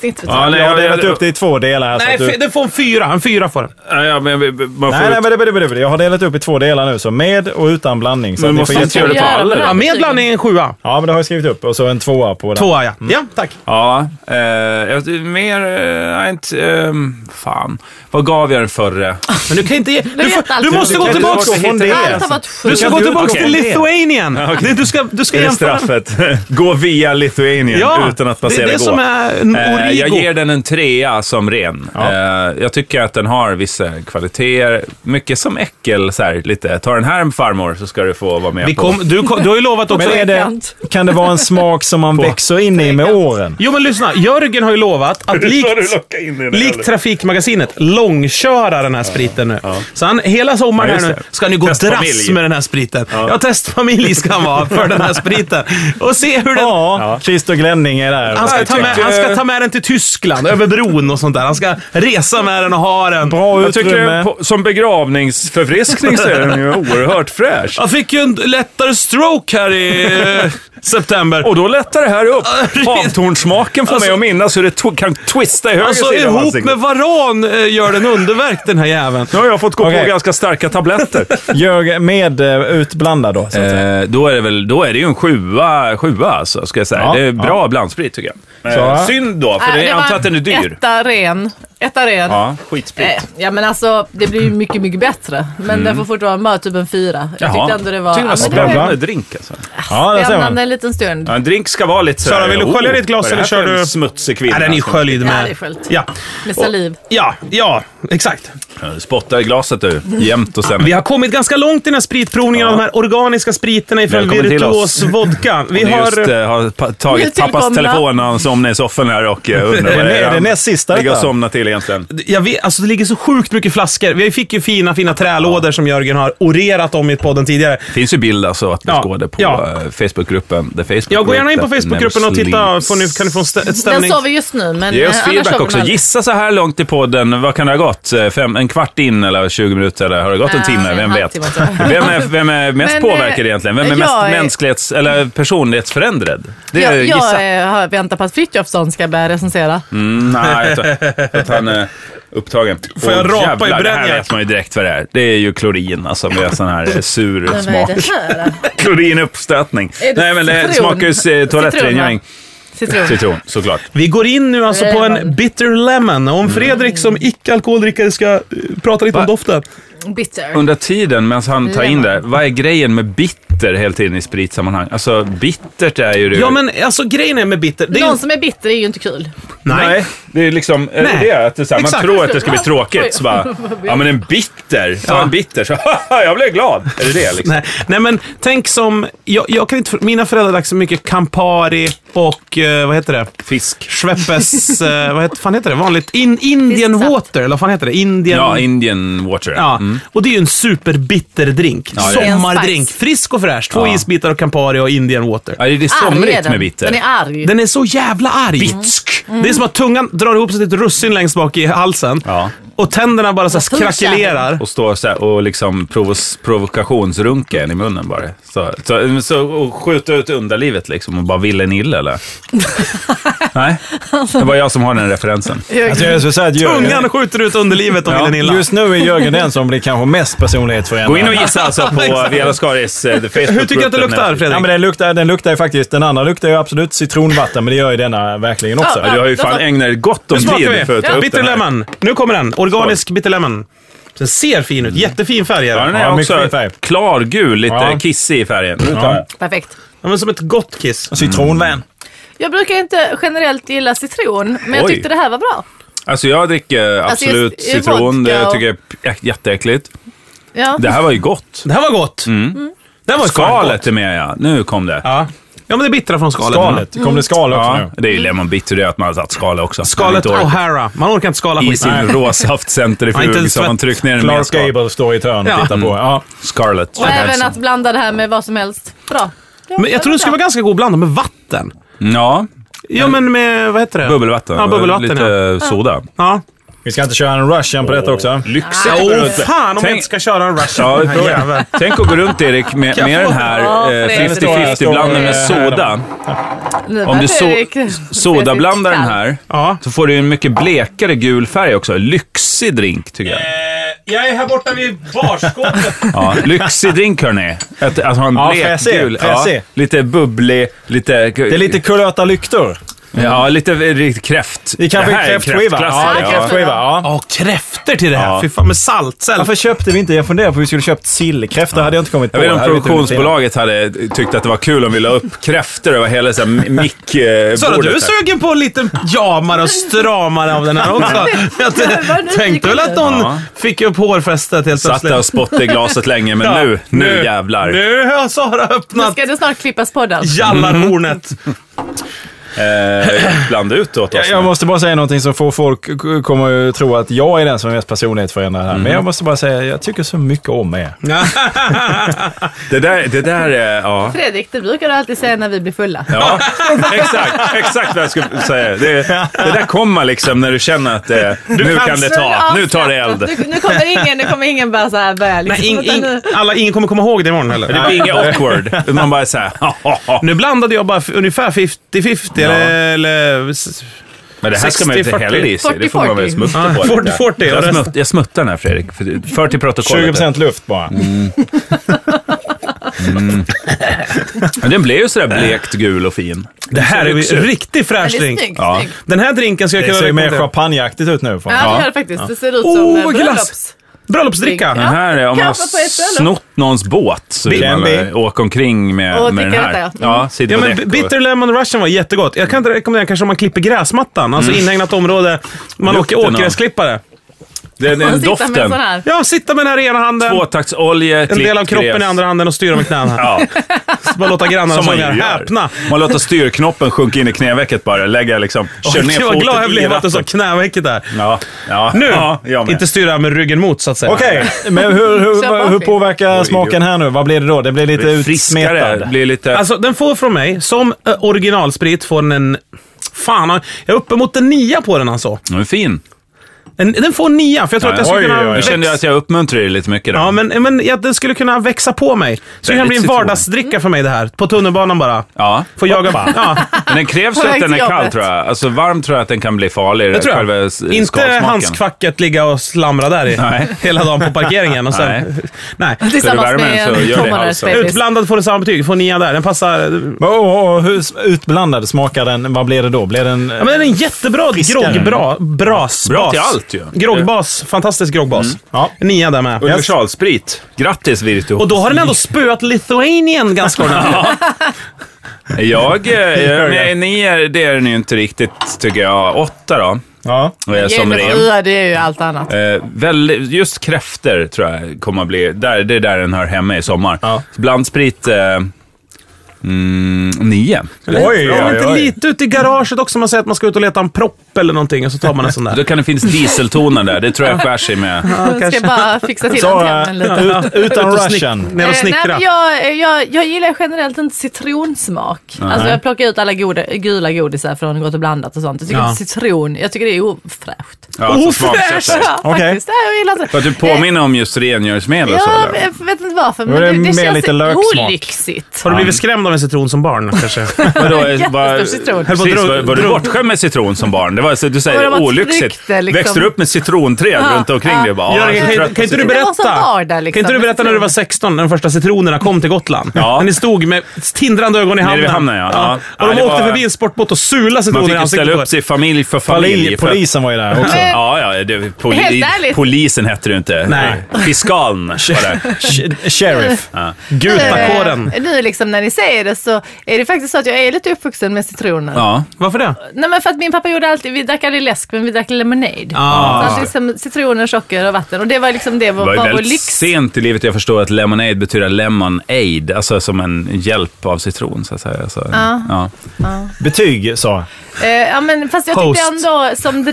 [SPEAKER 1] Snittbetyg.
[SPEAKER 4] Ja, nej,
[SPEAKER 3] Jag har
[SPEAKER 4] jag-
[SPEAKER 3] delat upp det i två delar. här, så
[SPEAKER 2] Nej,
[SPEAKER 3] att du...
[SPEAKER 2] f- den får en fyra. En fyra får den.
[SPEAKER 4] Ja, ja, men, vi- man får
[SPEAKER 3] Nej, nej, men det, det, det, det. Jag har delat upp i två delar nu, så med och utan blandning. Så
[SPEAKER 4] Men
[SPEAKER 3] att ni
[SPEAKER 4] måste
[SPEAKER 3] får
[SPEAKER 4] man
[SPEAKER 3] ge-
[SPEAKER 4] inte göra det på
[SPEAKER 1] Ja,
[SPEAKER 4] alla?
[SPEAKER 1] men-
[SPEAKER 2] Ja, med blandning är en sjua.
[SPEAKER 3] Ja, men det har jag skrivit upp. Och så en tvåa på den.
[SPEAKER 2] Tvåa, ja. Ja, tack.
[SPEAKER 4] Ja, eh, jag- mer... Eh, nej, inte, ehm, fan. Vad gav jag den förre?
[SPEAKER 2] Men du kan inte ge... Du,
[SPEAKER 1] vet
[SPEAKER 2] får,
[SPEAKER 1] allt.
[SPEAKER 2] du måste
[SPEAKER 1] Du
[SPEAKER 2] gå
[SPEAKER 3] kan inte
[SPEAKER 2] tillbaka.
[SPEAKER 3] gå från det.
[SPEAKER 4] alltså-
[SPEAKER 1] Allt har varit
[SPEAKER 2] Du
[SPEAKER 1] sjukt.
[SPEAKER 2] ska
[SPEAKER 3] kan
[SPEAKER 2] gå
[SPEAKER 3] inte
[SPEAKER 2] tillbaka
[SPEAKER 3] utgå
[SPEAKER 2] till
[SPEAKER 3] från det.
[SPEAKER 2] Lithuanien. Nej, Du ska, du ska
[SPEAKER 4] Det är
[SPEAKER 2] jämföra.
[SPEAKER 4] straffet. Gå via Lithuanien
[SPEAKER 2] Ja,
[SPEAKER 4] utan att
[SPEAKER 2] det
[SPEAKER 4] passera
[SPEAKER 2] är det
[SPEAKER 4] gå.
[SPEAKER 2] som är en
[SPEAKER 4] Eh,
[SPEAKER 2] origo.
[SPEAKER 4] jag ger den en trea som ren. Eh, jag tycker att den har vissa kvaliteter. Mycket som äckel, så här, lite. Ta den här farmor så ska du få vara med
[SPEAKER 2] Vi
[SPEAKER 4] på...
[SPEAKER 2] kom, du, kom, du har ju lovat också...
[SPEAKER 3] Men är det, kan det vara en smak som man växer in i med åren?
[SPEAKER 2] Jo men lyssna, Jörgen har ju lovat att likt, likt Trafikmagasinet långköra den här spriten nu. Så han, hela sommaren
[SPEAKER 4] Ja,
[SPEAKER 2] här
[SPEAKER 4] just
[SPEAKER 2] nu
[SPEAKER 4] det.
[SPEAKER 2] ska han ju gå
[SPEAKER 4] Testfamilj.
[SPEAKER 2] drass med den här spriten. Ja, testfamilj ska han vara för den här spriten. Och se hur den...
[SPEAKER 3] Ja, Christer Glenning är där.
[SPEAKER 2] Han ska,
[SPEAKER 4] Jag
[SPEAKER 2] ta med,
[SPEAKER 4] tycker-
[SPEAKER 2] han ska ta med den till Tyskland, över bron och sånt där. Han ska resa med den och ha den.
[SPEAKER 3] Bra
[SPEAKER 4] Jag tycker
[SPEAKER 3] utrymme.
[SPEAKER 4] på, som begravningsförfriskning så är den ju oerhört fräsch.
[SPEAKER 2] Jag fick ju en lättare stroke här i eh, september.
[SPEAKER 4] Och då lättar det här upp. Havtornssmaken får mig att minnas hur det to- kan twista i höger
[SPEAKER 2] Alltså
[SPEAKER 4] sida av
[SPEAKER 2] ihop
[SPEAKER 4] ansiktet.
[SPEAKER 2] med varan eh, gör den underverk den här jäveln.
[SPEAKER 4] Nu har jag fått gå
[SPEAKER 3] Okej.
[SPEAKER 4] på ganska starka tabletter.
[SPEAKER 3] Gör med eh, utblandad då. Så att säga.
[SPEAKER 4] Eh, då, är det väl, då är det ju en sjua, sjua alltså, ska jag säga.
[SPEAKER 3] Ja,
[SPEAKER 4] det är bra blandsprit tycker jag.
[SPEAKER 3] Så.
[SPEAKER 4] Eh, synd då, för
[SPEAKER 1] Nej,
[SPEAKER 4] det, jag
[SPEAKER 1] Ah, var
[SPEAKER 4] antar att den är dyr.
[SPEAKER 1] Etta ren. Etta ren.
[SPEAKER 4] Ja, skitsprit.
[SPEAKER 1] Eh, Ja men alltså det blir ju mycket, mycket bättre. Men den får fortfarande bara typ en fyra. Jag tyckte ändå det var...
[SPEAKER 4] Tycker Mm. det var
[SPEAKER 1] ja, men
[SPEAKER 3] bra.
[SPEAKER 1] det
[SPEAKER 4] spännande drink alltså.
[SPEAKER 3] Ja, det ser
[SPEAKER 1] spännande
[SPEAKER 3] man.
[SPEAKER 1] en liten stund.
[SPEAKER 4] Ja, en drink ska vara lite såhär...
[SPEAKER 2] Sara, vill du skölja ditt glas
[SPEAKER 4] vad är det
[SPEAKER 2] eller kör
[SPEAKER 4] här för en
[SPEAKER 2] du-
[SPEAKER 4] Smutsig kvinna. Alltså,
[SPEAKER 2] Ja, den är ju sköljd med...
[SPEAKER 1] Ja, det är sköljt.
[SPEAKER 2] Ja.
[SPEAKER 1] Med saliv.
[SPEAKER 2] Ja, ja, exakt.
[SPEAKER 4] Ja, du Spottar eh, i glaset du, jämt och sen.
[SPEAKER 2] Vi har kommit ganska långt i den här spritprovningen av de här organiska spriterna ifrån
[SPEAKER 4] Välkommen till
[SPEAKER 2] Virtuos
[SPEAKER 4] oss.
[SPEAKER 2] Vodka. Vi
[SPEAKER 4] Ni
[SPEAKER 2] har...
[SPEAKER 4] just eh, har pa- tagit
[SPEAKER 1] Nytillkomna.
[SPEAKER 4] pappas telefon när han somnade i soffan här och eh, undrar
[SPEAKER 3] Det
[SPEAKER 4] vad det
[SPEAKER 3] är
[SPEAKER 4] är.
[SPEAKER 3] det
[SPEAKER 4] han
[SPEAKER 3] näst sista
[SPEAKER 4] Ligger och
[SPEAKER 3] detta.
[SPEAKER 4] somnar till egentligen.
[SPEAKER 2] Jag vet, alltså det ligger så sjukt mycket flaskor. Vi fick ju fina, fina trälådor som Jörgen har orerat om i podden tidigare.
[SPEAKER 4] Det finns ju bild alltså att
[SPEAKER 2] Ja,
[SPEAKER 4] beskåda på
[SPEAKER 2] ja.
[SPEAKER 4] eh, Facebookgruppen. The Facebook
[SPEAKER 2] Jag går gärna in på Facebookgruppen och titta, får ni, kan ni få en stä- ett
[SPEAKER 1] Den
[SPEAKER 2] stämning.
[SPEAKER 1] sover just nu men
[SPEAKER 4] Ge
[SPEAKER 1] eh,
[SPEAKER 4] oss
[SPEAKER 1] annars
[SPEAKER 4] feedback
[SPEAKER 1] sover
[SPEAKER 4] också.
[SPEAKER 1] den aldrig.
[SPEAKER 4] Gissa så här långt i podden, vad kan det ha gått? Eh, Fem, en kvart in eller 20 minuter? Eller har det gått en
[SPEAKER 1] Nej,
[SPEAKER 4] timme?
[SPEAKER 1] Eh, en
[SPEAKER 4] Vem vet?
[SPEAKER 1] halvtimme, tror jag.
[SPEAKER 4] Vem är, vem är mest
[SPEAKER 1] Men, eh,
[SPEAKER 4] påverkad egentligen? Vem är
[SPEAKER 1] jag
[SPEAKER 4] mest
[SPEAKER 1] är-
[SPEAKER 4] mänsklighets eller personlighetsförändrad? Det är
[SPEAKER 1] Jag,
[SPEAKER 4] gissa.
[SPEAKER 1] jag eh, har- väntar på att Frithiofsson ska börja recensera.
[SPEAKER 4] Mm, nej, jag tror jag tror att han är upptagen.
[SPEAKER 2] Får jag
[SPEAKER 4] Åh,
[SPEAKER 2] rapa i
[SPEAKER 4] jävlar, Det
[SPEAKER 2] bränjan?
[SPEAKER 4] här vet man ju direkt vad det är. Det är ju klorin alltså med sån här eh, sur
[SPEAKER 1] Men vad är
[SPEAKER 4] smak.
[SPEAKER 1] det här?
[SPEAKER 4] Klorinuppstötning.
[SPEAKER 1] Är det
[SPEAKER 4] Nej, men det
[SPEAKER 1] citron?
[SPEAKER 4] smakar ju eh, toalettrengöring.
[SPEAKER 1] Citron.
[SPEAKER 4] Citron, såklart.
[SPEAKER 2] Vi går in nu alltså på en
[SPEAKER 1] Lemon.
[SPEAKER 2] bitter lemon. Om Fredrik som icke-alkoholdrickare ska eh, prata lite om
[SPEAKER 4] Va?
[SPEAKER 2] doften.
[SPEAKER 1] Bitter.
[SPEAKER 4] Under tiden medan han tar
[SPEAKER 1] Lemon.
[SPEAKER 4] in det, vad är grejen med bitter hela tiden i spritsammanhang? Alltså bittert är ju det.
[SPEAKER 2] Ja, men alltså grejen är med bitter... Det är ju...
[SPEAKER 1] Någon som är bitter är ju inte kul.
[SPEAKER 4] Nej.
[SPEAKER 2] Nej.
[SPEAKER 4] det är liksom, är
[SPEAKER 2] Nej.
[SPEAKER 4] det det att det är så här, man
[SPEAKER 2] Exakt.
[SPEAKER 4] tror att det ska bli tråkigt. Så bara, ja men en bitter, ta en bitter. Så, jag blev glad. Är det det liksom?
[SPEAKER 2] Nej, nej, men tänk som... Jag, jag kan inte, mina föräldrar drack så mycket Campari och... eh, vad heter det?
[SPEAKER 4] Fisk.
[SPEAKER 2] Schweppes... eh, vad heter, fan heter det? Vanligt. In, Indian
[SPEAKER 1] Fisksaft.
[SPEAKER 2] water, eller vad fan heter det? Indian...
[SPEAKER 4] Ja, Indian water. Mm.
[SPEAKER 2] Ja, och det är ju en superbitter drink.
[SPEAKER 4] Ja, det är
[SPEAKER 1] en
[SPEAKER 2] Sommardrink.
[SPEAKER 1] spice.
[SPEAKER 2] Frisk och fräsch. Två
[SPEAKER 4] Ja.
[SPEAKER 2] isbitar och Campari och Indian water.
[SPEAKER 4] Ja, det är
[SPEAKER 1] Arg är
[SPEAKER 4] somrigt
[SPEAKER 1] den.
[SPEAKER 4] med bitter.
[SPEAKER 1] Den är arg.
[SPEAKER 2] Den är så jävla arg. Bitsk. Det är som att tungan drar ihop sig till ett russin längst bak i halsen.
[SPEAKER 4] Ja.
[SPEAKER 2] Och tänderna bara så här
[SPEAKER 1] Vad tusan.
[SPEAKER 2] krackelerar.
[SPEAKER 4] Och står så här och liksom provos, provokationsrunkar en i munnen bara. Så, så, så, och skjuter ut underlivet liksom och bara vill en illa eller? Nej, det var jag som har den referensen.
[SPEAKER 3] Alltså, jag skulle säga att Jörgen,
[SPEAKER 2] Tungan skjuter ut underlivet och
[SPEAKER 4] Ja,
[SPEAKER 2] vill en illa.
[SPEAKER 3] just nu är Jörgen den som blir kanske mest
[SPEAKER 4] Gå in
[SPEAKER 3] personlighetsförändrad.
[SPEAKER 4] och gissa alltså på Vela Skaris eh, The Facebook
[SPEAKER 2] Hur tycker du att det luktar, Fredrik?
[SPEAKER 3] Ja, men den luktar, den luktar ju faktiskt, den andra luktar ju absolut citronvatten, men det gör ju denna verkligen också.
[SPEAKER 4] Ja, du har ju fan ägnat gott om
[SPEAKER 2] Nu smakar
[SPEAKER 4] tid för
[SPEAKER 2] vi.
[SPEAKER 4] att ta upp
[SPEAKER 2] bitter
[SPEAKER 4] den här.
[SPEAKER 2] lemon. Nu kommer den. Organisk bitter lemon. Den ser fin
[SPEAKER 4] Mm.
[SPEAKER 2] ut. Jättefin färg är
[SPEAKER 4] Ja,
[SPEAKER 2] den.
[SPEAKER 4] den är
[SPEAKER 3] Ja, mycket
[SPEAKER 4] också
[SPEAKER 3] fin färg.
[SPEAKER 4] klargul, lite
[SPEAKER 3] Ja.
[SPEAKER 4] kissig i färgen. Mm.
[SPEAKER 3] Ja.
[SPEAKER 1] Perfekt.
[SPEAKER 2] Ja, men som ett gott kiss. Mm.
[SPEAKER 3] Citronvän.
[SPEAKER 1] Jag brukar inte generellt gilla citron, men jag
[SPEAKER 4] Oj.
[SPEAKER 1] tyckte det här var bra.
[SPEAKER 4] Alltså jag dricker
[SPEAKER 1] Alltså,
[SPEAKER 4] absolut
[SPEAKER 1] just- just
[SPEAKER 4] citron, det
[SPEAKER 1] vodka och-
[SPEAKER 4] tycker jag är p- jätteäckligt.
[SPEAKER 1] Ja.
[SPEAKER 4] Det här var ju gott.
[SPEAKER 2] Det här var gott. Det här var fan
[SPEAKER 4] Mm. Skalet
[SPEAKER 2] gott.
[SPEAKER 4] är med ja, nu kom det.
[SPEAKER 2] Ja. Ja, men det bittra från skalet.
[SPEAKER 3] Skalet. Kom det skal också
[SPEAKER 4] Ja,
[SPEAKER 3] nu?
[SPEAKER 4] det är ju lemon bitter, det är att man har satt skal också.
[SPEAKER 2] Skalet
[SPEAKER 4] Man har inte orkat.
[SPEAKER 2] O'Hara. Man orkar inte skala
[SPEAKER 4] I
[SPEAKER 2] skiten.
[SPEAKER 4] sin råsaftcenter i
[SPEAKER 2] Ja, inte en
[SPEAKER 4] Fug så har man
[SPEAKER 2] svett-
[SPEAKER 4] tryckt ner den med
[SPEAKER 3] Clark
[SPEAKER 4] skal.
[SPEAKER 3] Gable står i ett hörn och
[SPEAKER 2] Ja. Mm.
[SPEAKER 3] tittar på. Ja.
[SPEAKER 4] Scarlet.
[SPEAKER 1] Och även att blanda det här med vad som helst. Bra. Ja,
[SPEAKER 2] Men jag tror det skulle
[SPEAKER 1] bra.
[SPEAKER 2] vara ganska god blandad med vatten.
[SPEAKER 4] Ja,
[SPEAKER 2] Ja, men med, vad heter det?
[SPEAKER 4] Mm. bubbelvatten.
[SPEAKER 2] Ja, bubbelvatten.
[SPEAKER 4] Lite
[SPEAKER 2] Ja.
[SPEAKER 4] soda.
[SPEAKER 2] Ja.
[SPEAKER 3] Vi ska inte köra en Russian på detta också.
[SPEAKER 4] Lyxigt.
[SPEAKER 2] Åh, fan om jag
[SPEAKER 4] Tänk-
[SPEAKER 2] inte ska köra en rush.
[SPEAKER 4] Ja, det tror jag. Tänk att gå runt Erik med, med den här
[SPEAKER 1] Ja, för
[SPEAKER 4] eh,
[SPEAKER 1] det är så-
[SPEAKER 4] 50-50 blanden med
[SPEAKER 3] Står-
[SPEAKER 4] soda.
[SPEAKER 1] Nu
[SPEAKER 4] Om
[SPEAKER 1] vart
[SPEAKER 4] du
[SPEAKER 1] det
[SPEAKER 4] so
[SPEAKER 1] riktigt-
[SPEAKER 4] sodablandar den här
[SPEAKER 2] Ja.
[SPEAKER 4] så får du en mycket blekare gul färg också. Lyxig drink tycker jag.
[SPEAKER 2] Jag är här borta vid barskåpet.
[SPEAKER 4] Ja, lyxig drink hörni. Att, att ha en
[SPEAKER 3] Ja, får
[SPEAKER 4] blek
[SPEAKER 3] jag se?
[SPEAKER 4] gul.
[SPEAKER 3] Får jag se?
[SPEAKER 4] lite bubblig, lite...
[SPEAKER 3] Det är lite kulörta lyktor.
[SPEAKER 4] Ja, lite, lite kräft.
[SPEAKER 3] Det kanske är
[SPEAKER 4] här
[SPEAKER 3] kräftskiva. Ja,
[SPEAKER 4] kräftklassiker,
[SPEAKER 3] det är kräftskiva. Ja.
[SPEAKER 2] Ja, kräfter till det här.
[SPEAKER 4] Ja.
[SPEAKER 2] Fy fan, med saltsäll.
[SPEAKER 3] Varför köpte vi inte? Jag funderar på hur vi skulle köpt sill. Kräftor hade jag inte kommit på.
[SPEAKER 4] Jag vet inte om
[SPEAKER 3] Här är lite
[SPEAKER 4] produktionsbolaget hade tyckt att det var kul om vi la upp kräftor över hela så här mick eh,
[SPEAKER 2] Sara,
[SPEAKER 4] bordet
[SPEAKER 2] du
[SPEAKER 4] här.
[SPEAKER 2] är sugen på lite jamare och stramare av den här också. Jag
[SPEAKER 1] var
[SPEAKER 2] tänkte väl att någon
[SPEAKER 4] Ja.
[SPEAKER 2] fick upp hårfästet helt
[SPEAKER 4] Satt där och
[SPEAKER 2] plötsligt.
[SPEAKER 4] spottade i glaset länge, men
[SPEAKER 2] Ja,
[SPEAKER 4] nu, nu jävlar.
[SPEAKER 2] Nu har Sara
[SPEAKER 1] Nu
[SPEAKER 2] öppnat
[SPEAKER 1] ska det snart klippas podden.
[SPEAKER 2] jallarhornet.
[SPEAKER 4] Mm. Eh, blanda ut åt oss.
[SPEAKER 3] Jag, jag måste bara säga någonting som får folk k- kommer ju tro att jag är den som är mest personlighetsförändrad här. Men jag måste bara säga, jag tycker så mycket om er.
[SPEAKER 4] Det där, det där är, ja.
[SPEAKER 1] Fredrik, det brukar du alltid säga när vi blir fulla.
[SPEAKER 4] Ja, exakt, exakt vad jag skulle säga. Det, det där kommer liksom när du känner att eh, nu
[SPEAKER 2] kan
[SPEAKER 4] kan det
[SPEAKER 1] Alltså,
[SPEAKER 4] ta,
[SPEAKER 1] Ja,
[SPEAKER 4] nu tar det eld.
[SPEAKER 1] Nu, nu kommer ingen, nu kommer ingen bara så här börja liksom.
[SPEAKER 2] Nej, ing,
[SPEAKER 1] utan nu-
[SPEAKER 2] ing, alla, ingen kommer komma ihåg det imorgon heller.
[SPEAKER 4] Det blir inget awkward. Man bara såhär,
[SPEAKER 2] Nu blandade jag bara f- ungefär 50-50 eller, eller... s-
[SPEAKER 4] Men det här ska man ju inte
[SPEAKER 2] 60-40.
[SPEAKER 4] hälla i sig. Det får man väl smutta på.
[SPEAKER 2] Ja, 40,
[SPEAKER 4] lite.
[SPEAKER 2] 40, och
[SPEAKER 4] jag,
[SPEAKER 2] resten-
[SPEAKER 4] smutt, jag smuttar den här Fredrik. För, för till protokollet.
[SPEAKER 3] 20% luft bara. Mm.
[SPEAKER 4] Men den blev ju sådär blekt gul och fin.
[SPEAKER 2] Det här är
[SPEAKER 4] Den ser
[SPEAKER 2] en riktig fräsch
[SPEAKER 1] Väldigt
[SPEAKER 2] drink.
[SPEAKER 1] snygg,
[SPEAKER 4] Ja.
[SPEAKER 1] snygg.
[SPEAKER 2] Den här drinken ska jag
[SPEAKER 3] Det
[SPEAKER 2] kunna
[SPEAKER 3] ser ju mer
[SPEAKER 2] rekommendera.
[SPEAKER 3] champagneaktigt ut nu. Fan.
[SPEAKER 1] Ja, det
[SPEAKER 4] Ja.
[SPEAKER 1] gör det faktiskt. Det ser ut som
[SPEAKER 2] Oh,
[SPEAKER 1] eh,
[SPEAKER 2] glass.
[SPEAKER 1] bröllops.
[SPEAKER 2] Bröllopsdricka.
[SPEAKER 1] Ja.
[SPEAKER 4] Den här är om man har
[SPEAKER 1] kanske på ett bröllop.
[SPEAKER 4] snott någons båt så vill
[SPEAKER 3] Can
[SPEAKER 4] man
[SPEAKER 3] be.
[SPEAKER 4] eh, åka omkring med,
[SPEAKER 1] Och
[SPEAKER 4] med den
[SPEAKER 1] dricka
[SPEAKER 4] här.
[SPEAKER 1] detta, ja. Mm.
[SPEAKER 4] Ja, sitta
[SPEAKER 2] Ja,
[SPEAKER 4] på
[SPEAKER 2] men
[SPEAKER 4] däck och-
[SPEAKER 2] bitter lemon russian var jättegott. Jag kan inte rekommendera kanske om man klipper gräsmattan, alltså inhägnat område. Man åker
[SPEAKER 4] Mm. Lukten av-
[SPEAKER 2] åkgräsklippare.
[SPEAKER 4] Den,
[SPEAKER 1] Man
[SPEAKER 4] den
[SPEAKER 1] sitter med en
[SPEAKER 4] doften.
[SPEAKER 1] sån här.
[SPEAKER 2] Ja, sitta med den här i ena handen,
[SPEAKER 4] Tvåtaktsolje,
[SPEAKER 2] en del av
[SPEAKER 4] klipp,
[SPEAKER 2] kroppen
[SPEAKER 4] gräs.
[SPEAKER 2] i andra handen och styra med knäna.
[SPEAKER 4] Ja,
[SPEAKER 2] Så bara låta grannarna
[SPEAKER 4] som man
[SPEAKER 2] som är
[SPEAKER 4] ju gör.
[SPEAKER 2] häpna.
[SPEAKER 4] Man låter styrknoppen sjunka in i knävecket bara. Lägga liksom, kör ner
[SPEAKER 2] Oj, vad
[SPEAKER 4] foten
[SPEAKER 2] glad jag
[SPEAKER 4] i
[SPEAKER 2] blev att du sa
[SPEAKER 4] ratten.
[SPEAKER 2] knävecket där.
[SPEAKER 4] Ja, ja.
[SPEAKER 2] Nu!
[SPEAKER 4] Ja, jag med.
[SPEAKER 2] inte styra med ryggen mot så att säga.
[SPEAKER 3] Okej, men hur, hur,
[SPEAKER 1] Champagne.
[SPEAKER 3] hur påverkar
[SPEAKER 4] Oj,
[SPEAKER 3] smaken här nu? Vad blir det då? Det blir lite
[SPEAKER 4] Friskare.
[SPEAKER 3] utsmetad.
[SPEAKER 4] Blir lite...
[SPEAKER 2] Alltså, den får från mig, som eh, originalsprit, får den en... Fan, han- jag är uppemot en nia på den alltså.
[SPEAKER 4] Den är fin.
[SPEAKER 2] En, den får en nia, för jag tror
[SPEAKER 4] Ja,
[SPEAKER 2] att den skulle
[SPEAKER 3] oj,
[SPEAKER 2] kunna...
[SPEAKER 3] oj, oj.
[SPEAKER 4] Jag
[SPEAKER 2] växa-
[SPEAKER 4] kände att jag uppmuntrade dig lite mycket där.
[SPEAKER 2] Ja, men, men ja, den skulle kunna växa på mig. Så det kan
[SPEAKER 4] Väldigt
[SPEAKER 2] bli en
[SPEAKER 4] citron.
[SPEAKER 2] vardagsdricka för mig det här. På tunnelbanan bara.
[SPEAKER 4] Ja.
[SPEAKER 2] Får jaga... Ja.
[SPEAKER 4] Men den krävs
[SPEAKER 1] På
[SPEAKER 4] ju att
[SPEAKER 1] väg
[SPEAKER 4] den är
[SPEAKER 1] till
[SPEAKER 4] kall
[SPEAKER 1] jobbet.
[SPEAKER 4] tror jag. Alltså varm tror jag att den kan bli farlig.
[SPEAKER 2] Det tror
[SPEAKER 4] Själva
[SPEAKER 2] jag.
[SPEAKER 4] s-
[SPEAKER 2] Inte
[SPEAKER 4] skalsmaken.
[SPEAKER 2] handskfacket ligga och slamra där i
[SPEAKER 4] Nej.
[SPEAKER 2] hela dagen på parkeringen. Och sen,
[SPEAKER 4] Nej.
[SPEAKER 2] nej.
[SPEAKER 1] Tillsammans
[SPEAKER 4] värma den
[SPEAKER 1] med
[SPEAKER 4] så gör
[SPEAKER 1] en
[SPEAKER 4] det i
[SPEAKER 1] tomaders
[SPEAKER 4] halsen.
[SPEAKER 1] baby.
[SPEAKER 2] Utblandad får du samma betyg. Får nia där. Den passar...
[SPEAKER 3] Och, och, och hur s- utblandad smakar den? Vad blir det då? Blir den... eh,
[SPEAKER 2] Ja, men den är en jättebra
[SPEAKER 3] Friskare.
[SPEAKER 2] groggbra, bras,
[SPEAKER 4] Bra
[SPEAKER 2] bas.
[SPEAKER 4] till allt ju. Mm.
[SPEAKER 2] Groggbas. Fantastisk groggbas.
[SPEAKER 3] Ja.
[SPEAKER 2] Nia där med.
[SPEAKER 4] Universalsprit. Grattis Virtu.
[SPEAKER 2] Och då har den ändå spöat Lithuanien ganska ordentligt.
[SPEAKER 4] Jag... Eh, nej, ni är, det är ni ju inte riktigt tycker jag. Åtta då.
[SPEAKER 3] ja.
[SPEAKER 4] Eh, som
[SPEAKER 1] Genom
[SPEAKER 4] ren.
[SPEAKER 1] öar, det är ju allt annat.
[SPEAKER 4] Eh, väldigt, just kräfter tror jag kommer att bli... Där, det är där den hör hemma i sommar.
[SPEAKER 3] Ja.
[SPEAKER 4] Blandsprit... Eh, mm, nio.
[SPEAKER 3] Oj, oj,
[SPEAKER 2] Om
[SPEAKER 3] oj,
[SPEAKER 2] inte lite ute i garaget också. Man säger att man ska ut och leta en propp eller någonting och så tar man en sån där.
[SPEAKER 4] Då kan det finnas dieseltoner där. Det tror jag skär sig med...
[SPEAKER 1] Jag ska bara fixa till
[SPEAKER 4] eh,
[SPEAKER 3] Sara,
[SPEAKER 1] antennen lite.
[SPEAKER 3] ut,
[SPEAKER 2] Ut
[SPEAKER 3] utan
[SPEAKER 2] och snick-
[SPEAKER 3] russian.
[SPEAKER 2] Ner och
[SPEAKER 1] Eh, nej,
[SPEAKER 2] snickra.
[SPEAKER 1] men jag, jag, jag gillar generellt inte citronsmak. Alltså jag plockar ut alla goda, gula godisar från Gott och blandat och sånt. Jag tycker
[SPEAKER 2] Ja.
[SPEAKER 1] inte citron, jag tycker det är ofräscht.
[SPEAKER 4] Ja, så
[SPEAKER 2] Oh,
[SPEAKER 4] smaksätt det.
[SPEAKER 1] Ja,
[SPEAKER 3] Okej.
[SPEAKER 1] faktiskt. Nej, jag gillar inte.
[SPEAKER 4] För att du påminner om just rengöringsmedel och så?
[SPEAKER 1] Ja,
[SPEAKER 4] eller?
[SPEAKER 1] men jag vet inte varför.
[SPEAKER 3] Då
[SPEAKER 1] Men
[SPEAKER 3] är
[SPEAKER 1] det,
[SPEAKER 3] det
[SPEAKER 1] det,
[SPEAKER 3] mer
[SPEAKER 1] känns
[SPEAKER 3] lite löksmak.
[SPEAKER 1] olyxigt.
[SPEAKER 2] Har du blivit skrämd av en citron som barn kanske?
[SPEAKER 4] Vadå,
[SPEAKER 1] Jättestor
[SPEAKER 4] var,
[SPEAKER 1] citron.
[SPEAKER 4] Precis,
[SPEAKER 2] Höll på att
[SPEAKER 4] var,
[SPEAKER 2] dro-
[SPEAKER 4] var du
[SPEAKER 2] dro-
[SPEAKER 4] bortskämd med citron som barn? Det var, så du
[SPEAKER 1] Ja, det
[SPEAKER 4] säger
[SPEAKER 1] var ett
[SPEAKER 4] olyxigt.
[SPEAKER 1] rykte, liksom.
[SPEAKER 4] Växte du upp med citronträd
[SPEAKER 1] Ja,
[SPEAKER 4] runt omkring
[SPEAKER 1] ja.
[SPEAKER 4] dig? Bara,
[SPEAKER 2] Jörgen,
[SPEAKER 4] ah, jag är så
[SPEAKER 2] kan,
[SPEAKER 4] trött
[SPEAKER 2] kan, inte du
[SPEAKER 4] på
[SPEAKER 1] Det var
[SPEAKER 2] berätta,
[SPEAKER 1] som vardag, liksom,
[SPEAKER 2] kan inte du
[SPEAKER 1] med
[SPEAKER 2] berätta när du var
[SPEAKER 1] citroner.
[SPEAKER 2] 16, när de första citronerna kom till Gotland?
[SPEAKER 4] Ja.
[SPEAKER 2] När ni stod med tindrande ögon i
[SPEAKER 4] Nere
[SPEAKER 2] handen.
[SPEAKER 4] vid hamnen, ja. Ja.
[SPEAKER 2] Och de
[SPEAKER 4] Ja, det
[SPEAKER 2] åkte
[SPEAKER 4] var-
[SPEAKER 2] förbi en sportbåt och sula
[SPEAKER 4] Man
[SPEAKER 2] citroner i
[SPEAKER 4] fick ju
[SPEAKER 2] ansiktet
[SPEAKER 4] ställa
[SPEAKER 2] på
[SPEAKER 4] upp sig familj för familj.
[SPEAKER 3] Poli,
[SPEAKER 4] För,
[SPEAKER 3] polisen var ju där också.
[SPEAKER 4] Ja, ja, det, poli,
[SPEAKER 1] Helt ärligt.
[SPEAKER 4] polisen hette det ju inte.
[SPEAKER 2] Nej.
[SPEAKER 4] Fiskalen var det.
[SPEAKER 3] Sh- Sheriff.
[SPEAKER 2] er. Gutakåren.
[SPEAKER 1] Eh, Nu liksom när ni säger säger det så är det faktiskt så att jag är lite uppvuxen med citroner.
[SPEAKER 4] Ja.
[SPEAKER 2] Varför det?
[SPEAKER 1] Nej men för att min pappa gjorde alltid, vi drack aldrig läsk men vi drack lemonade.
[SPEAKER 2] Ah.
[SPEAKER 1] Så att liksom citroner, socker och vatten. Och det var liksom det
[SPEAKER 4] Det
[SPEAKER 1] var,
[SPEAKER 4] var ju
[SPEAKER 1] var vår
[SPEAKER 4] väldigt
[SPEAKER 1] lyx.
[SPEAKER 4] sent i livet jag förstår att lemonade betyder lemon aid, alltså som en hjälp av citron så att säga. Så, ja.
[SPEAKER 3] Betyg, sa jag.
[SPEAKER 1] Eh, ja, men, fast jag tyckte
[SPEAKER 3] Host.
[SPEAKER 1] ändå som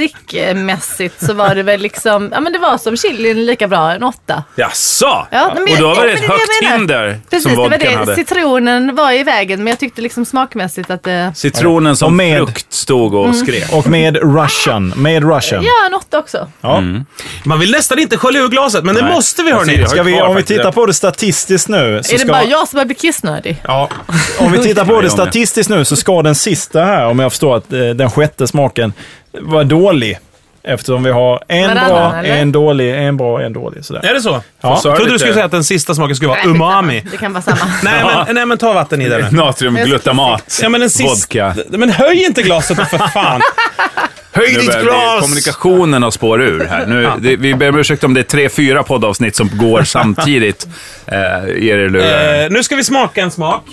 [SPEAKER 1] drickmässigt så var det väl liksom, ja men det var som chilin lika bra, en åtta.
[SPEAKER 4] Jaså?
[SPEAKER 1] Ja, men
[SPEAKER 4] och då var det
[SPEAKER 1] ja,
[SPEAKER 4] ett
[SPEAKER 1] men jag
[SPEAKER 4] högt
[SPEAKER 1] menar.
[SPEAKER 4] hinder
[SPEAKER 1] Precis,
[SPEAKER 4] som
[SPEAKER 1] det var
[SPEAKER 4] vodkan
[SPEAKER 1] det.
[SPEAKER 4] hade.
[SPEAKER 1] Citronen var i vägen men jag tyckte liksom smakmässigt att det...
[SPEAKER 4] Citronen
[SPEAKER 3] Och
[SPEAKER 4] som
[SPEAKER 3] med.
[SPEAKER 4] frukt stod
[SPEAKER 1] Mm.
[SPEAKER 4] och skrek.
[SPEAKER 3] Och med Russian. Med Russian.
[SPEAKER 1] Ja, en åtta också.
[SPEAKER 3] Ja.
[SPEAKER 2] Man vill nästan inte skölja ur glaset, men det
[SPEAKER 4] Nej.
[SPEAKER 2] måste vi
[SPEAKER 4] Jag ser
[SPEAKER 2] hörni.
[SPEAKER 4] det.
[SPEAKER 3] Ska vi,
[SPEAKER 4] kvar
[SPEAKER 3] om vi
[SPEAKER 4] faktiskt
[SPEAKER 3] tittar
[SPEAKER 4] det.
[SPEAKER 3] på det statistiskt nu. Så
[SPEAKER 1] är det
[SPEAKER 3] ska,
[SPEAKER 1] bara jag som har blivit kissnödig?
[SPEAKER 3] Ja. Om vi tittar
[SPEAKER 4] Ja,
[SPEAKER 3] på
[SPEAKER 4] jag
[SPEAKER 3] det
[SPEAKER 4] med.
[SPEAKER 3] statistiskt nu så ska den sista här, om jag förstår att eh, den sjätte smaken, vara dålig. Eftersom vi har en
[SPEAKER 1] Varannan,
[SPEAKER 3] bra,
[SPEAKER 1] eller?
[SPEAKER 3] en dålig, en bra, en dålig. Sådär.
[SPEAKER 2] Är det så?
[SPEAKER 3] Ja.
[SPEAKER 2] Jag trodde du
[SPEAKER 4] lite.
[SPEAKER 2] skulle säga att den sista smaken skulle vara
[SPEAKER 1] Nej, skitsamma.
[SPEAKER 2] umami.
[SPEAKER 1] Det kan vara samma.
[SPEAKER 2] Nej men, nej, men ta vatten i den. här.
[SPEAKER 4] Natriumglutamat.
[SPEAKER 2] Ja, men den sista...
[SPEAKER 4] Vodka.
[SPEAKER 2] Men höj inte glaset då, för fan. höj
[SPEAKER 4] Nu
[SPEAKER 2] ditt
[SPEAKER 4] börjar vi-
[SPEAKER 2] glas!
[SPEAKER 4] kommunikationen har spår ur här. Nu, det, vi ber om ursäkt om det är tre, fyra poddavsnitt som går samtidigt. Eh, er i lurar.
[SPEAKER 2] Eh, nu ska vi smaka en smak.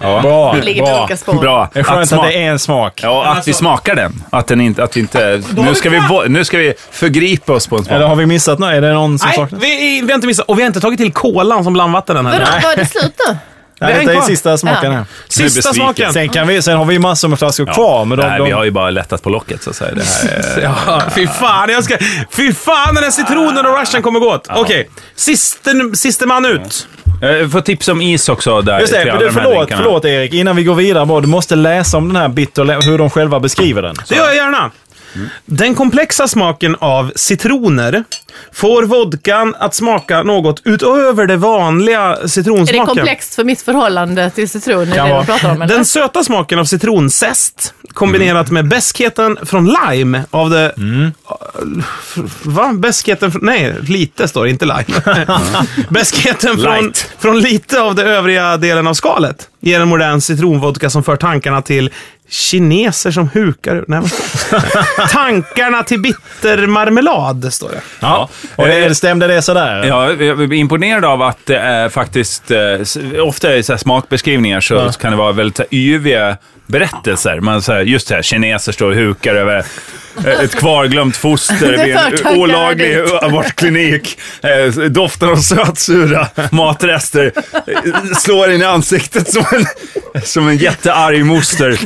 [SPEAKER 4] Ja.
[SPEAKER 3] Bra.
[SPEAKER 1] Det ligger
[SPEAKER 3] bra.
[SPEAKER 1] olika spår.
[SPEAKER 4] Bra.
[SPEAKER 3] Det är skönt att
[SPEAKER 4] smak-
[SPEAKER 3] det är en smak.
[SPEAKER 4] Ja, att vi smakar den. Att, den inte, att vi inte... Nu ska vi, vo- nu ska vi förgripa oss på en
[SPEAKER 3] Eller
[SPEAKER 4] smak.
[SPEAKER 3] har vi missat något? Är det någon som
[SPEAKER 2] Nej,
[SPEAKER 3] saknas?
[SPEAKER 2] vi, vi har inte missat. Och vi har inte tagit till kolan som blandvatten än
[SPEAKER 1] Vadå,
[SPEAKER 2] heller.
[SPEAKER 1] var det slut nu?
[SPEAKER 3] Nej,
[SPEAKER 2] det är
[SPEAKER 3] detta är
[SPEAKER 2] en kvar.
[SPEAKER 3] sista smaken här.
[SPEAKER 2] Sista
[SPEAKER 4] besviken.
[SPEAKER 2] smaken.
[SPEAKER 3] Sen, kan vi, sen har vi ju massor med flaskor kvar. Men de,
[SPEAKER 4] Nej,
[SPEAKER 3] de,
[SPEAKER 4] vi har ju bara lättat på locket så att säga. Det här är...
[SPEAKER 2] Ja, fy fan. Jag ska... Fy fan den här citronen och rushen kommer gå åt. Okej, siste, siste man ut.
[SPEAKER 4] Jag får tips om is också. Där,
[SPEAKER 3] Just det,
[SPEAKER 4] till alla
[SPEAKER 3] men du,
[SPEAKER 4] de här
[SPEAKER 3] förlåt,
[SPEAKER 4] drinkarna.
[SPEAKER 3] förlåt Erik. Innan vi går vidare bara, du måste läsa om den här bitter, hur de själva beskriver den.
[SPEAKER 2] Det gör jag gärna. Den komplexa smaken av citroner får vodkan att smaka något utöver det vanliga
[SPEAKER 1] Är det
[SPEAKER 2] citronsmaken.
[SPEAKER 1] komplext för mitt förhållande till citron? Är
[SPEAKER 3] Kan
[SPEAKER 1] det
[SPEAKER 3] vara.
[SPEAKER 1] du pratar om? eller?
[SPEAKER 2] Den söta smaken av citronzest kombinerat med beskheten från lime av det... Va? Beskheten från... Nej, lite står det, inte lime. beskheten från,
[SPEAKER 4] Light.
[SPEAKER 2] från lite av det övriga delen av skalet ger en modern citronvodka som för tankarna till kineser som hukar ur- Nej, vad- Tankarna till bittermarmelad, står det.
[SPEAKER 4] Ja. Eh,
[SPEAKER 3] Och det, stämde det sådär?
[SPEAKER 4] Ja, jag är imponerad av att det är faktiskt, eh, s- ofta i så här smakbeskrivningar så så kan det vara väldigt så här yviga berättelser. Man, så här, just det här, kineser står och hukar över eh, ett kvarglömt foster
[SPEAKER 1] Det
[SPEAKER 4] vid
[SPEAKER 1] förtankar
[SPEAKER 4] en olaglig
[SPEAKER 1] dit.
[SPEAKER 4] abortklinik. Eh, Doften av sötsura matrester eh, slår in i ansiktet som en, som en jättearg moster.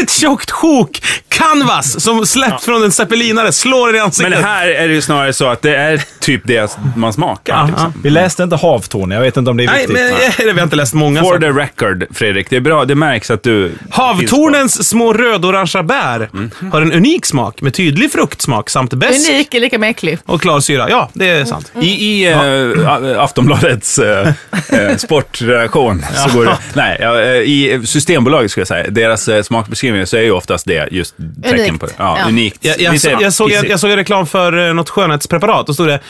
[SPEAKER 2] Ett tjockt sjok, canvas, som släppt från en zeppelinare, slår er i
[SPEAKER 4] Men
[SPEAKER 2] ansiktet.
[SPEAKER 4] här är det ju snarare så att det är typ det man smakar.
[SPEAKER 2] Ja,
[SPEAKER 4] liksom.
[SPEAKER 2] ja.
[SPEAKER 3] Vi läste inte havtorn, jag vet inte om det är
[SPEAKER 2] Nej,
[SPEAKER 3] viktigt.
[SPEAKER 2] men vi har inte läst många.
[SPEAKER 4] For
[SPEAKER 2] saker.
[SPEAKER 4] the record, Fredrik. Det är bra. Det märks att du...
[SPEAKER 2] Havtornens små rödorangea bär
[SPEAKER 4] Mm.
[SPEAKER 2] har en unik smak med tydlig fruktsmak samt besk
[SPEAKER 1] Unik är lika med äcklig.
[SPEAKER 3] Eh,
[SPEAKER 2] och klar syra. Ja, det är sant.
[SPEAKER 4] I, i eh, A- Aftonbladets eh, eh, sportredaktion så går det... Nej, ja, eh, i Systembolaget skulle jag säga. Deras eh, smakbeskrivningar så är ju oftast det just tecken
[SPEAKER 1] Unikt.
[SPEAKER 4] på det. Ja,
[SPEAKER 1] Ja.
[SPEAKER 4] Unikt.
[SPEAKER 2] Jag, jag,
[SPEAKER 4] Vi säger-
[SPEAKER 2] jag, jag, såg, jag, jag såg en reklam för eh, något skönhetspreparat och stod det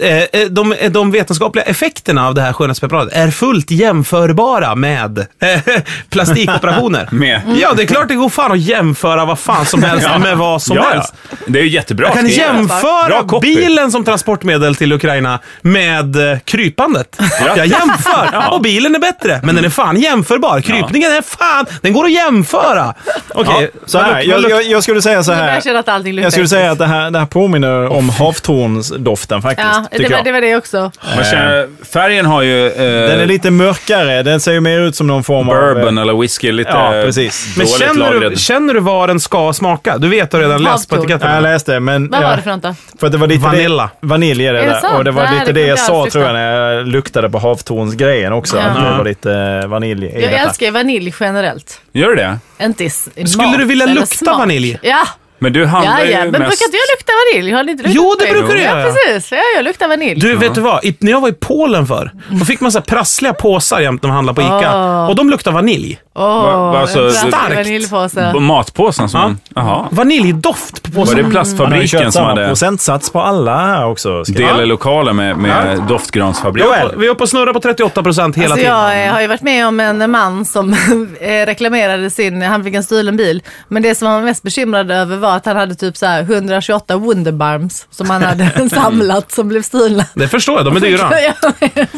[SPEAKER 2] eh, eh, de, eh, de vetenskapliga effekterna av det här skönhetspreparatet är fullt jämförbara med eh, plastikoperationer.
[SPEAKER 4] Med.
[SPEAKER 2] Ja, det är klart det går fan att jämföra vad fan som helst med vad som
[SPEAKER 4] ja,
[SPEAKER 2] helst.
[SPEAKER 4] Ja. Det är ju jättebra
[SPEAKER 2] Jag kan
[SPEAKER 4] skrivet. Bra
[SPEAKER 2] jämföra
[SPEAKER 4] copy.
[SPEAKER 2] bilen som transportmedel till Ukraina med eh, krypandet.
[SPEAKER 4] Ja.
[SPEAKER 2] Jag jämför och bilen är bättre, men den är fan jämförbar. Krypningen är fan, den går att jämföra. Okej,
[SPEAKER 3] Ja, så här,
[SPEAKER 2] vad luk- vad
[SPEAKER 3] jag,
[SPEAKER 2] luk-
[SPEAKER 3] jag, jag skulle säga så
[SPEAKER 1] Jag
[SPEAKER 3] här.
[SPEAKER 1] börjar känna att allting luktar
[SPEAKER 3] Jag skulle
[SPEAKER 1] äckligt.
[SPEAKER 3] säga att det här, det här påminner om havtornsdoften faktiskt.
[SPEAKER 1] Ja, det
[SPEAKER 3] tycker
[SPEAKER 1] var,
[SPEAKER 3] jag.
[SPEAKER 1] det var det också.
[SPEAKER 4] Man känner, Eh, färgen har ju... Eh,
[SPEAKER 3] Den är lite mörkare, den ser ju mer ut som någon form av...
[SPEAKER 4] Bourbon eller whisky, lite
[SPEAKER 3] Ja,
[SPEAKER 4] eh,
[SPEAKER 3] precis.
[SPEAKER 2] men
[SPEAKER 4] dåligt
[SPEAKER 2] känner du,
[SPEAKER 4] lagrad.
[SPEAKER 2] känner du vad den ska smaka? Du vet, du har redan läst på
[SPEAKER 1] Havtorn.
[SPEAKER 2] etiketten.
[SPEAKER 3] Ja, jag läste, men...
[SPEAKER 1] Vad
[SPEAKER 3] ja,
[SPEAKER 1] var det för något då?
[SPEAKER 3] För att det var lite
[SPEAKER 2] Vanilla.
[SPEAKER 3] Det, vanilj är det,
[SPEAKER 1] Är det
[SPEAKER 3] där.
[SPEAKER 1] sant?
[SPEAKER 3] Och det var
[SPEAKER 1] Nej,
[SPEAKER 3] lite
[SPEAKER 1] det
[SPEAKER 3] det
[SPEAKER 1] kunde
[SPEAKER 3] jag
[SPEAKER 1] jag
[SPEAKER 3] sa
[SPEAKER 1] aldrig
[SPEAKER 3] tror jag när jag luktade på havtornsgrejen också.
[SPEAKER 1] Ja.
[SPEAKER 3] Att det var lite eh, vanilj i
[SPEAKER 1] Jag
[SPEAKER 3] detta.
[SPEAKER 1] älskar ju vanilj generellt.
[SPEAKER 4] Gör du det?
[SPEAKER 1] Inte i s- i
[SPEAKER 2] Skulle
[SPEAKER 1] mat
[SPEAKER 2] du vilja
[SPEAKER 1] eller
[SPEAKER 2] lukta
[SPEAKER 1] smak.
[SPEAKER 2] vanilj?
[SPEAKER 1] Ja,
[SPEAKER 4] Men du handlar
[SPEAKER 1] ja,
[SPEAKER 4] ju
[SPEAKER 1] ja. men
[SPEAKER 4] mest...
[SPEAKER 1] brukar inte jag lukta vanilj? Har ni inte luktat
[SPEAKER 2] Jo, det
[SPEAKER 1] vanilj?
[SPEAKER 2] brukar jag
[SPEAKER 1] Ja,
[SPEAKER 2] göra.
[SPEAKER 1] precis. Ja, jag luktar vanilj.
[SPEAKER 2] Du, vet du vad? I, när jag var i Polen för då fick man så här prassliga påsar jämt när man handlade på ICA.
[SPEAKER 1] Ah.
[SPEAKER 2] Och de luktar vanilj.
[SPEAKER 4] Va- va-
[SPEAKER 1] Åh,
[SPEAKER 4] alltså,
[SPEAKER 1] en stark
[SPEAKER 2] starkt.
[SPEAKER 1] vaniljpåse.
[SPEAKER 4] B- Matpåsen som... Mm. Jaha.
[SPEAKER 2] Vaniljdoft på
[SPEAKER 4] Var
[SPEAKER 2] påsarna.
[SPEAKER 4] det
[SPEAKER 3] Man har ju
[SPEAKER 4] plastfabriken
[SPEAKER 3] kört
[SPEAKER 4] som
[SPEAKER 3] samma
[SPEAKER 4] hade
[SPEAKER 3] procentsats på alla här också. ska jag-
[SPEAKER 4] delelokalen med, med doftgransfabrik?
[SPEAKER 3] Joel.
[SPEAKER 2] Vi är uppe och snurrar på 38% hela
[SPEAKER 1] Alltså
[SPEAKER 2] tiden.
[SPEAKER 1] jag eh, har ju varit med om en man som eh, reklamerade sin, han fick en stulen bil. Men det som han var mest bekymrad över var var att han hade typ så här 128 Wunderbarms som han hade samlat som blev stulna.
[SPEAKER 2] Mm. Det förstår jag, de är
[SPEAKER 1] Alltså,
[SPEAKER 2] dyra.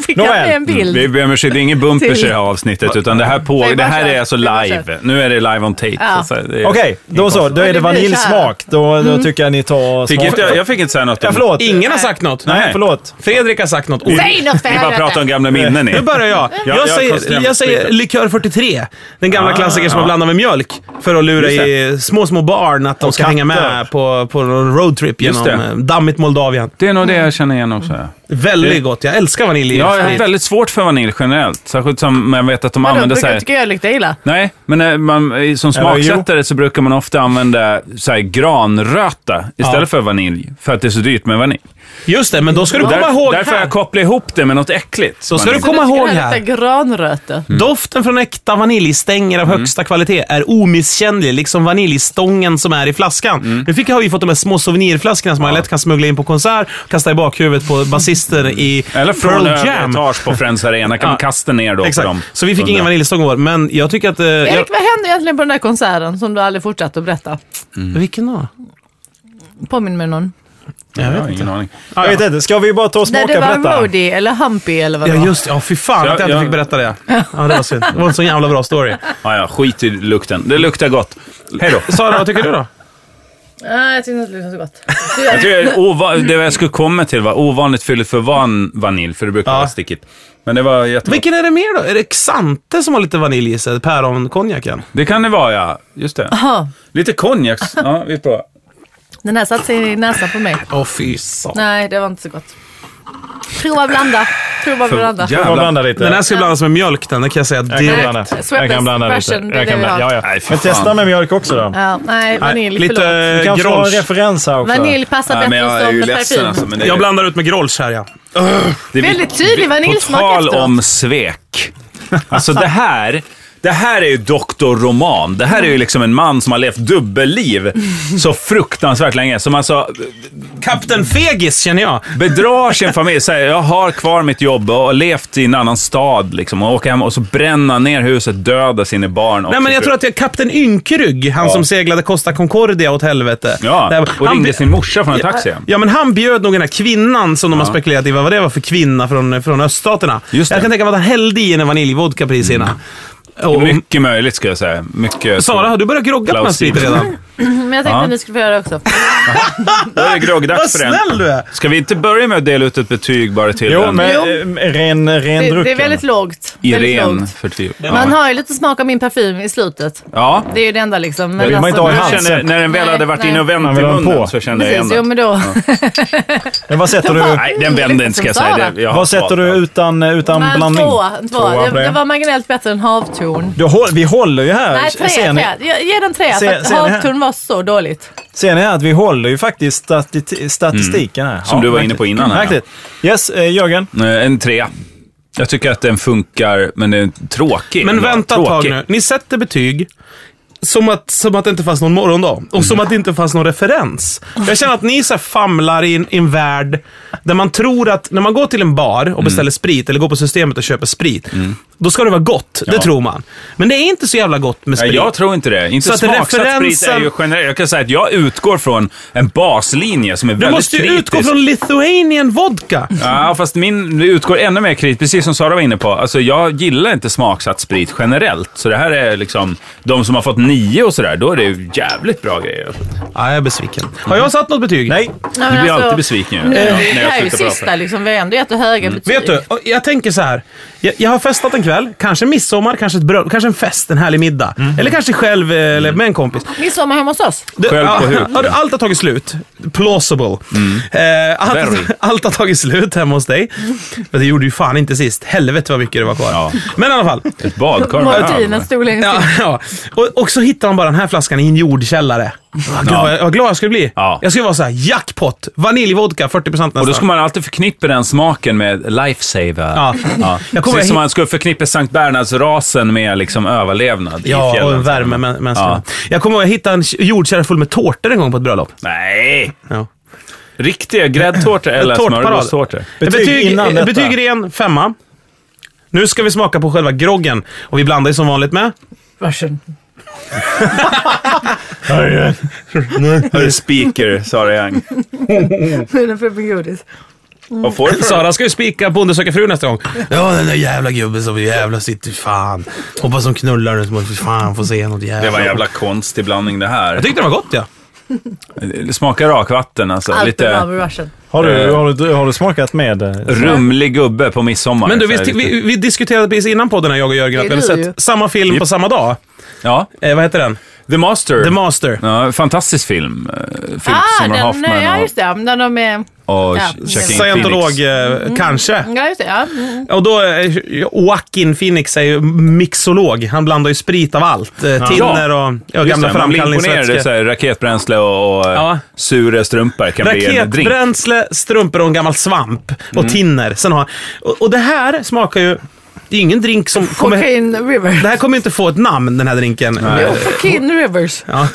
[SPEAKER 1] Fick han med en bild?
[SPEAKER 4] Mm. Vi ber om ursäkt, det är ingen bumpers i det här avsnittet, utan det här, på,
[SPEAKER 1] Nej,
[SPEAKER 4] det här
[SPEAKER 1] bara kör.
[SPEAKER 4] är alltså
[SPEAKER 1] Det är bara
[SPEAKER 4] live.
[SPEAKER 1] kör.
[SPEAKER 4] Nu är det live on tape.
[SPEAKER 1] Ja.
[SPEAKER 4] så det är-
[SPEAKER 3] Okej, då så. Då är det
[SPEAKER 1] det blir
[SPEAKER 3] vaniljsmak. Då,
[SPEAKER 1] Mm.
[SPEAKER 3] då tycker jag ni tar
[SPEAKER 4] Fick
[SPEAKER 3] smak.
[SPEAKER 4] inte, jag fick inte säga något om
[SPEAKER 3] Ja, förlåt.
[SPEAKER 2] Ingen har sagt något.
[SPEAKER 4] Nej.
[SPEAKER 3] Förlåt.
[SPEAKER 2] Fredrik har sagt något. Och-
[SPEAKER 1] Säg något för
[SPEAKER 4] Ni bara pratar om
[SPEAKER 1] helvete!
[SPEAKER 4] gamla minnen.
[SPEAKER 2] Nu
[SPEAKER 4] ni.
[SPEAKER 2] börjar jag. Jag,
[SPEAKER 4] jag
[SPEAKER 2] säger,
[SPEAKER 4] konstaterar
[SPEAKER 2] jag säger
[SPEAKER 4] spriten.
[SPEAKER 2] likör 43. Den gamla
[SPEAKER 4] Ah,
[SPEAKER 2] klassikern som
[SPEAKER 4] ja.
[SPEAKER 2] man blandar med mjölk för att lura
[SPEAKER 4] Just
[SPEAKER 2] i små, små barn att de ska
[SPEAKER 3] katter.
[SPEAKER 2] hänga med på, på en roadtrip
[SPEAKER 4] Just
[SPEAKER 2] genom
[SPEAKER 4] det.
[SPEAKER 2] eh, dammigt Moldavien.
[SPEAKER 4] Det är nog det
[SPEAKER 2] Mm.
[SPEAKER 4] jag känner igen också. ja.
[SPEAKER 2] Väldigt gott. Jag älskar vanilj. i
[SPEAKER 4] Jag har
[SPEAKER 2] sprit.
[SPEAKER 4] väldigt svårt för vanilj generellt. Särskilt som man vet att de
[SPEAKER 1] Vadå,
[SPEAKER 4] använder så
[SPEAKER 1] brukar
[SPEAKER 4] här...
[SPEAKER 1] du tycka jag luktar illa?
[SPEAKER 4] Nej, men eh, man, eh, som
[SPEAKER 3] Eller jo.
[SPEAKER 4] smaksättare så brukar man ofta använda så här, granröta istället för vanilj. För att det är så dyrt med vanilj.
[SPEAKER 2] Just det, men då ska du komma
[SPEAKER 4] Där,
[SPEAKER 2] ihåg
[SPEAKER 4] Mm. därför
[SPEAKER 2] här.
[SPEAKER 4] jag kopplar ihop det med något äckligt.
[SPEAKER 2] Då ska du
[SPEAKER 4] vanilj.
[SPEAKER 1] Så
[SPEAKER 2] Kom
[SPEAKER 1] du tycker
[SPEAKER 2] ihåg
[SPEAKER 1] det
[SPEAKER 2] här.
[SPEAKER 1] luktar granröte.
[SPEAKER 3] Mm.
[SPEAKER 2] Doften från äkta vaniljstänger av högsta kvalitet är omisskännlig, liksom vaniljstången som är i flaskan.
[SPEAKER 3] Mm.
[SPEAKER 2] Nu fick, har vi fått de här små souvenirflaskorna som man lätt kan smuggla in på konsert, kasta i bakhuvudet på basister i
[SPEAKER 4] Eller från
[SPEAKER 2] Pearl
[SPEAKER 4] över
[SPEAKER 2] Jam.
[SPEAKER 4] etage på Friends Arena kan man
[SPEAKER 2] Ja.
[SPEAKER 4] kasta ner då på
[SPEAKER 2] Exakt.
[SPEAKER 4] dem.
[SPEAKER 2] Så vi fick ingen vaniljstång i år, men jag tycker att... Eh, jag,
[SPEAKER 1] Erik, vad hände egentligen på den där konserten som du aldrig fortsatte att berätta?
[SPEAKER 3] Mm.
[SPEAKER 2] vilken då?
[SPEAKER 1] Påminn mig någon.
[SPEAKER 2] Jag
[SPEAKER 4] Jag
[SPEAKER 2] vet
[SPEAKER 4] har
[SPEAKER 2] inte.
[SPEAKER 4] ingen aning.
[SPEAKER 3] Jag vet inte. Ska vi bara ta och
[SPEAKER 1] När
[SPEAKER 3] smaka
[SPEAKER 1] det
[SPEAKER 3] på
[SPEAKER 1] var
[SPEAKER 3] detta?
[SPEAKER 1] roadie eller humpy eller vad det
[SPEAKER 2] Ja,
[SPEAKER 1] var.
[SPEAKER 2] just det. Ja, fy fan
[SPEAKER 4] Så
[SPEAKER 2] att jag
[SPEAKER 4] jag-
[SPEAKER 2] inte
[SPEAKER 4] jag-
[SPEAKER 2] fick berätta det. Ja, det var synd. Det var en så jävla bra story.
[SPEAKER 4] Ah, Ja, ja, skit i lukten. Det luktar gott. Hej då.
[SPEAKER 2] Sara, vad tycker du då?
[SPEAKER 1] Nej, jag tyckte inte det luktade så gott.
[SPEAKER 4] Jag tror jag, ova- det jag skulle komma till var ovanligt fylligt för van vanilj, för det brukar
[SPEAKER 2] Ja.
[SPEAKER 4] vara stickigt. Men det var jättebra.
[SPEAKER 2] Vilken är det mer då? Är det Xante som har lite vanilj i sig? Päronkonjaken?
[SPEAKER 4] Det kan det vara, ja. Just det.
[SPEAKER 1] Jaha,
[SPEAKER 4] Lite konjak. Ja, vi provar.
[SPEAKER 1] den här satte sig i näsan på mig.
[SPEAKER 2] Åh, fy satan.
[SPEAKER 1] Nej, det var inte så gott. Prova blanda. Prova blanda.
[SPEAKER 3] Jag kan
[SPEAKER 4] Jävlar.
[SPEAKER 3] blanda lite.
[SPEAKER 2] Den här ska blandas med mjölk den, det kan jag säga
[SPEAKER 3] jag kan
[SPEAKER 2] direkt.
[SPEAKER 3] blanda.
[SPEAKER 1] Direkt.
[SPEAKER 3] Jag kan blanda lite.
[SPEAKER 1] Version, det är
[SPEAKER 3] Jag kan
[SPEAKER 1] det vi
[SPEAKER 3] blanda.
[SPEAKER 1] har. Eh,
[SPEAKER 3] Ja, ja.
[SPEAKER 4] Nej, fy
[SPEAKER 3] Men testa
[SPEAKER 4] fan.
[SPEAKER 3] med mjölk också då.
[SPEAKER 1] Ja, nej, vanilj.
[SPEAKER 2] Lite
[SPEAKER 1] förlåt.
[SPEAKER 3] Vi
[SPEAKER 2] eh,
[SPEAKER 3] kan få en
[SPEAKER 2] grolsch.
[SPEAKER 3] referens här också.
[SPEAKER 1] Vanilj passar
[SPEAKER 4] Nej, men
[SPEAKER 1] bättre
[SPEAKER 4] jag är
[SPEAKER 1] som
[SPEAKER 4] ju
[SPEAKER 1] parfym.
[SPEAKER 4] ledsen alltså, men det,
[SPEAKER 2] Jag blandar ut med grolsch här ja.
[SPEAKER 4] det,
[SPEAKER 1] Väldigt tydlig vaniljsmak
[SPEAKER 4] På tal
[SPEAKER 1] efteråt.
[SPEAKER 4] om svek. Alltså det här. Det här är ju doktor Roman. Det här är ju liksom en man som har levt dubbelliv så fruktansvärt länge. Som alltså
[SPEAKER 2] Kapten Fegis känner jag.
[SPEAKER 4] bedrar sin familj. Säger jag har kvar mitt jobb och har levt i en annan stad. Liksom, och åker hem och så bränner ner huset, dödar sina barn. och
[SPEAKER 2] Nej men
[SPEAKER 4] sin
[SPEAKER 2] jag
[SPEAKER 4] fru.
[SPEAKER 2] tror att det är Kapten Ynkrygg, han som seglade Costa Concordia åt helvete.
[SPEAKER 4] Ja,
[SPEAKER 2] Där-
[SPEAKER 4] och
[SPEAKER 2] han
[SPEAKER 4] ringde
[SPEAKER 2] bj-
[SPEAKER 4] sin morsa från en taxi.
[SPEAKER 2] Ja, men han bjöd nog den här kvinnan som de har spekulerat i vad det var för kvinna från, från öststaterna.
[SPEAKER 4] Just det.
[SPEAKER 2] Jag kan tänka mig att han hällde i en vaniljvodka precis innan. Mm. Och,
[SPEAKER 4] Mycket möjligt ska jag säga. Mycket.
[SPEAKER 2] Sara, har du börjat grogga på den här
[SPEAKER 4] Plausibelt.
[SPEAKER 2] spriten redan?
[SPEAKER 1] Men jag tänkte
[SPEAKER 4] Ja.
[SPEAKER 1] att ni skulle få göra det också.
[SPEAKER 4] Då är det groggdags
[SPEAKER 2] Vad
[SPEAKER 4] för den.
[SPEAKER 2] snäll du är!
[SPEAKER 4] Ska vi inte börja med att dela ut ett betyg bara till
[SPEAKER 3] Jo,
[SPEAKER 4] den?
[SPEAKER 3] men
[SPEAKER 1] Jo.
[SPEAKER 3] eh, ren, ren
[SPEAKER 1] Det,
[SPEAKER 3] drucken.
[SPEAKER 1] det är väldigt lågt.
[SPEAKER 4] I
[SPEAKER 1] Väldigt
[SPEAKER 4] ren
[SPEAKER 1] lågt.
[SPEAKER 4] förtvivlan.
[SPEAKER 1] Man har ju lite smak av min parfym i slutet.
[SPEAKER 4] Ja.
[SPEAKER 1] Det är ju det enda liksom. Men
[SPEAKER 3] vill man inte ha i
[SPEAKER 4] Jag
[SPEAKER 3] hand.
[SPEAKER 4] känner, när den väl
[SPEAKER 1] Nej,
[SPEAKER 4] hade varit
[SPEAKER 1] nej.
[SPEAKER 4] inne och
[SPEAKER 3] Han
[SPEAKER 4] vänt i
[SPEAKER 3] vill ha den
[SPEAKER 4] munnen
[SPEAKER 3] på.
[SPEAKER 4] så kände jag igen
[SPEAKER 1] Precis, jo
[SPEAKER 4] den.
[SPEAKER 1] men då.
[SPEAKER 3] Men vad sätter du,
[SPEAKER 4] Nej, den vände inte ska jag säga. Det, jag har
[SPEAKER 3] vad sätter du
[SPEAKER 4] fått.
[SPEAKER 3] utan, eh, utan
[SPEAKER 1] Men en
[SPEAKER 3] blandning?
[SPEAKER 1] tvåa. en tvåa.
[SPEAKER 3] Tvåa
[SPEAKER 1] Det,
[SPEAKER 3] på det.
[SPEAKER 1] det var marginellt bättre än havtorn.
[SPEAKER 3] Du, håll- vi håller ju här.
[SPEAKER 1] Nej, tre.
[SPEAKER 3] ser, ni,
[SPEAKER 1] tre. Jag ger den tre.
[SPEAKER 3] Se-
[SPEAKER 1] För att
[SPEAKER 3] ser ni här?
[SPEAKER 1] havtorn var så dåligt.
[SPEAKER 3] ser ni här att vi håller ju faktiskt stati statistiken här.
[SPEAKER 4] Mm. Som du var inne
[SPEAKER 3] märkligt.
[SPEAKER 4] på innan här, ja.
[SPEAKER 3] Märkligt. Yes, eh, Jörgen.
[SPEAKER 4] Nej, En trea. Jag tycker att den funkar, men den är tråkig.
[SPEAKER 2] Men
[SPEAKER 4] Den var
[SPEAKER 2] vänta ett tag
[SPEAKER 4] tråkig.
[SPEAKER 2] nu. Ni sätter betyg som att, som att det inte fanns någon morgondag. Och som att det inte fanns någon referens. Jag känner att ni så här famlar i en, i en värld där man tror att när man går till en bar
[SPEAKER 4] Mm.
[SPEAKER 2] och beställer sprit, eller går på systemet och köper sprit, då ska det vara gott. Det
[SPEAKER 4] Ja.
[SPEAKER 2] tror man. Men det är inte så jävla gott med
[SPEAKER 4] Nej,
[SPEAKER 2] sprit.
[SPEAKER 4] jag tror inte det. Inte
[SPEAKER 2] Så att
[SPEAKER 4] smaksatt sprit är
[SPEAKER 2] referensen-
[SPEAKER 4] ju generellt. Jag kan säga att jag utgår från en baslinje som är
[SPEAKER 2] du
[SPEAKER 4] väldigt
[SPEAKER 2] måste ju
[SPEAKER 4] kritisk.
[SPEAKER 2] utgå från Lithuanian vodka.
[SPEAKER 4] Ja, fast min utgår ännu mer kritiskt, precis som Sara var inne på. Alltså, jag gillar inte smaksatt sprit generellt. Så det här är liksom, de som har fått nio och sådär, då är det ju jävligt bra grejer.
[SPEAKER 2] Ja, jag är besviken. Har jag satt något betyg?
[SPEAKER 3] Nej.
[SPEAKER 1] Nej,
[SPEAKER 4] Du
[SPEAKER 1] men
[SPEAKER 4] blir
[SPEAKER 1] alltså,
[SPEAKER 4] alltid besviken ju.
[SPEAKER 1] Nu,
[SPEAKER 4] när jag- när
[SPEAKER 1] det
[SPEAKER 4] jag
[SPEAKER 1] här är ju
[SPEAKER 4] slutar prata.
[SPEAKER 1] sista liksom. Vi har ändå gett höga betyg.
[SPEAKER 2] Vet du, och jag tänker så här. Jag, jag har festat en kväll, kanske midsommar, kanske ett bröllop, kanske en fest, en härlig middag.
[SPEAKER 4] Mm.
[SPEAKER 2] Eller kanske själv eh, eller med en kompis.
[SPEAKER 1] Midsommar hemma hos oss.
[SPEAKER 2] Det,
[SPEAKER 4] Själv på
[SPEAKER 2] ja,
[SPEAKER 4] huk. Mm.
[SPEAKER 2] ja, det- allt har tagit slut. Plausible. Eh, allt,
[SPEAKER 4] Very.
[SPEAKER 2] allt har tagit slut hemma hos dig. Men det gjorde ju fan inte sist. Helvete vad mycket det var kvar.
[SPEAKER 4] Ja.
[SPEAKER 2] Men i alla fall.
[SPEAKER 4] Ett badkar med
[SPEAKER 1] Martinen
[SPEAKER 4] öl.
[SPEAKER 1] stod längst
[SPEAKER 2] Ja,
[SPEAKER 1] in.
[SPEAKER 2] ja. Och, och så hittar han bara den här flaskan i en jordkällare. Vad glad,
[SPEAKER 4] Ja.
[SPEAKER 2] jag- vad glad jag skulle bli.
[SPEAKER 4] Ja.
[SPEAKER 2] Jag skulle vara så här: jackpot! Vaniljvodka, 40%
[SPEAKER 4] Och då ska
[SPEAKER 2] nästan.
[SPEAKER 4] man alltid förknippa den smaken med lifesaver.
[SPEAKER 2] Ja. Jag kommer
[SPEAKER 4] Precis som
[SPEAKER 2] hit-
[SPEAKER 4] man skulle förknippa Sankt Bernhards-rasen med liksom överlevnad i
[SPEAKER 2] Ja,
[SPEAKER 4] fjällen.
[SPEAKER 2] och en värme. Men, men, ja. Jag kommer ihåg att jag hittade en jordkällare full med tårtor en gång på ett bröllop.
[SPEAKER 4] Nej!
[SPEAKER 2] Ja.
[SPEAKER 4] Riktiga gräddtårtor eller
[SPEAKER 2] Tårtparad.
[SPEAKER 4] smörgåstårtor.
[SPEAKER 3] Betyg innan detta.
[SPEAKER 2] betyg ren, femma. Nu ska vi smaka på själva groggen och vi blandar ju som vanligt med
[SPEAKER 1] Varsin.
[SPEAKER 4] Hörru, speaker, Sara Young.
[SPEAKER 1] Munnen full med godis.
[SPEAKER 4] Vad får du för
[SPEAKER 2] Sara ska ju spika Bonde söker fru nästa gång. Ja, den där jävla gubben som jävla sitter, fan. Hoppas de knullar nu så man fan får se något jävla.
[SPEAKER 4] Det var en jävla konstig blandning det här.
[SPEAKER 2] Jag tyckte det var gott ja.
[SPEAKER 4] Smakar rakvatten alltså.
[SPEAKER 1] Allt
[SPEAKER 4] Lite
[SPEAKER 1] love russian.
[SPEAKER 3] Har du,
[SPEAKER 4] Eh.
[SPEAKER 3] har, du, har du smakat med... eh,
[SPEAKER 4] rumlig gubbe på midsommar.
[SPEAKER 2] Men du,
[SPEAKER 4] Så här
[SPEAKER 2] vi,
[SPEAKER 4] lite-
[SPEAKER 2] vi, vi diskuterade precis innan podden här, jag och Jörgen, att
[SPEAKER 1] Det
[SPEAKER 2] vi hade
[SPEAKER 1] är du ju.
[SPEAKER 2] sett samma film på samma dag.
[SPEAKER 4] Ja,
[SPEAKER 2] Eh, vad heter den?
[SPEAKER 4] The Master.
[SPEAKER 2] The Master.
[SPEAKER 4] ja, fantastisk film. eh, Philip
[SPEAKER 1] Ah,
[SPEAKER 4] Seymour
[SPEAKER 1] den, nej, ja
[SPEAKER 4] Hoffman och,
[SPEAKER 1] just det. När de är...
[SPEAKER 4] och
[SPEAKER 1] Ja.
[SPEAKER 4] Joaquin
[SPEAKER 2] Scientolog,
[SPEAKER 4] Phoenix.
[SPEAKER 2] eh, kanske.
[SPEAKER 1] Ja, just det. Ja. Mm.
[SPEAKER 2] Och då, eh, Joaquin Phoenix är ju mixolog. Han blandar ju sprit av allt. Eh, Tinner och ja,
[SPEAKER 4] Just
[SPEAKER 2] gamla
[SPEAKER 4] det, man blir imponerad. Så
[SPEAKER 2] framkallningsvätskor.
[SPEAKER 4] här, raketbränsle och, och eh,
[SPEAKER 2] Ja.
[SPEAKER 4] sura strumpor kan bli en drink. Mm.
[SPEAKER 2] Raketbränsle, strumpor och en gammal svamp. Och tinner. Sen har, och, och det här smakar ju... Det är ingen drink som kommer...
[SPEAKER 1] Cocaine River.
[SPEAKER 2] Det här kommer inte få ett namn, den här drinken.
[SPEAKER 1] Jo, Cocaine Rivers.
[SPEAKER 2] Ja.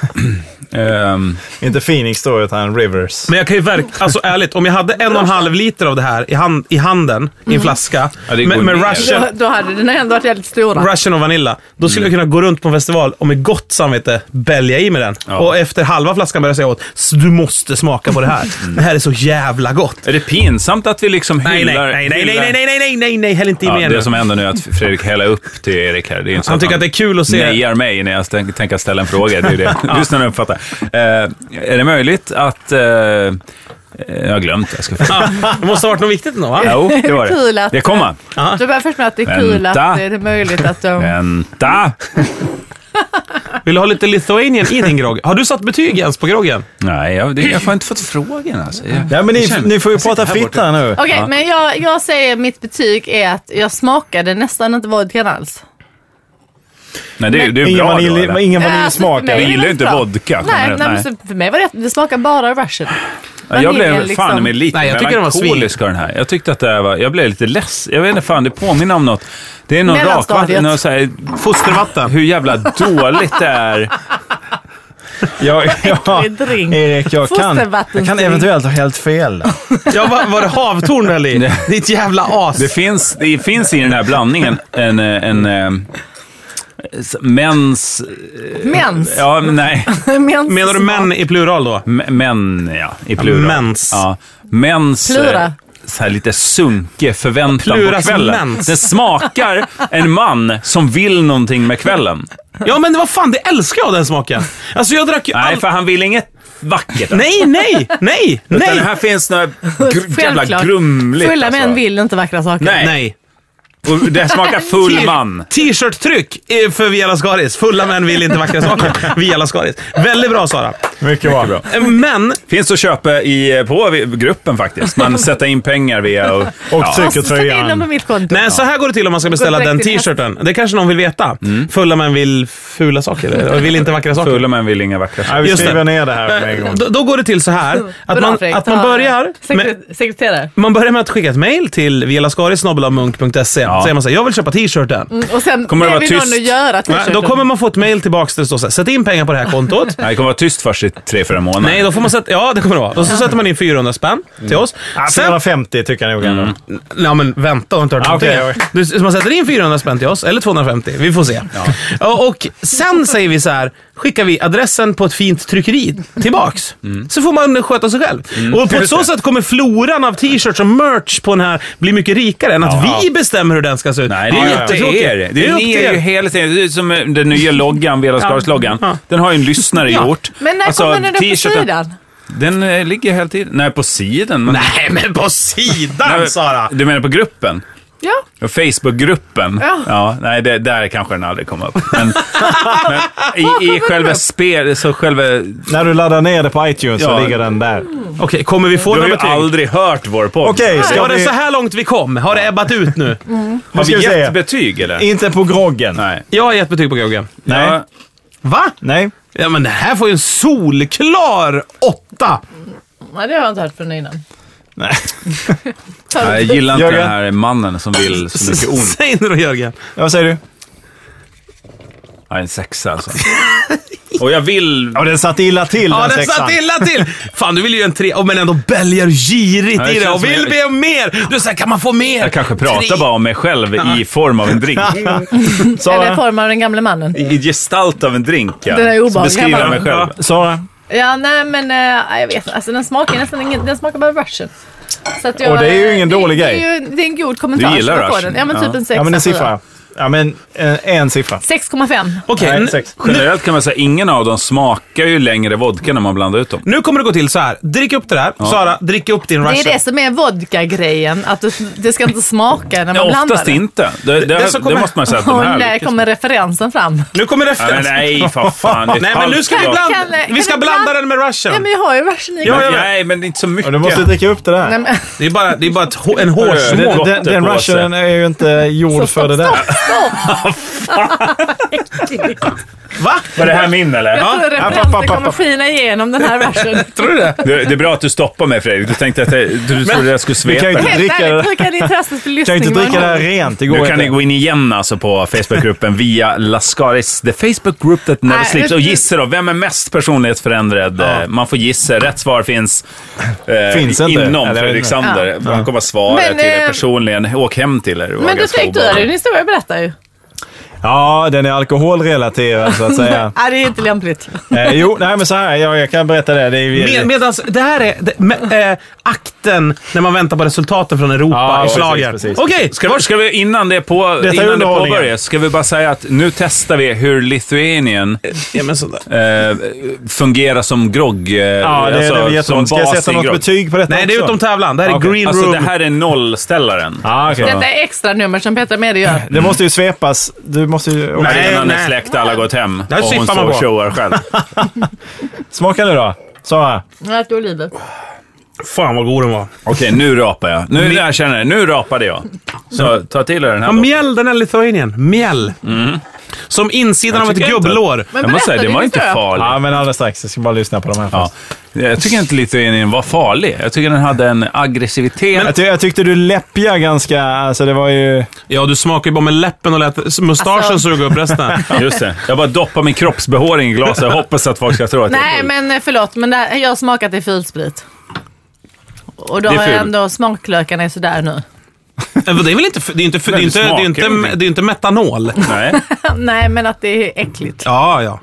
[SPEAKER 4] Ehm,
[SPEAKER 3] Inte Phoenix då, utan Rivers.
[SPEAKER 2] Men jag kan ju verkligen, alltså ärligt, om jag hade en och en halv liter av det här i, hand, i handen, i en flaska,
[SPEAKER 4] Mm. Ja, det går
[SPEAKER 2] med, med
[SPEAKER 4] ner.
[SPEAKER 2] Russian,
[SPEAKER 1] Då, då hade den ändå varit väldigt stora.
[SPEAKER 2] Russian och Vanilla, då skulle jag kunna gå runt på en festival och med gott samvete bälja i mig den.
[SPEAKER 4] Ja.
[SPEAKER 2] Och efter halva flaskan börjar jag säga åt, "S- du måste smaka på det här. Det här är så jävla gott.
[SPEAKER 4] är det pinsamt att vi liksom
[SPEAKER 2] Mm. Nej, nej,
[SPEAKER 4] hyllar...
[SPEAKER 2] nej, nej, nej,
[SPEAKER 4] hyllar-
[SPEAKER 2] nej, nej, nej, nej, nej, nej, häll inte i
[SPEAKER 4] Ja,
[SPEAKER 2] mer
[SPEAKER 4] det
[SPEAKER 2] nu.
[SPEAKER 4] som händer nu är att Fredrik häller upp till Erik här. Det är inte så
[SPEAKER 2] Han tycker att det är kul att se.
[SPEAKER 4] nejar mig när jag tänker tänker ställa en fråga. Det är ju det. Lyssnarna uppfattar. Eh, är det möjligt att... Eh, eh, jag har glömt. Jag ska få...
[SPEAKER 2] Det måste ha varit något viktigt ändå, va?
[SPEAKER 4] Jo, det var
[SPEAKER 1] Kul
[SPEAKER 4] det.
[SPEAKER 1] att-
[SPEAKER 4] Det kommer.
[SPEAKER 1] Du börjar först med att det är kul
[SPEAKER 4] Vänta.
[SPEAKER 1] att det är möjligt att de...
[SPEAKER 4] Vänta!
[SPEAKER 2] Vill du ha lite Lithuanian i din grogg? Har du satt betyg ens på groggen?
[SPEAKER 4] Nej, jag, det, jag har inte fått frågan alltså. Jag,
[SPEAKER 3] Ja, men ni, ni får ju prata
[SPEAKER 4] här
[SPEAKER 3] fritt
[SPEAKER 4] borta.
[SPEAKER 3] här nu.
[SPEAKER 1] Okej, men jag, jag säger mitt betyg är att jag smakade nästan inte vodkan alls.
[SPEAKER 4] nej, det, är- det är
[SPEAKER 3] Ingen
[SPEAKER 4] bra då,
[SPEAKER 3] vanilj-
[SPEAKER 4] eller?
[SPEAKER 3] ingen
[SPEAKER 1] Ja, alltså,
[SPEAKER 3] vaniljsmak.
[SPEAKER 1] för mig
[SPEAKER 4] Vi
[SPEAKER 1] är det
[SPEAKER 4] gillar ju inte
[SPEAKER 1] bra.
[SPEAKER 4] vodka,
[SPEAKER 1] Nej,
[SPEAKER 4] generellt,
[SPEAKER 1] nej, Men
[SPEAKER 4] nej.
[SPEAKER 1] så för mig var det, det smakar bara russian.
[SPEAKER 4] Ja, jag blev
[SPEAKER 1] Vaniljen,
[SPEAKER 4] fan i mig lite
[SPEAKER 2] Nej, jag tycker den var svin.
[SPEAKER 4] melankolisk av den här. Jag tyckte att det här var... Jag blev lite less. Jag vet inte fan, det påminner om något. Det är någon
[SPEAKER 1] Mellanstadiet.
[SPEAKER 4] rakvatten... någon så här-
[SPEAKER 2] Fostervatten.
[SPEAKER 4] Hur jävla dåligt det är.
[SPEAKER 3] Jag, ja,
[SPEAKER 1] äcklig drink.
[SPEAKER 3] Erik, jag kan, jag kan
[SPEAKER 1] Fostervattensdrink.
[SPEAKER 3] eventuellt ha helt fel.
[SPEAKER 2] Ja, va- var det havtorn du hällde i?
[SPEAKER 4] Nej.
[SPEAKER 2] Ditt jävla as.
[SPEAKER 4] Det finns, det finns i den här blandningen en... eh, en, en Mens...
[SPEAKER 1] Mens.
[SPEAKER 4] Ja, men nej.
[SPEAKER 1] Mens
[SPEAKER 2] Menar du män i plural då?
[SPEAKER 4] M- Män, ja. I plural.
[SPEAKER 2] Mens.
[SPEAKER 4] Ja. Mens.
[SPEAKER 1] Plura.
[SPEAKER 4] eh, Så här lite sunke förväntan
[SPEAKER 2] Pluras
[SPEAKER 4] på kvällen.
[SPEAKER 2] mens.
[SPEAKER 4] Den smakar en man som vill någonting med kvällen.
[SPEAKER 2] Ja, men vad fan, det älskar jag den smaken. Alltså jag drack ju
[SPEAKER 4] Nej,
[SPEAKER 2] all...
[SPEAKER 4] för han vill inget vackert.
[SPEAKER 2] Nej, nej, nej,
[SPEAKER 4] Utan
[SPEAKER 2] nej.
[SPEAKER 4] här finns något gr- jävla
[SPEAKER 1] Självklart.
[SPEAKER 4] grumligt.
[SPEAKER 1] Fulla
[SPEAKER 4] alltså.
[SPEAKER 1] män vill inte vackra saker.
[SPEAKER 4] Nej.
[SPEAKER 2] Nej.
[SPEAKER 4] Och det smakar full man.
[SPEAKER 2] T-shirt-tryck eh, för Via Lascaris. Fulla män vill inte vackra saker. Via Lascaris. Väldigt bra Sara.
[SPEAKER 3] Mycket bra.
[SPEAKER 4] bra.
[SPEAKER 2] Eh, Men,
[SPEAKER 4] Finns att köpa i, på vi- gruppen faktiskt. Man sätter in pengar via... Och,
[SPEAKER 3] Och
[SPEAKER 4] ja.
[SPEAKER 1] Alltså, sätt in dem på
[SPEAKER 3] tryckertröjan.
[SPEAKER 1] mitt konto.
[SPEAKER 2] nej, så här går det till om man ska beställa
[SPEAKER 1] direkt
[SPEAKER 2] den
[SPEAKER 1] till
[SPEAKER 2] t-shirten. Det kanske någon vill veta. Fulla män vill fula saker. eller? Vill inte vackra saker.
[SPEAKER 4] Mm. Fulla män vill inga vackra
[SPEAKER 3] Ja,
[SPEAKER 4] saker.
[SPEAKER 3] vi
[SPEAKER 2] Just det.
[SPEAKER 3] skriver ner det här med en gång.
[SPEAKER 2] Då, då går det till så här. Att
[SPEAKER 1] Bra,
[SPEAKER 2] man,
[SPEAKER 1] Fredrik.
[SPEAKER 2] att man
[SPEAKER 1] Ta-
[SPEAKER 2] börjar med,
[SPEAKER 1] Sekre- Sekreterare.
[SPEAKER 2] man börjar med att skicka ett mail till vialascaris.munk.se.
[SPEAKER 4] Ja.
[SPEAKER 2] Säger man så här, jag vill köpa t-shirten.
[SPEAKER 1] Och sen
[SPEAKER 4] Kommer det
[SPEAKER 1] ber
[SPEAKER 4] vara
[SPEAKER 1] vi
[SPEAKER 4] tyst?
[SPEAKER 1] någon att göra
[SPEAKER 2] Nej,
[SPEAKER 1] Mm, t-shirten.
[SPEAKER 2] Då kommer man få ett mail tillbaka där det står så här, sätt in pengar på det här kontot.
[SPEAKER 4] Nej, det kommer vara tyst först i tre, fyra månader.
[SPEAKER 2] Nej, då får man sätta... Ja, det kommer det vara. Och så sätter man in 400 spänn till
[SPEAKER 4] Mm.
[SPEAKER 2] oss.
[SPEAKER 3] Ja,
[SPEAKER 2] Sen...
[SPEAKER 3] 450 tycker jag nog ändå.
[SPEAKER 2] Ja, men vänta, har inte hört
[SPEAKER 3] Ah,
[SPEAKER 2] någonting.
[SPEAKER 3] okej, okej.
[SPEAKER 2] Du, så man sätter in 400 spänn till oss, eller 250. Vi får se. Och, och sen säger vi så här, skickar vi adressen på ett fint tryckeri tillbaks.
[SPEAKER 4] Mm.
[SPEAKER 2] Så får man sköta sig själv. Och på så sätt kommer floran av t-shirts och merch på den här bli mycket rikare än att vi bestämmer hur den ska se ut.
[SPEAKER 4] Nej, det är
[SPEAKER 2] ju
[SPEAKER 4] ju upp till
[SPEAKER 2] jättetråkigt.
[SPEAKER 4] er. Det är,
[SPEAKER 2] upp
[SPEAKER 4] ni
[SPEAKER 2] till
[SPEAKER 4] är ju
[SPEAKER 2] er.
[SPEAKER 4] hela tiden. Det är som eh, den nya loggan, Velascaris-loggan.
[SPEAKER 2] Ja.
[SPEAKER 4] Den har ju en lyssnare
[SPEAKER 2] Ja.
[SPEAKER 4] gjort.
[SPEAKER 1] Men när
[SPEAKER 4] Alltså,
[SPEAKER 1] kommer den upp på
[SPEAKER 4] t-shirten-
[SPEAKER 1] sidan?
[SPEAKER 4] Den eh, ligger hela tiden. Nej, på sidan. Men...
[SPEAKER 2] Nej, men på sidan
[SPEAKER 4] Nej,
[SPEAKER 2] Sara!
[SPEAKER 4] Du menar på gruppen?
[SPEAKER 1] Ja.
[SPEAKER 4] Ja, Facebookgruppen?
[SPEAKER 1] Ja.
[SPEAKER 4] nej, det, där kanske den aldrig kom upp. Men, men i, i själva spel, så själva...
[SPEAKER 3] När du laddar ner det på iTunes
[SPEAKER 4] Ja.
[SPEAKER 3] så ligger den där.
[SPEAKER 2] Okej, kommer vi få
[SPEAKER 4] Du har
[SPEAKER 2] några
[SPEAKER 4] ju
[SPEAKER 2] betyg?
[SPEAKER 4] aldrig hört vår podd.
[SPEAKER 3] Okej, ska
[SPEAKER 2] Var det
[SPEAKER 3] vi...
[SPEAKER 2] så här långt vi kom? Har det ebbat ut nu?
[SPEAKER 4] Har vi
[SPEAKER 3] ska vi
[SPEAKER 4] gett
[SPEAKER 3] se.
[SPEAKER 4] betyg eller?
[SPEAKER 3] Inte på groggen.
[SPEAKER 4] Nej.
[SPEAKER 2] Jag har gett betyg på groggen.
[SPEAKER 3] Nej.
[SPEAKER 4] Ja,
[SPEAKER 2] Va?
[SPEAKER 3] Nej.
[SPEAKER 2] Ja, men det här får ju en solklar åtta.
[SPEAKER 1] Nej, det har jag inte hört från innan.
[SPEAKER 3] Nej.
[SPEAKER 1] Tar
[SPEAKER 4] jag
[SPEAKER 1] du-
[SPEAKER 4] gillar inte
[SPEAKER 3] Jörgen?
[SPEAKER 4] den här mannen som vill så mycket ont.
[SPEAKER 2] Säg nu då Jörgen.
[SPEAKER 3] Vad säger du?
[SPEAKER 4] Ja, en sexa alltså. Och jag vill...
[SPEAKER 3] Ja, den satt illa till
[SPEAKER 2] Ja, den satt illa till! Fan, du vill ju en tre, oh, men ändå bälgar du girigt
[SPEAKER 4] Ja, det
[SPEAKER 2] i det
[SPEAKER 4] känns
[SPEAKER 2] och vill
[SPEAKER 4] som
[SPEAKER 2] be om mer. Du säger, kan man få mer?
[SPEAKER 4] Jag kanske
[SPEAKER 2] Tre.
[SPEAKER 4] pratar bara om mig själv i form av en drink.
[SPEAKER 3] Sara,
[SPEAKER 1] Eller form av den gamle mannen.
[SPEAKER 4] I gestalt av en drink, ja.
[SPEAKER 1] Den är obehaglig.
[SPEAKER 4] Så beskriver jag mig själv.
[SPEAKER 3] Sara.
[SPEAKER 1] Ja, nej men eh, jag vet Alltså den smakar nästan ingen, den smakar bara Russian. Så att jag,
[SPEAKER 3] Och det är ju ingen
[SPEAKER 1] det-
[SPEAKER 3] dålig
[SPEAKER 1] det är
[SPEAKER 3] grej.
[SPEAKER 1] ju- Det är en god kommentar.
[SPEAKER 4] Du gillar
[SPEAKER 1] som jag får
[SPEAKER 4] Russian.
[SPEAKER 1] den. Ja, men typ en sexa.
[SPEAKER 3] Ja, men en
[SPEAKER 1] tror jag.
[SPEAKER 3] siffra. Ja, men en, en siffra.
[SPEAKER 1] 6,5.
[SPEAKER 2] Okej, Mm.
[SPEAKER 3] Nej,
[SPEAKER 2] n-
[SPEAKER 3] sex.
[SPEAKER 4] Generellt kan man säga ingen av dem smakar ju längre vodka när man blandar ut dem.
[SPEAKER 2] nu kommer det gå till så här. Drick upp det där. Sara, drick upp din
[SPEAKER 1] Det är
[SPEAKER 2] Russian.
[SPEAKER 1] det som är vodka-grejen. Att du, det ska inte smaka när man
[SPEAKER 4] Nej,
[SPEAKER 1] blandar
[SPEAKER 4] oftast
[SPEAKER 1] det.
[SPEAKER 4] inte. Det, det,
[SPEAKER 2] det
[SPEAKER 4] det,
[SPEAKER 2] som kommer-
[SPEAKER 4] måste man säga att de
[SPEAKER 1] Och
[SPEAKER 4] här
[SPEAKER 1] där
[SPEAKER 4] lyckas
[SPEAKER 1] kommer referensen fram.
[SPEAKER 2] Nu kommer
[SPEAKER 4] Ja, men
[SPEAKER 2] referens.
[SPEAKER 4] nej, för fan. det är
[SPEAKER 2] Nej, men nu ska vi
[SPEAKER 4] falskt.
[SPEAKER 2] blanda,
[SPEAKER 1] Kan- kan
[SPEAKER 2] vi ska
[SPEAKER 1] vi
[SPEAKER 2] blanda
[SPEAKER 1] blanda-
[SPEAKER 2] den med Russian.
[SPEAKER 1] Ja, men jag har ju Russian i.
[SPEAKER 2] Ja, ja, ja.
[SPEAKER 4] Nej, men inte så
[SPEAKER 3] Och
[SPEAKER 4] mycket.
[SPEAKER 3] du måste dricka upp det
[SPEAKER 1] Nej,
[SPEAKER 3] där.
[SPEAKER 1] men,
[SPEAKER 2] Det är bara, det är bara ett, hå- en
[SPEAKER 4] Det-
[SPEAKER 2] hårsmån.
[SPEAKER 4] det-
[SPEAKER 3] Den, den
[SPEAKER 4] Gotteblåse.
[SPEAKER 3] russian är ju inte gjord för det där.
[SPEAKER 2] Va?
[SPEAKER 4] Var det här min eller?
[SPEAKER 1] jag tror referensen
[SPEAKER 3] papp, papp,
[SPEAKER 1] kommer
[SPEAKER 3] papp.
[SPEAKER 1] skina igenom den här versen.
[SPEAKER 2] Tror du det?
[SPEAKER 4] Det, det är bra att du stoppar mig Fredrik. Du tänkte att jag, du trodde jag skulle
[SPEAKER 3] Vi
[SPEAKER 4] svepa.
[SPEAKER 3] kan ju inte
[SPEAKER 1] Helt
[SPEAKER 3] dricka
[SPEAKER 1] ärligt,
[SPEAKER 3] det.
[SPEAKER 1] hur kan ni tröstas för
[SPEAKER 3] Kan
[SPEAKER 1] lyssning?
[SPEAKER 3] ju inte dricka det här rent. Det går
[SPEAKER 4] Nu kan
[SPEAKER 3] inte.
[SPEAKER 4] ni gå in igen alltså på Facebookgruppen via Lascaris, the Facebook group that never
[SPEAKER 1] Nej,
[SPEAKER 4] sleeps.
[SPEAKER 1] det-
[SPEAKER 4] Och gissa då, vem är mest personlighetsförändrad? Eh, Man får gissa. Rätt svar finns, eh,
[SPEAKER 3] Finns inte.
[SPEAKER 4] inom
[SPEAKER 3] Eller-
[SPEAKER 4] Fredrik Sander. Han kommer att svara
[SPEAKER 1] Men,
[SPEAKER 4] till er
[SPEAKER 1] eh,
[SPEAKER 4] personligen. Åk hem till er. Det var
[SPEAKER 1] Men du
[SPEAKER 4] ganska
[SPEAKER 1] tänkte du,
[SPEAKER 4] obehagligt.
[SPEAKER 1] din historia berättar ju.
[SPEAKER 3] Ja, den är alkoholrelaterad så att säga.
[SPEAKER 1] Nej, det är inte lämpligt.
[SPEAKER 3] eh, jo, nej men så här. Jag, jag kan berätta det. det är,
[SPEAKER 2] Med, medans, det här är det, med, eh, akten när man väntar på resultaten från Europa
[SPEAKER 3] Ja,
[SPEAKER 2] i
[SPEAKER 3] precis,
[SPEAKER 2] schlager.
[SPEAKER 3] precis.
[SPEAKER 2] Okej,
[SPEAKER 4] Ska vi, ska vi, innan det, på,
[SPEAKER 3] är
[SPEAKER 4] innan det
[SPEAKER 3] underhållningen.
[SPEAKER 4] påbörjas, ska vi bara säga att nu testar vi hur Lithuanien
[SPEAKER 2] ja, men sådär.
[SPEAKER 4] eh, fungerar som grogg. Eh,
[SPEAKER 3] ja, det, det är jätteont. Ska jag sätta något betyg på detta
[SPEAKER 2] Alltså, Nej, det är
[SPEAKER 3] också?
[SPEAKER 2] utom tävlan. Det här är
[SPEAKER 3] Okej.
[SPEAKER 2] green
[SPEAKER 4] Alltså
[SPEAKER 2] room.
[SPEAKER 4] det här är nollställaren.
[SPEAKER 3] Ah, okay.
[SPEAKER 1] Detta är extra nummer som Petra Mede gör.
[SPEAKER 3] Det måste ju svepas. Du måste ju...
[SPEAKER 2] Nej.
[SPEAKER 3] Nej.
[SPEAKER 4] Innan
[SPEAKER 2] nej.
[SPEAKER 4] en släkt alla gått hem
[SPEAKER 2] Det här
[SPEAKER 4] och hon
[SPEAKER 2] syftar man
[SPEAKER 4] så
[SPEAKER 2] på.
[SPEAKER 4] showar själv.
[SPEAKER 3] Smaka nu då. Sara.
[SPEAKER 1] Jag äter oliver.
[SPEAKER 2] Fan vad god den var.
[SPEAKER 4] Okej, nu rapar jag. Nu nu jag känner jag Nu rapade jag. Så ta till er den
[SPEAKER 2] Ja,
[SPEAKER 4] här. då.
[SPEAKER 2] mjäll, den här Lithuanien. Mjäll. Som insidan
[SPEAKER 4] Mm. Jag
[SPEAKER 2] av ett
[SPEAKER 4] tycker inte-
[SPEAKER 2] gubblår.
[SPEAKER 1] Men
[SPEAKER 4] Jag måste säga,
[SPEAKER 1] berätta
[SPEAKER 4] det
[SPEAKER 1] din
[SPEAKER 4] var inte
[SPEAKER 1] historia.
[SPEAKER 4] farligt.
[SPEAKER 3] Ja, men alldeles strax. Jag ska bara lyssna på de här
[SPEAKER 4] Ja.
[SPEAKER 3] först.
[SPEAKER 4] Jag tycker inte Lithuanien var farlig. Jag tycker den hade en aggressivitet.
[SPEAKER 3] Jag, ty- jag tyckte du läppja ganska... Alltså det var ju...
[SPEAKER 2] Ja, du smakar ju bara med läppen och lät mustaschen
[SPEAKER 1] Alltså-
[SPEAKER 2] suga upp resten.
[SPEAKER 4] Just det. Jag bara doppar min kroppsbehåring i glaset och hoppas att folk ska tro att jag är
[SPEAKER 1] Nej,
[SPEAKER 4] full.
[SPEAKER 1] men eh, förlåt, men det här, jag har smakat i fulsprit. Och då
[SPEAKER 4] Det är
[SPEAKER 1] har jag
[SPEAKER 4] ful.
[SPEAKER 1] ändå smaklökarna är sådär nu.
[SPEAKER 2] Eh, men det är väl inte... för- Det är ju inte, för- det är ju inte, det är ju inte,
[SPEAKER 4] smakar
[SPEAKER 2] det är ju inte metanol.
[SPEAKER 4] Nej.
[SPEAKER 1] Nej, men att det är äckligt.
[SPEAKER 2] Ja, ja.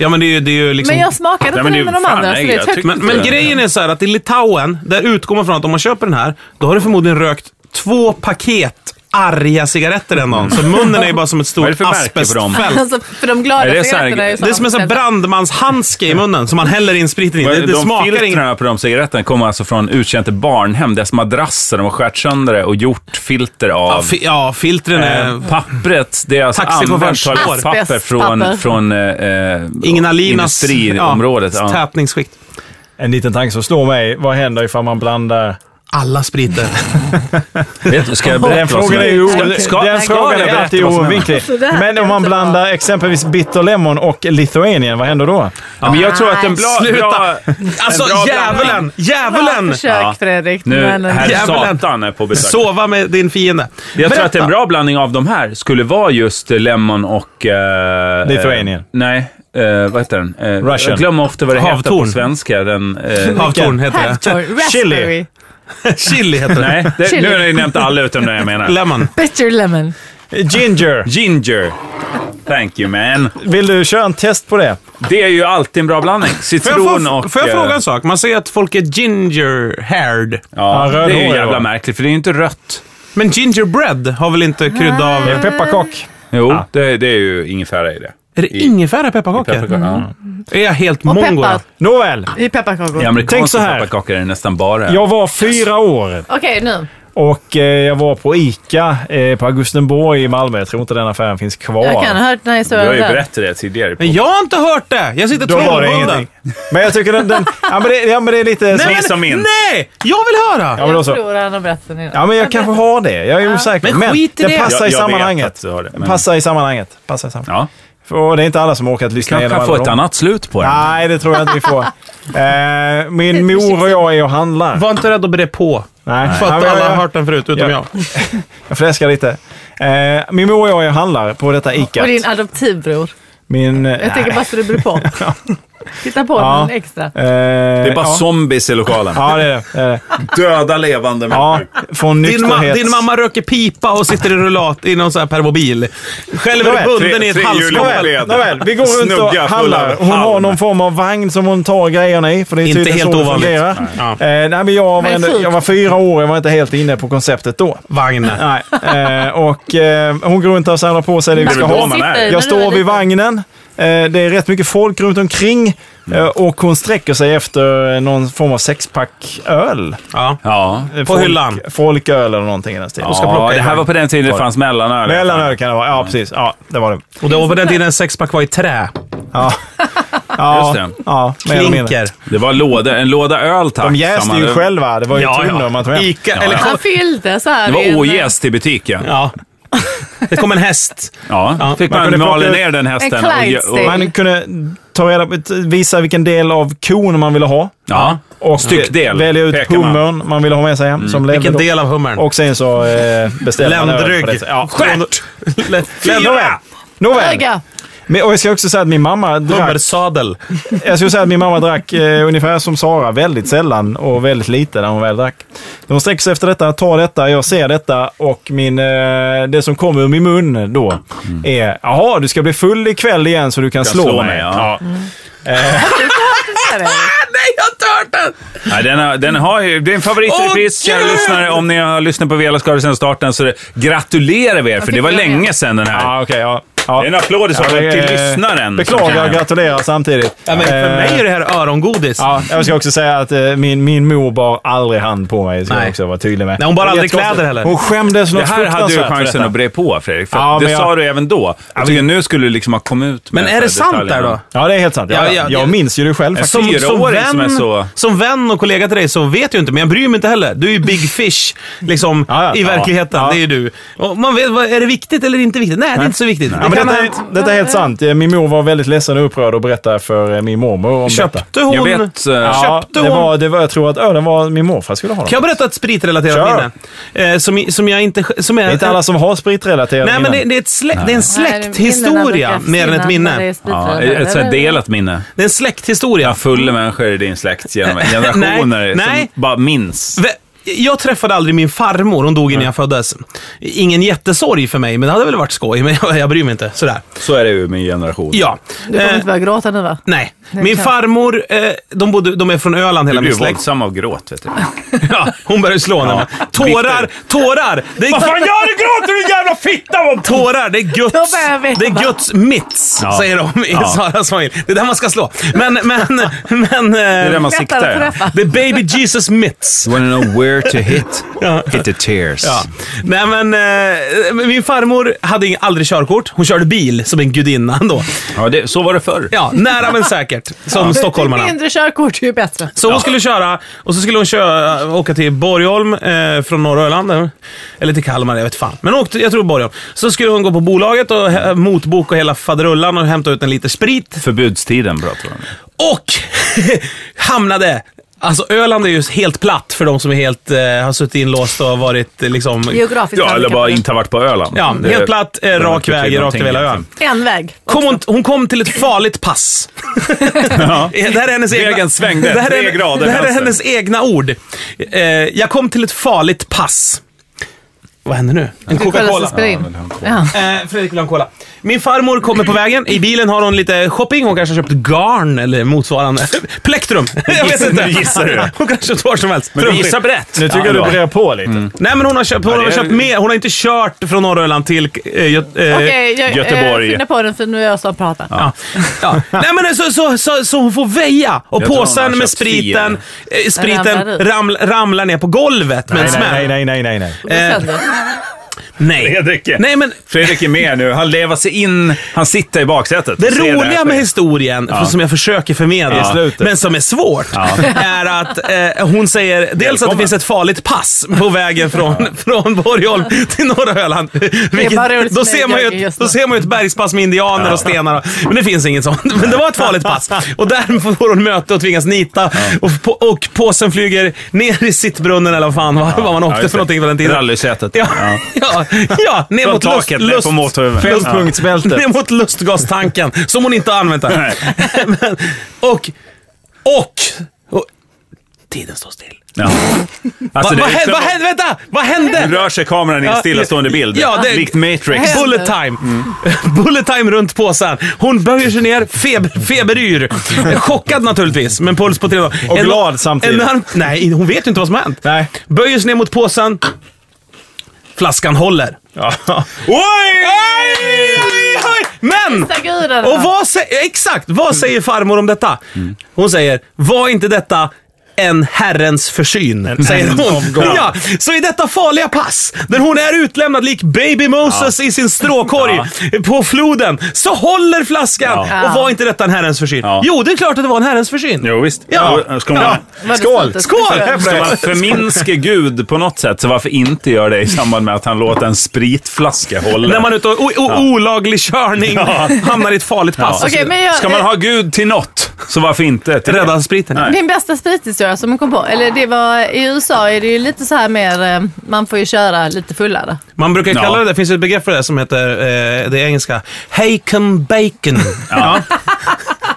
[SPEAKER 2] Ja, men det är ju, det är ju liksom...
[SPEAKER 1] Men jag smakade
[SPEAKER 4] Nej,
[SPEAKER 1] inte
[SPEAKER 4] men det
[SPEAKER 1] det
[SPEAKER 4] är
[SPEAKER 1] med de
[SPEAKER 4] fan,
[SPEAKER 1] andra,
[SPEAKER 4] nej,
[SPEAKER 1] så det är
[SPEAKER 4] jag
[SPEAKER 1] ett högt
[SPEAKER 4] tycker-
[SPEAKER 2] Men, men grejen är så här att i Litauen, där utgår man från att om man köper den här, då har du förmodligen rökt två paket arga cigaretter den dagen. Så munnen är ju bara som ett
[SPEAKER 4] Vad är det
[SPEAKER 2] stort
[SPEAKER 4] för märke på dem?
[SPEAKER 2] asbestfält.
[SPEAKER 1] Alltså, för de glada
[SPEAKER 4] Är det så här-
[SPEAKER 1] cigaretterna är ju
[SPEAKER 2] Det är som en sån här
[SPEAKER 1] Alltså,
[SPEAKER 2] brandmanshandske i munnen som man häller in spriten i. Det, det
[SPEAKER 4] de
[SPEAKER 2] smakar inget.
[SPEAKER 4] filtrarna på de cigaretterna kommer alltså från uttjänta barnhem. Deras madrasser, de har skärt sönder det och gjort filter
[SPEAKER 2] Ja,
[SPEAKER 4] av.
[SPEAKER 2] fi, ja, filtren är...
[SPEAKER 4] Eh, pappret, det är alltså använt
[SPEAKER 2] Taxichaufförs
[SPEAKER 4] toalettpapper
[SPEAKER 1] hår.
[SPEAKER 4] från,
[SPEAKER 1] Asbestpapper.
[SPEAKER 4] från eh,
[SPEAKER 2] Ingen Alinas...
[SPEAKER 4] industriområdet.
[SPEAKER 2] Ja,
[SPEAKER 4] Ja.
[SPEAKER 2] Tätningsskikt.
[SPEAKER 3] En liten tanke som slår mig. Vad händer ifall man blandar...
[SPEAKER 2] Alla spriter.
[SPEAKER 4] Vet du, Ska jag berätta
[SPEAKER 3] Den
[SPEAKER 4] vad som
[SPEAKER 3] frågan är ju
[SPEAKER 4] händer?
[SPEAKER 3] o-
[SPEAKER 4] Ska-
[SPEAKER 3] den
[SPEAKER 4] ska
[SPEAKER 3] frågan
[SPEAKER 4] jag
[SPEAKER 3] är
[SPEAKER 4] berätta
[SPEAKER 3] alltid
[SPEAKER 4] vad som händer?
[SPEAKER 3] ovinklig.
[SPEAKER 1] Så där
[SPEAKER 3] Men
[SPEAKER 1] kan
[SPEAKER 3] om man
[SPEAKER 1] inte
[SPEAKER 3] blandar exempelvis Bitter Lemon och Lithuanien, vad händer då?
[SPEAKER 4] Ja, men jag tror att en bra...
[SPEAKER 2] Sluta.
[SPEAKER 4] bra
[SPEAKER 2] Alltså,
[SPEAKER 4] en bra blandning.
[SPEAKER 2] djävulen!
[SPEAKER 1] Bra
[SPEAKER 2] Djävulen!
[SPEAKER 1] försök
[SPEAKER 4] Ja.
[SPEAKER 1] Fredrik. men,
[SPEAKER 4] Nu, herr
[SPEAKER 2] Djävulen.
[SPEAKER 4] Satan är på besök.
[SPEAKER 2] Sova med din fiende.
[SPEAKER 4] Jag tror
[SPEAKER 2] Berätta.
[SPEAKER 4] att en bra blandning av de här skulle vara just eh, Lemon och... eh,
[SPEAKER 3] Lithuanian.
[SPEAKER 4] eh, nej, eh, vad heter den? Eh,
[SPEAKER 3] Russian.
[SPEAKER 4] Jag glömmer ofta vad det heter
[SPEAKER 2] Havtorn.
[SPEAKER 4] på svenska. Den, eh,
[SPEAKER 2] Havtorn heter det.
[SPEAKER 1] Havtorn, raspberry,
[SPEAKER 2] Chili heter det.
[SPEAKER 4] nej, det,
[SPEAKER 1] Chili.
[SPEAKER 4] nu har jag nämnt alla utom det jag menar.
[SPEAKER 2] Lemon.
[SPEAKER 1] bitter lemon.
[SPEAKER 3] Ginger.
[SPEAKER 4] Ginger. Thank you man.
[SPEAKER 3] Vill du köra en test på det?
[SPEAKER 4] Det är ju alltid en bra blandning.
[SPEAKER 2] Får jag,
[SPEAKER 4] Citron
[SPEAKER 2] få,
[SPEAKER 4] och...
[SPEAKER 2] får jag
[SPEAKER 4] eh,
[SPEAKER 2] fråga en sak? Man säger att folk är ginger-haired.
[SPEAKER 4] Ja,
[SPEAKER 3] Ja, röd
[SPEAKER 4] det är ju
[SPEAKER 3] hår,
[SPEAKER 4] jävla
[SPEAKER 3] va?
[SPEAKER 4] märkligt för det är ju inte rött.
[SPEAKER 2] Men gingerbread har väl inte krydda av...
[SPEAKER 3] Det
[SPEAKER 1] Eh.
[SPEAKER 3] är pepparkock.
[SPEAKER 4] Jo, det, det är ju ingefära i det.
[SPEAKER 2] Är det
[SPEAKER 4] I-
[SPEAKER 2] ingefära i pepparkakor?
[SPEAKER 4] Pepparkakor. ja.
[SPEAKER 2] Är jag helt
[SPEAKER 1] Och
[SPEAKER 2] mongo?
[SPEAKER 1] peppar.
[SPEAKER 2] då?
[SPEAKER 3] Nåväl,
[SPEAKER 1] I pepparkakor.
[SPEAKER 4] I
[SPEAKER 3] Tänk så
[SPEAKER 4] amerikanska
[SPEAKER 3] här.
[SPEAKER 4] pepparkakor är det nästan bara.
[SPEAKER 3] jag var fyra år
[SPEAKER 1] Okej, nu.
[SPEAKER 3] och eh, jag var på ICA eh, på Augustenborg i Malmö. Jag tror inte den affären finns kvar.
[SPEAKER 1] Jag kan ha hört den här
[SPEAKER 4] du har
[SPEAKER 1] historien
[SPEAKER 4] ju
[SPEAKER 1] där.
[SPEAKER 4] berättat det tidigare.
[SPEAKER 2] Men jag har inte hört det! Jag sitter
[SPEAKER 3] Då var det
[SPEAKER 2] trollbunden.
[SPEAKER 3] ingenting. Men jag tycker den... den ja, men det, ja, men det är lite...
[SPEAKER 2] Nej,
[SPEAKER 4] Minns
[SPEAKER 2] men-
[SPEAKER 4] som minns.
[SPEAKER 2] Nej! Jag vill höra!
[SPEAKER 3] ja, men då
[SPEAKER 1] Jag
[SPEAKER 3] så.
[SPEAKER 1] tror han har berättat den innan.
[SPEAKER 3] Ja, men jag kanske har det. Jag är osäker.
[SPEAKER 2] Men skit i
[SPEAKER 3] den
[SPEAKER 2] det.
[SPEAKER 3] passar i
[SPEAKER 4] Jag- jag vet
[SPEAKER 3] sammanhanget.
[SPEAKER 4] att du har det, men-
[SPEAKER 3] Passar i sammanhanget. Passar i sammanhanget.
[SPEAKER 4] Ja.
[SPEAKER 3] Och det är inte alla som orkat lyssna
[SPEAKER 4] Kanske
[SPEAKER 3] igenom
[SPEAKER 4] kan
[SPEAKER 3] alla
[SPEAKER 4] få ett
[SPEAKER 3] dem.
[SPEAKER 4] annat slut på det.
[SPEAKER 3] Nej, det tror jag inte vi får. Eh, min mor och jag är och handlar.
[SPEAKER 2] Var inte rädd att bre på.
[SPEAKER 3] Nej,
[SPEAKER 2] För
[SPEAKER 3] Nej,
[SPEAKER 2] att
[SPEAKER 3] men jag-
[SPEAKER 2] alla har hört den förut, utom
[SPEAKER 3] Ja.
[SPEAKER 2] jag.
[SPEAKER 3] Jag fläskar lite. Eh, min mor och jag är och handlar på detta ICA.
[SPEAKER 1] Och din adoptivbror.
[SPEAKER 3] Min...
[SPEAKER 1] Jag tänker bara så det beror på. Titta på
[SPEAKER 3] Ja.
[SPEAKER 1] den extra.
[SPEAKER 4] Det är bara
[SPEAKER 3] Eh, ja.
[SPEAKER 4] zombies i lokalen.
[SPEAKER 3] Ja, det är det. det. är det.
[SPEAKER 4] Döda levande
[SPEAKER 3] Ja, från
[SPEAKER 2] Din, ma-
[SPEAKER 3] nykterhet...
[SPEAKER 2] din mamma röker pipa och sitter i rullat i någon sån här permobil. Själv är
[SPEAKER 3] Nåväl,
[SPEAKER 2] du bunden
[SPEAKER 4] tre-
[SPEAKER 2] i ett
[SPEAKER 4] tre
[SPEAKER 2] halsskål.
[SPEAKER 4] hjulingar.
[SPEAKER 3] Nåväl, vi går runt och
[SPEAKER 4] Snugga, fulla
[SPEAKER 3] handlar. Hon har
[SPEAKER 4] halm.
[SPEAKER 3] någon form av vagn som hon tar grejerna i. För det är
[SPEAKER 2] Inte
[SPEAKER 3] tydligen
[SPEAKER 2] helt
[SPEAKER 3] så det
[SPEAKER 2] ovanligt.
[SPEAKER 3] fungerar. Nej. Eh, nej, men jag, var
[SPEAKER 1] Men
[SPEAKER 3] ändå,
[SPEAKER 1] sjukt.
[SPEAKER 3] jag var fyra år jag var inte helt inne på konceptet då.
[SPEAKER 2] Vagn.
[SPEAKER 3] Nej. Eh, och eh, hon går runt och samlar på sig det vi
[SPEAKER 4] Det är
[SPEAKER 3] ska
[SPEAKER 4] väl
[SPEAKER 3] ha.
[SPEAKER 4] bra man
[SPEAKER 1] Sitter i
[SPEAKER 4] är.
[SPEAKER 1] när du
[SPEAKER 3] Jag står
[SPEAKER 1] är
[SPEAKER 3] vid
[SPEAKER 1] liten.
[SPEAKER 3] vagnen. Eh, Det är rätt mycket folk runt omkring
[SPEAKER 4] Mm.
[SPEAKER 3] eh, och hon sträcker sig efter eh, någon form av sexpack öl.
[SPEAKER 2] Ja.
[SPEAKER 4] Ja.
[SPEAKER 3] Eh,
[SPEAKER 2] På hyllan.
[SPEAKER 3] Folköl eller någonting i den stilen. Hon ska
[SPEAKER 4] ja,
[SPEAKER 3] plocka i
[SPEAKER 4] det här var
[SPEAKER 3] vagnen.
[SPEAKER 4] på den tiden det
[SPEAKER 3] Var det.
[SPEAKER 4] fanns mellanöl.
[SPEAKER 3] Mellanöl kan det vara. Ja, precis. Ja, det var det.
[SPEAKER 2] Och det var på den tiden en sexpack var i trä.
[SPEAKER 3] Ja. Ja,
[SPEAKER 4] Just det.
[SPEAKER 3] ja, mer eller mindre.
[SPEAKER 2] Klinker.
[SPEAKER 4] Det var låda, en låda öl tack.
[SPEAKER 3] De jäste
[SPEAKER 4] sa
[SPEAKER 3] ju
[SPEAKER 4] man.
[SPEAKER 3] själva. Det var ju tunnor man tog hem.
[SPEAKER 2] Ica,
[SPEAKER 4] Ja,
[SPEAKER 2] eller
[SPEAKER 4] ja.
[SPEAKER 2] kom-
[SPEAKER 1] Han fyllde så här.
[SPEAKER 4] Det
[SPEAKER 1] i en- eh,
[SPEAKER 4] var åjäst i butiken. Ja.
[SPEAKER 2] Ja. Det kom en häst.
[SPEAKER 4] Fick
[SPEAKER 3] Man
[SPEAKER 4] man,
[SPEAKER 3] kunde
[SPEAKER 4] mala
[SPEAKER 3] plocka-
[SPEAKER 4] ner den hästen.
[SPEAKER 1] En
[SPEAKER 4] gö-
[SPEAKER 1] Clydesdale.
[SPEAKER 3] Man kunde ta reda på, visa vilken del av kon man ville ha.
[SPEAKER 4] ja.
[SPEAKER 3] Och
[SPEAKER 4] Styckdel,
[SPEAKER 3] välja ut
[SPEAKER 4] pekar man.
[SPEAKER 3] hummern man ville ha med sig hem som levde
[SPEAKER 2] Vilken
[SPEAKER 3] då.
[SPEAKER 2] del av hummern?
[SPEAKER 3] Och sen så eh, beställde han öl på
[SPEAKER 2] Ländrygg.
[SPEAKER 3] det sättet. Ja.
[SPEAKER 2] Stjärt. L-
[SPEAKER 3] Nåväl.
[SPEAKER 2] Fyra.
[SPEAKER 3] Nåväl.
[SPEAKER 1] Öga.
[SPEAKER 3] Men, och jag ska också säga att min mamma drack,
[SPEAKER 2] Hummersadel.
[SPEAKER 3] jag skulle säga att min mamma drack eh, ungefär som Sara, väldigt sällan och väldigt lite när hon väl drack. Hon sträcker sig efter detta, tar detta, jag ser detta och min, eh, det som kommer ur min mun då
[SPEAKER 4] Mm.
[SPEAKER 3] är “Jaha, du ska bli full ikväll igen så du kan, slå, mig”.
[SPEAKER 4] Ja. Mm.
[SPEAKER 1] Där är det.
[SPEAKER 2] Nej, jag har hört den!
[SPEAKER 4] Ja, den, har, den har ju, det är en favoritrepris,
[SPEAKER 2] Åh,
[SPEAKER 4] kära
[SPEAKER 2] Gud!
[SPEAKER 4] lyssnare. Om ni har lyssnat på Vela Skara sedan starten så det, gratulerar vi er, för det var
[SPEAKER 1] fick jag
[SPEAKER 4] länge sedan den här.
[SPEAKER 3] Ja, okej. ja. Ja.
[SPEAKER 4] Det är en applåd i så fall
[SPEAKER 3] det
[SPEAKER 4] till
[SPEAKER 3] är-
[SPEAKER 4] lyssnaren.
[SPEAKER 3] Beklagar och gratulerar samtidigt.
[SPEAKER 2] Ja, men för
[SPEAKER 3] Eh,
[SPEAKER 2] mig är det här örongodis.
[SPEAKER 3] Ja, jag ska också säga att eh, min, min mor bar aldrig hand på mig, ska
[SPEAKER 2] Nej.
[SPEAKER 3] jag också vara tydlig med.
[SPEAKER 2] Nej, hon bar
[SPEAKER 3] Det var
[SPEAKER 2] aldrig
[SPEAKER 3] jättekonstigt.
[SPEAKER 2] kläder heller.
[SPEAKER 3] Hon skämdes något
[SPEAKER 4] Det här hade du
[SPEAKER 3] fruktansvärt för
[SPEAKER 4] chansen
[SPEAKER 3] detta.
[SPEAKER 4] att bre på, Fredrik. För
[SPEAKER 3] Ja,
[SPEAKER 4] att det
[SPEAKER 3] men jag-
[SPEAKER 4] sa du även då. Jag tycker nu skulle du liksom ha kommit ut med
[SPEAKER 2] Men
[SPEAKER 4] så
[SPEAKER 2] är
[SPEAKER 4] här
[SPEAKER 2] det sant
[SPEAKER 4] detaljerna.
[SPEAKER 2] där då?
[SPEAKER 3] Ja, det är helt sant. Ja,
[SPEAKER 2] Ja,
[SPEAKER 3] ja,
[SPEAKER 2] ja,
[SPEAKER 3] jag
[SPEAKER 2] det-
[SPEAKER 3] minns ju det själv faktiskt.
[SPEAKER 2] Som, som,
[SPEAKER 4] fyraåring som är
[SPEAKER 2] vän,
[SPEAKER 4] så-
[SPEAKER 2] som vän och kollega till dig så vet jag inte, men jag bryr mig inte heller. Du är ju big fish liksom,
[SPEAKER 3] Ja, ja.
[SPEAKER 2] i
[SPEAKER 3] Ja.
[SPEAKER 2] verkligheten.
[SPEAKER 3] Ja.
[SPEAKER 2] Det är ju du. Och man vet, vad- är det viktigt eller inte viktigt? Nej, det är inte så viktigt.
[SPEAKER 3] Ja,
[SPEAKER 2] Det
[SPEAKER 3] men
[SPEAKER 2] kan
[SPEAKER 3] detta,
[SPEAKER 2] ha
[SPEAKER 3] är,
[SPEAKER 2] hänt.
[SPEAKER 3] detta är helt sant. Eh, Min mor var väldigt ledsen och upprörd och berättade för eh, min mormor om detta.
[SPEAKER 2] Köpte hon...
[SPEAKER 4] Jag vet... eh,
[SPEAKER 3] Ja,
[SPEAKER 2] köpte
[SPEAKER 3] det
[SPEAKER 2] hon-
[SPEAKER 3] var, det var, jag tror att ölen var min morfar skulle ha den.
[SPEAKER 2] Kan jag berätta ett spritrelaterat
[SPEAKER 3] Kör.
[SPEAKER 2] minne? Eh, som, i- som jag inte... Som är,
[SPEAKER 3] Det är inte alla som har spritrelaterade
[SPEAKER 2] Nej, men det,
[SPEAKER 3] minnen.
[SPEAKER 2] det, är ett slä, det är en
[SPEAKER 1] Nej, det är
[SPEAKER 2] släkthistoria
[SPEAKER 1] minnen
[SPEAKER 2] mer än ett
[SPEAKER 1] när det
[SPEAKER 2] minne.
[SPEAKER 1] är
[SPEAKER 4] Ja,
[SPEAKER 1] spritrelaterat.
[SPEAKER 4] ett sånt här delat minne.
[SPEAKER 2] Det är en släkthistoria.
[SPEAKER 4] Fulla människor i din släkt genom generationer
[SPEAKER 2] Nej,
[SPEAKER 4] som
[SPEAKER 2] nej.
[SPEAKER 4] bara minns.
[SPEAKER 2] Ve- Jag träffade aldrig min farmor, hon dog innan jag föddes. Ingen jättesorg för mig, men det hade väl varit skoj. Men jag, jag bryr mig inte. Sådär.
[SPEAKER 4] Så är det ju med generation.
[SPEAKER 2] Ja.
[SPEAKER 1] Du kommer
[SPEAKER 2] Eh,
[SPEAKER 1] inte börja gråta nu va?
[SPEAKER 2] Nej.
[SPEAKER 1] Nej,
[SPEAKER 2] Min
[SPEAKER 1] klart.
[SPEAKER 2] farmor, eh, de, bodde, de är från Öland
[SPEAKER 4] Du
[SPEAKER 2] hela
[SPEAKER 4] blir
[SPEAKER 2] min
[SPEAKER 4] ju
[SPEAKER 2] släkt.
[SPEAKER 4] våldsam av gråt, vet du.
[SPEAKER 2] Ja, hon började slå henne. Tårar, tårar! Det är,
[SPEAKER 4] gör du? Gråter du jävla fitta? vad-
[SPEAKER 2] Tårar, det är Guds,
[SPEAKER 1] Då börjar jag veta,
[SPEAKER 2] det är
[SPEAKER 1] va?
[SPEAKER 2] Guds mitts,
[SPEAKER 4] Ja.
[SPEAKER 2] säger de i
[SPEAKER 4] Ja.
[SPEAKER 2] Saras familj. Det är där man ska slå. Men, men, men...
[SPEAKER 4] Det är där
[SPEAKER 1] Lättare
[SPEAKER 4] man siktar.
[SPEAKER 1] att
[SPEAKER 4] ja.
[SPEAKER 1] träffa.
[SPEAKER 2] The baby Jesus mitts.
[SPEAKER 4] You wanna know where to hit? Hit the tears.
[SPEAKER 2] Ja. Nej, men, eh, min farmor hade ing- aldrig körkort. Hon körde bil som en gudinna ändå.
[SPEAKER 4] Ja, det, så var det förr.
[SPEAKER 2] Ja, nära men säkert. Som stockholmarna.
[SPEAKER 1] Ju mindre körkort ju bättre.
[SPEAKER 2] Så hon skulle köra och så skulle hon köra, åka till Borgholm eh, från norra Öland. eh, Eller till Kalmar, jag vet fan. Men hon åkte, jag tror Borgholm. Så skulle hon gå på bolaget och eh, motboka hela faderullan och hämta ut en liter sprit.
[SPEAKER 4] Förbudstiden pratar vi om.
[SPEAKER 2] Och hamnade... Alltså Öland är ju helt platt för de som är helt, eh, har suttit inlåsta och varit eh, liksom...
[SPEAKER 1] Geografiskt
[SPEAKER 4] Ja, eller
[SPEAKER 1] handikapp.
[SPEAKER 4] bara inte har varit på Öland.
[SPEAKER 2] Ja,
[SPEAKER 4] Det-
[SPEAKER 2] helt platt, eh,
[SPEAKER 4] det var
[SPEAKER 2] rak
[SPEAKER 4] inte till
[SPEAKER 2] väg rakt
[SPEAKER 4] någonting,
[SPEAKER 2] över hela ön.
[SPEAKER 4] liksom.
[SPEAKER 1] En väg.
[SPEAKER 2] Kom hon, hon kom till ett farligt pass. Det här är hennes egna,
[SPEAKER 4] Vägen svängde
[SPEAKER 2] det här
[SPEAKER 4] tre
[SPEAKER 2] är,
[SPEAKER 4] grader
[SPEAKER 2] Det här är
[SPEAKER 4] vänster.
[SPEAKER 2] hennes egna ord. Eh, jag kom till ett farligt pass. Vad händer nu? En
[SPEAKER 1] Du kollar så
[SPEAKER 2] Coca-Cola.
[SPEAKER 1] spelar in. Ja.
[SPEAKER 2] Eh, Fredrik vill ha en cola. Min farmor kommer på vägen. I bilen har hon lite shopping. Hon kanske har köpt garn eller motsvarande. Plektrum! Jag vet inte.
[SPEAKER 4] Nu gissar du.
[SPEAKER 2] Hon kanske har köpt vad som helst.
[SPEAKER 4] Men du
[SPEAKER 2] Trumfyr.
[SPEAKER 4] gissar brett.
[SPEAKER 3] Nu tycker
[SPEAKER 4] Ja,
[SPEAKER 3] jag
[SPEAKER 4] bra.
[SPEAKER 3] du brer på lite.
[SPEAKER 2] Nej men hon har köpt, hon
[SPEAKER 4] Ja, det
[SPEAKER 2] har
[SPEAKER 4] är-
[SPEAKER 2] köpt mer. Hon har inte kört från norra Öland till... Eh, Gö- eh,
[SPEAKER 1] Okej, jag
[SPEAKER 4] Göteborg.
[SPEAKER 1] eh, finner på den för nu är jag som pratar.
[SPEAKER 2] Ja. Ja. Nej men så, så, så, så hon får väja och
[SPEAKER 4] Jag tror hon
[SPEAKER 2] påsen
[SPEAKER 4] har
[SPEAKER 2] med
[SPEAKER 4] köpt
[SPEAKER 2] spriten, eh, spriten
[SPEAKER 1] Ramlar ut.
[SPEAKER 2] raml, ramlar ner på golvet med en smäll.
[SPEAKER 3] Nej, nej, nej, nej, nej.
[SPEAKER 1] Och det sänder.
[SPEAKER 2] Eh. Nej.
[SPEAKER 4] Fredrik är-
[SPEAKER 2] Nej, men
[SPEAKER 4] Fredrik är med nu. Han levar sig in. Han sitter i baksätet.
[SPEAKER 2] det
[SPEAKER 4] och ser här
[SPEAKER 2] roliga med
[SPEAKER 4] ske.
[SPEAKER 2] historien, för- som jag försöker förmedla,
[SPEAKER 4] I
[SPEAKER 3] slutet.
[SPEAKER 2] men som är svårt, är att eh, hon säger dels att det
[SPEAKER 4] Välkommen.
[SPEAKER 2] finns ett farligt pass på vägen från, från Borgholm till norra Öland. Vilket,
[SPEAKER 1] bara roligt
[SPEAKER 2] då,
[SPEAKER 1] med
[SPEAKER 2] ser man ju
[SPEAKER 1] Jörgen
[SPEAKER 2] ett,
[SPEAKER 1] just
[SPEAKER 2] då
[SPEAKER 1] nu.
[SPEAKER 2] ser man ju ett bergspass med indianer och stenar. Och, men det finns inget sånt. Men det var ett farligt pass. Och där får hon möte och tvingas nita. Och, på, och påsen flyger ner i sittbrunnen eller vad fan vad vad man åkte
[SPEAKER 4] just
[SPEAKER 2] för
[SPEAKER 4] det.
[SPEAKER 2] någonting på den tiden.
[SPEAKER 4] Rallysätet.
[SPEAKER 2] Ja,
[SPEAKER 4] Ja.
[SPEAKER 2] ja. Ja, ja ner
[SPEAKER 4] Från
[SPEAKER 2] mot
[SPEAKER 4] taket, ner på motorhuven.
[SPEAKER 2] lust-
[SPEAKER 3] Fempunktsbältet.
[SPEAKER 2] Ner mot lustgastanken, som hon inte har använt än. Men, och, och, och... Tiden står still.
[SPEAKER 4] Ja. Alltså,
[SPEAKER 2] Va, vad,
[SPEAKER 4] det är
[SPEAKER 2] hä-
[SPEAKER 4] liksom-
[SPEAKER 2] vad, hä- vänta, vad hände?
[SPEAKER 4] Nu rör sig kameran i en
[SPEAKER 2] Ja,
[SPEAKER 4] stillastående bild.
[SPEAKER 2] ja, det-
[SPEAKER 4] Likt Matrix.
[SPEAKER 1] Hä-
[SPEAKER 2] Bullet time. Mm. Bullet time runt påsen. Hon böjer sig ner, feber, feberyr. Chockad naturligtvis, men puls på 300.
[SPEAKER 3] Och
[SPEAKER 2] En-
[SPEAKER 3] glad samtidigt.
[SPEAKER 2] en- nej, hon vet ju inte vad som har hänt.
[SPEAKER 3] Nej.
[SPEAKER 2] Böjer sig ner mot påsen. Flaskan håller.
[SPEAKER 4] Oj!
[SPEAKER 2] Oj, oj, Men!
[SPEAKER 1] Tack gudarna.
[SPEAKER 2] Och vad säger, exakt, vad säger farmor om detta? Hon säger, var inte detta en herrens försyn, säger hon. Ja, så i detta farliga pass, där hon är utlämnad lik baby Moses i sin stråkorg på floden, så håller flaskan.
[SPEAKER 1] Ja.
[SPEAKER 2] Och var inte detta en herrens försyn?
[SPEAKER 4] Ja.
[SPEAKER 2] Jo, det är klart att det var en herrens försyn.
[SPEAKER 4] Jo, visst.
[SPEAKER 2] Ja.
[SPEAKER 4] Ja, ska man-
[SPEAKER 1] Var det
[SPEAKER 3] Skål!
[SPEAKER 1] sant att-
[SPEAKER 2] Skål!
[SPEAKER 4] Ska man förminska Gud på något sätt, så varför inte göra det i samband med att han låter en spritflaska hålla?
[SPEAKER 2] När man är ute och o- o- olaglig körning hamnar i ett farligt pass.
[SPEAKER 1] Okej, men jag,
[SPEAKER 4] Ska man ha Gud till något, så varför inte? Till
[SPEAKER 2] Rädda spriten.
[SPEAKER 4] Nej.
[SPEAKER 1] Din bästa sprithistoria som man kom på, eller det var i USA är det ju lite så här mer, eh, man får ju köra lite fullare.
[SPEAKER 2] Man brukar
[SPEAKER 4] Ja.
[SPEAKER 2] kalla det, det finns ett begrepp för det som heter, eh, det är engelska, Haken bacon.
[SPEAKER 4] Ja.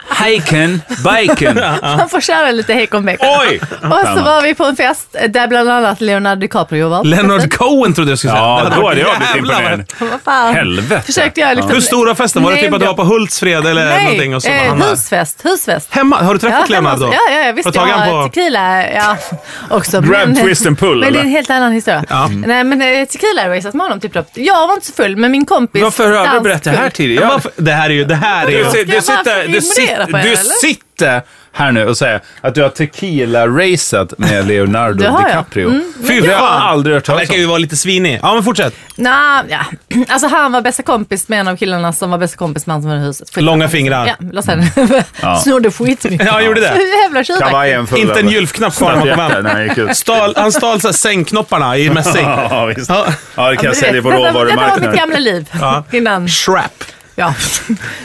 [SPEAKER 4] Haken, bacon.
[SPEAKER 1] Man får köra lite hekonbäck.
[SPEAKER 4] Oj!
[SPEAKER 1] Och så var vi på en fest där bland annat Leonardo DiCaprio var.
[SPEAKER 2] Leonard Cohen trodde jag skulle säga.
[SPEAKER 4] Ja,
[SPEAKER 2] hade
[SPEAKER 4] då
[SPEAKER 2] varit
[SPEAKER 4] hade jag blivit
[SPEAKER 2] jävlar,
[SPEAKER 4] imponerad.
[SPEAKER 1] Vad fan.
[SPEAKER 4] Helvete.
[SPEAKER 1] Försökte jag liksom...
[SPEAKER 2] Hur stora festen var det?
[SPEAKER 1] Nej,
[SPEAKER 2] Typ att du var på Hultsfred eller någonting?
[SPEAKER 1] Nej,
[SPEAKER 2] Och så var
[SPEAKER 1] eh,
[SPEAKER 2] han där.
[SPEAKER 1] husfest, husfest.
[SPEAKER 2] Hemma? Har du träffat
[SPEAKER 1] hemma
[SPEAKER 2] Leonard
[SPEAKER 1] hos-
[SPEAKER 2] då?
[SPEAKER 1] Ja, ja, ja, visst.
[SPEAKER 2] Har du tagit
[SPEAKER 1] jag
[SPEAKER 2] han
[SPEAKER 1] har
[SPEAKER 2] på...
[SPEAKER 1] tequila ja, också.
[SPEAKER 4] Grab,
[SPEAKER 1] men-
[SPEAKER 4] twist and pull,
[SPEAKER 1] Men det är
[SPEAKER 4] eller?
[SPEAKER 1] en helt annan historia.
[SPEAKER 2] Ja.
[SPEAKER 1] Nej, men eh, tequila raceat med honom typ då. Jag var inte så full, men min kompis...
[SPEAKER 4] Varför har du
[SPEAKER 1] dansk
[SPEAKER 4] berättat det
[SPEAKER 1] full.
[SPEAKER 4] här
[SPEAKER 2] Ja,
[SPEAKER 4] tidigare?
[SPEAKER 2] varför- det här är ju... Det här är
[SPEAKER 4] Du,
[SPEAKER 2] ju...
[SPEAKER 1] Ska
[SPEAKER 4] si-
[SPEAKER 1] jag
[SPEAKER 4] du,
[SPEAKER 1] bara
[SPEAKER 4] sitter, du,
[SPEAKER 1] imponera på
[SPEAKER 4] sitter,
[SPEAKER 1] er,
[SPEAKER 4] du
[SPEAKER 1] eller?
[SPEAKER 4] sitter här nu och säger att du har tequila-raceat med Leonardo
[SPEAKER 1] Det har jag. Mm.
[SPEAKER 4] DiCaprio.
[SPEAKER 2] Fy
[SPEAKER 4] Det har jag
[SPEAKER 2] fan!
[SPEAKER 4] aldrig hört
[SPEAKER 2] Han
[SPEAKER 4] talas
[SPEAKER 2] verkar
[SPEAKER 4] om.
[SPEAKER 2] ju vara lite svinig. Ja, men fortsätt.
[SPEAKER 1] Nah, ja. Alltså han var bästa kompis med en av killarna som var bästa kompos med han som var i huset. Skit.
[SPEAKER 2] Långa fingrar.
[SPEAKER 1] Ja, låt säga
[SPEAKER 4] Mm. Ja.
[SPEAKER 1] Snodde skitmycket.
[SPEAKER 2] Ja, han gjorde det.
[SPEAKER 1] Jävla tjuvaktig.
[SPEAKER 4] Kavajen full
[SPEAKER 2] Inte en
[SPEAKER 4] över.
[SPEAKER 2] julfknapp kvar när man kom
[SPEAKER 4] Jätte-
[SPEAKER 2] hem.
[SPEAKER 4] när han gick ut.
[SPEAKER 2] Stal, han stal så här sängknopparna i mässing.
[SPEAKER 4] Ja, visst.
[SPEAKER 2] Ja.
[SPEAKER 4] Ja, det kan jag sälja på
[SPEAKER 1] Detta var mitt
[SPEAKER 4] råvarumarknaden.
[SPEAKER 1] gamla liv. Innan,
[SPEAKER 2] Shrap.
[SPEAKER 1] ja.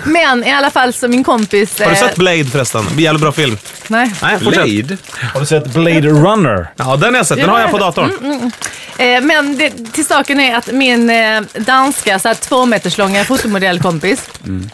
[SPEAKER 1] Men i alla fall så min kompis... eh,
[SPEAKER 2] Har du sett Blade förresten? Jävligt bra film.
[SPEAKER 1] Nej.
[SPEAKER 2] Nej, fortsätt.
[SPEAKER 4] Blade?
[SPEAKER 3] Har du sett Blade Runner?
[SPEAKER 2] Ja, den har jag sett. Den har jag på datorn.
[SPEAKER 1] Mm, Eh, men det, till saken är att min eh, danska så här, två meters långa fotomodellkompis
[SPEAKER 2] Mm.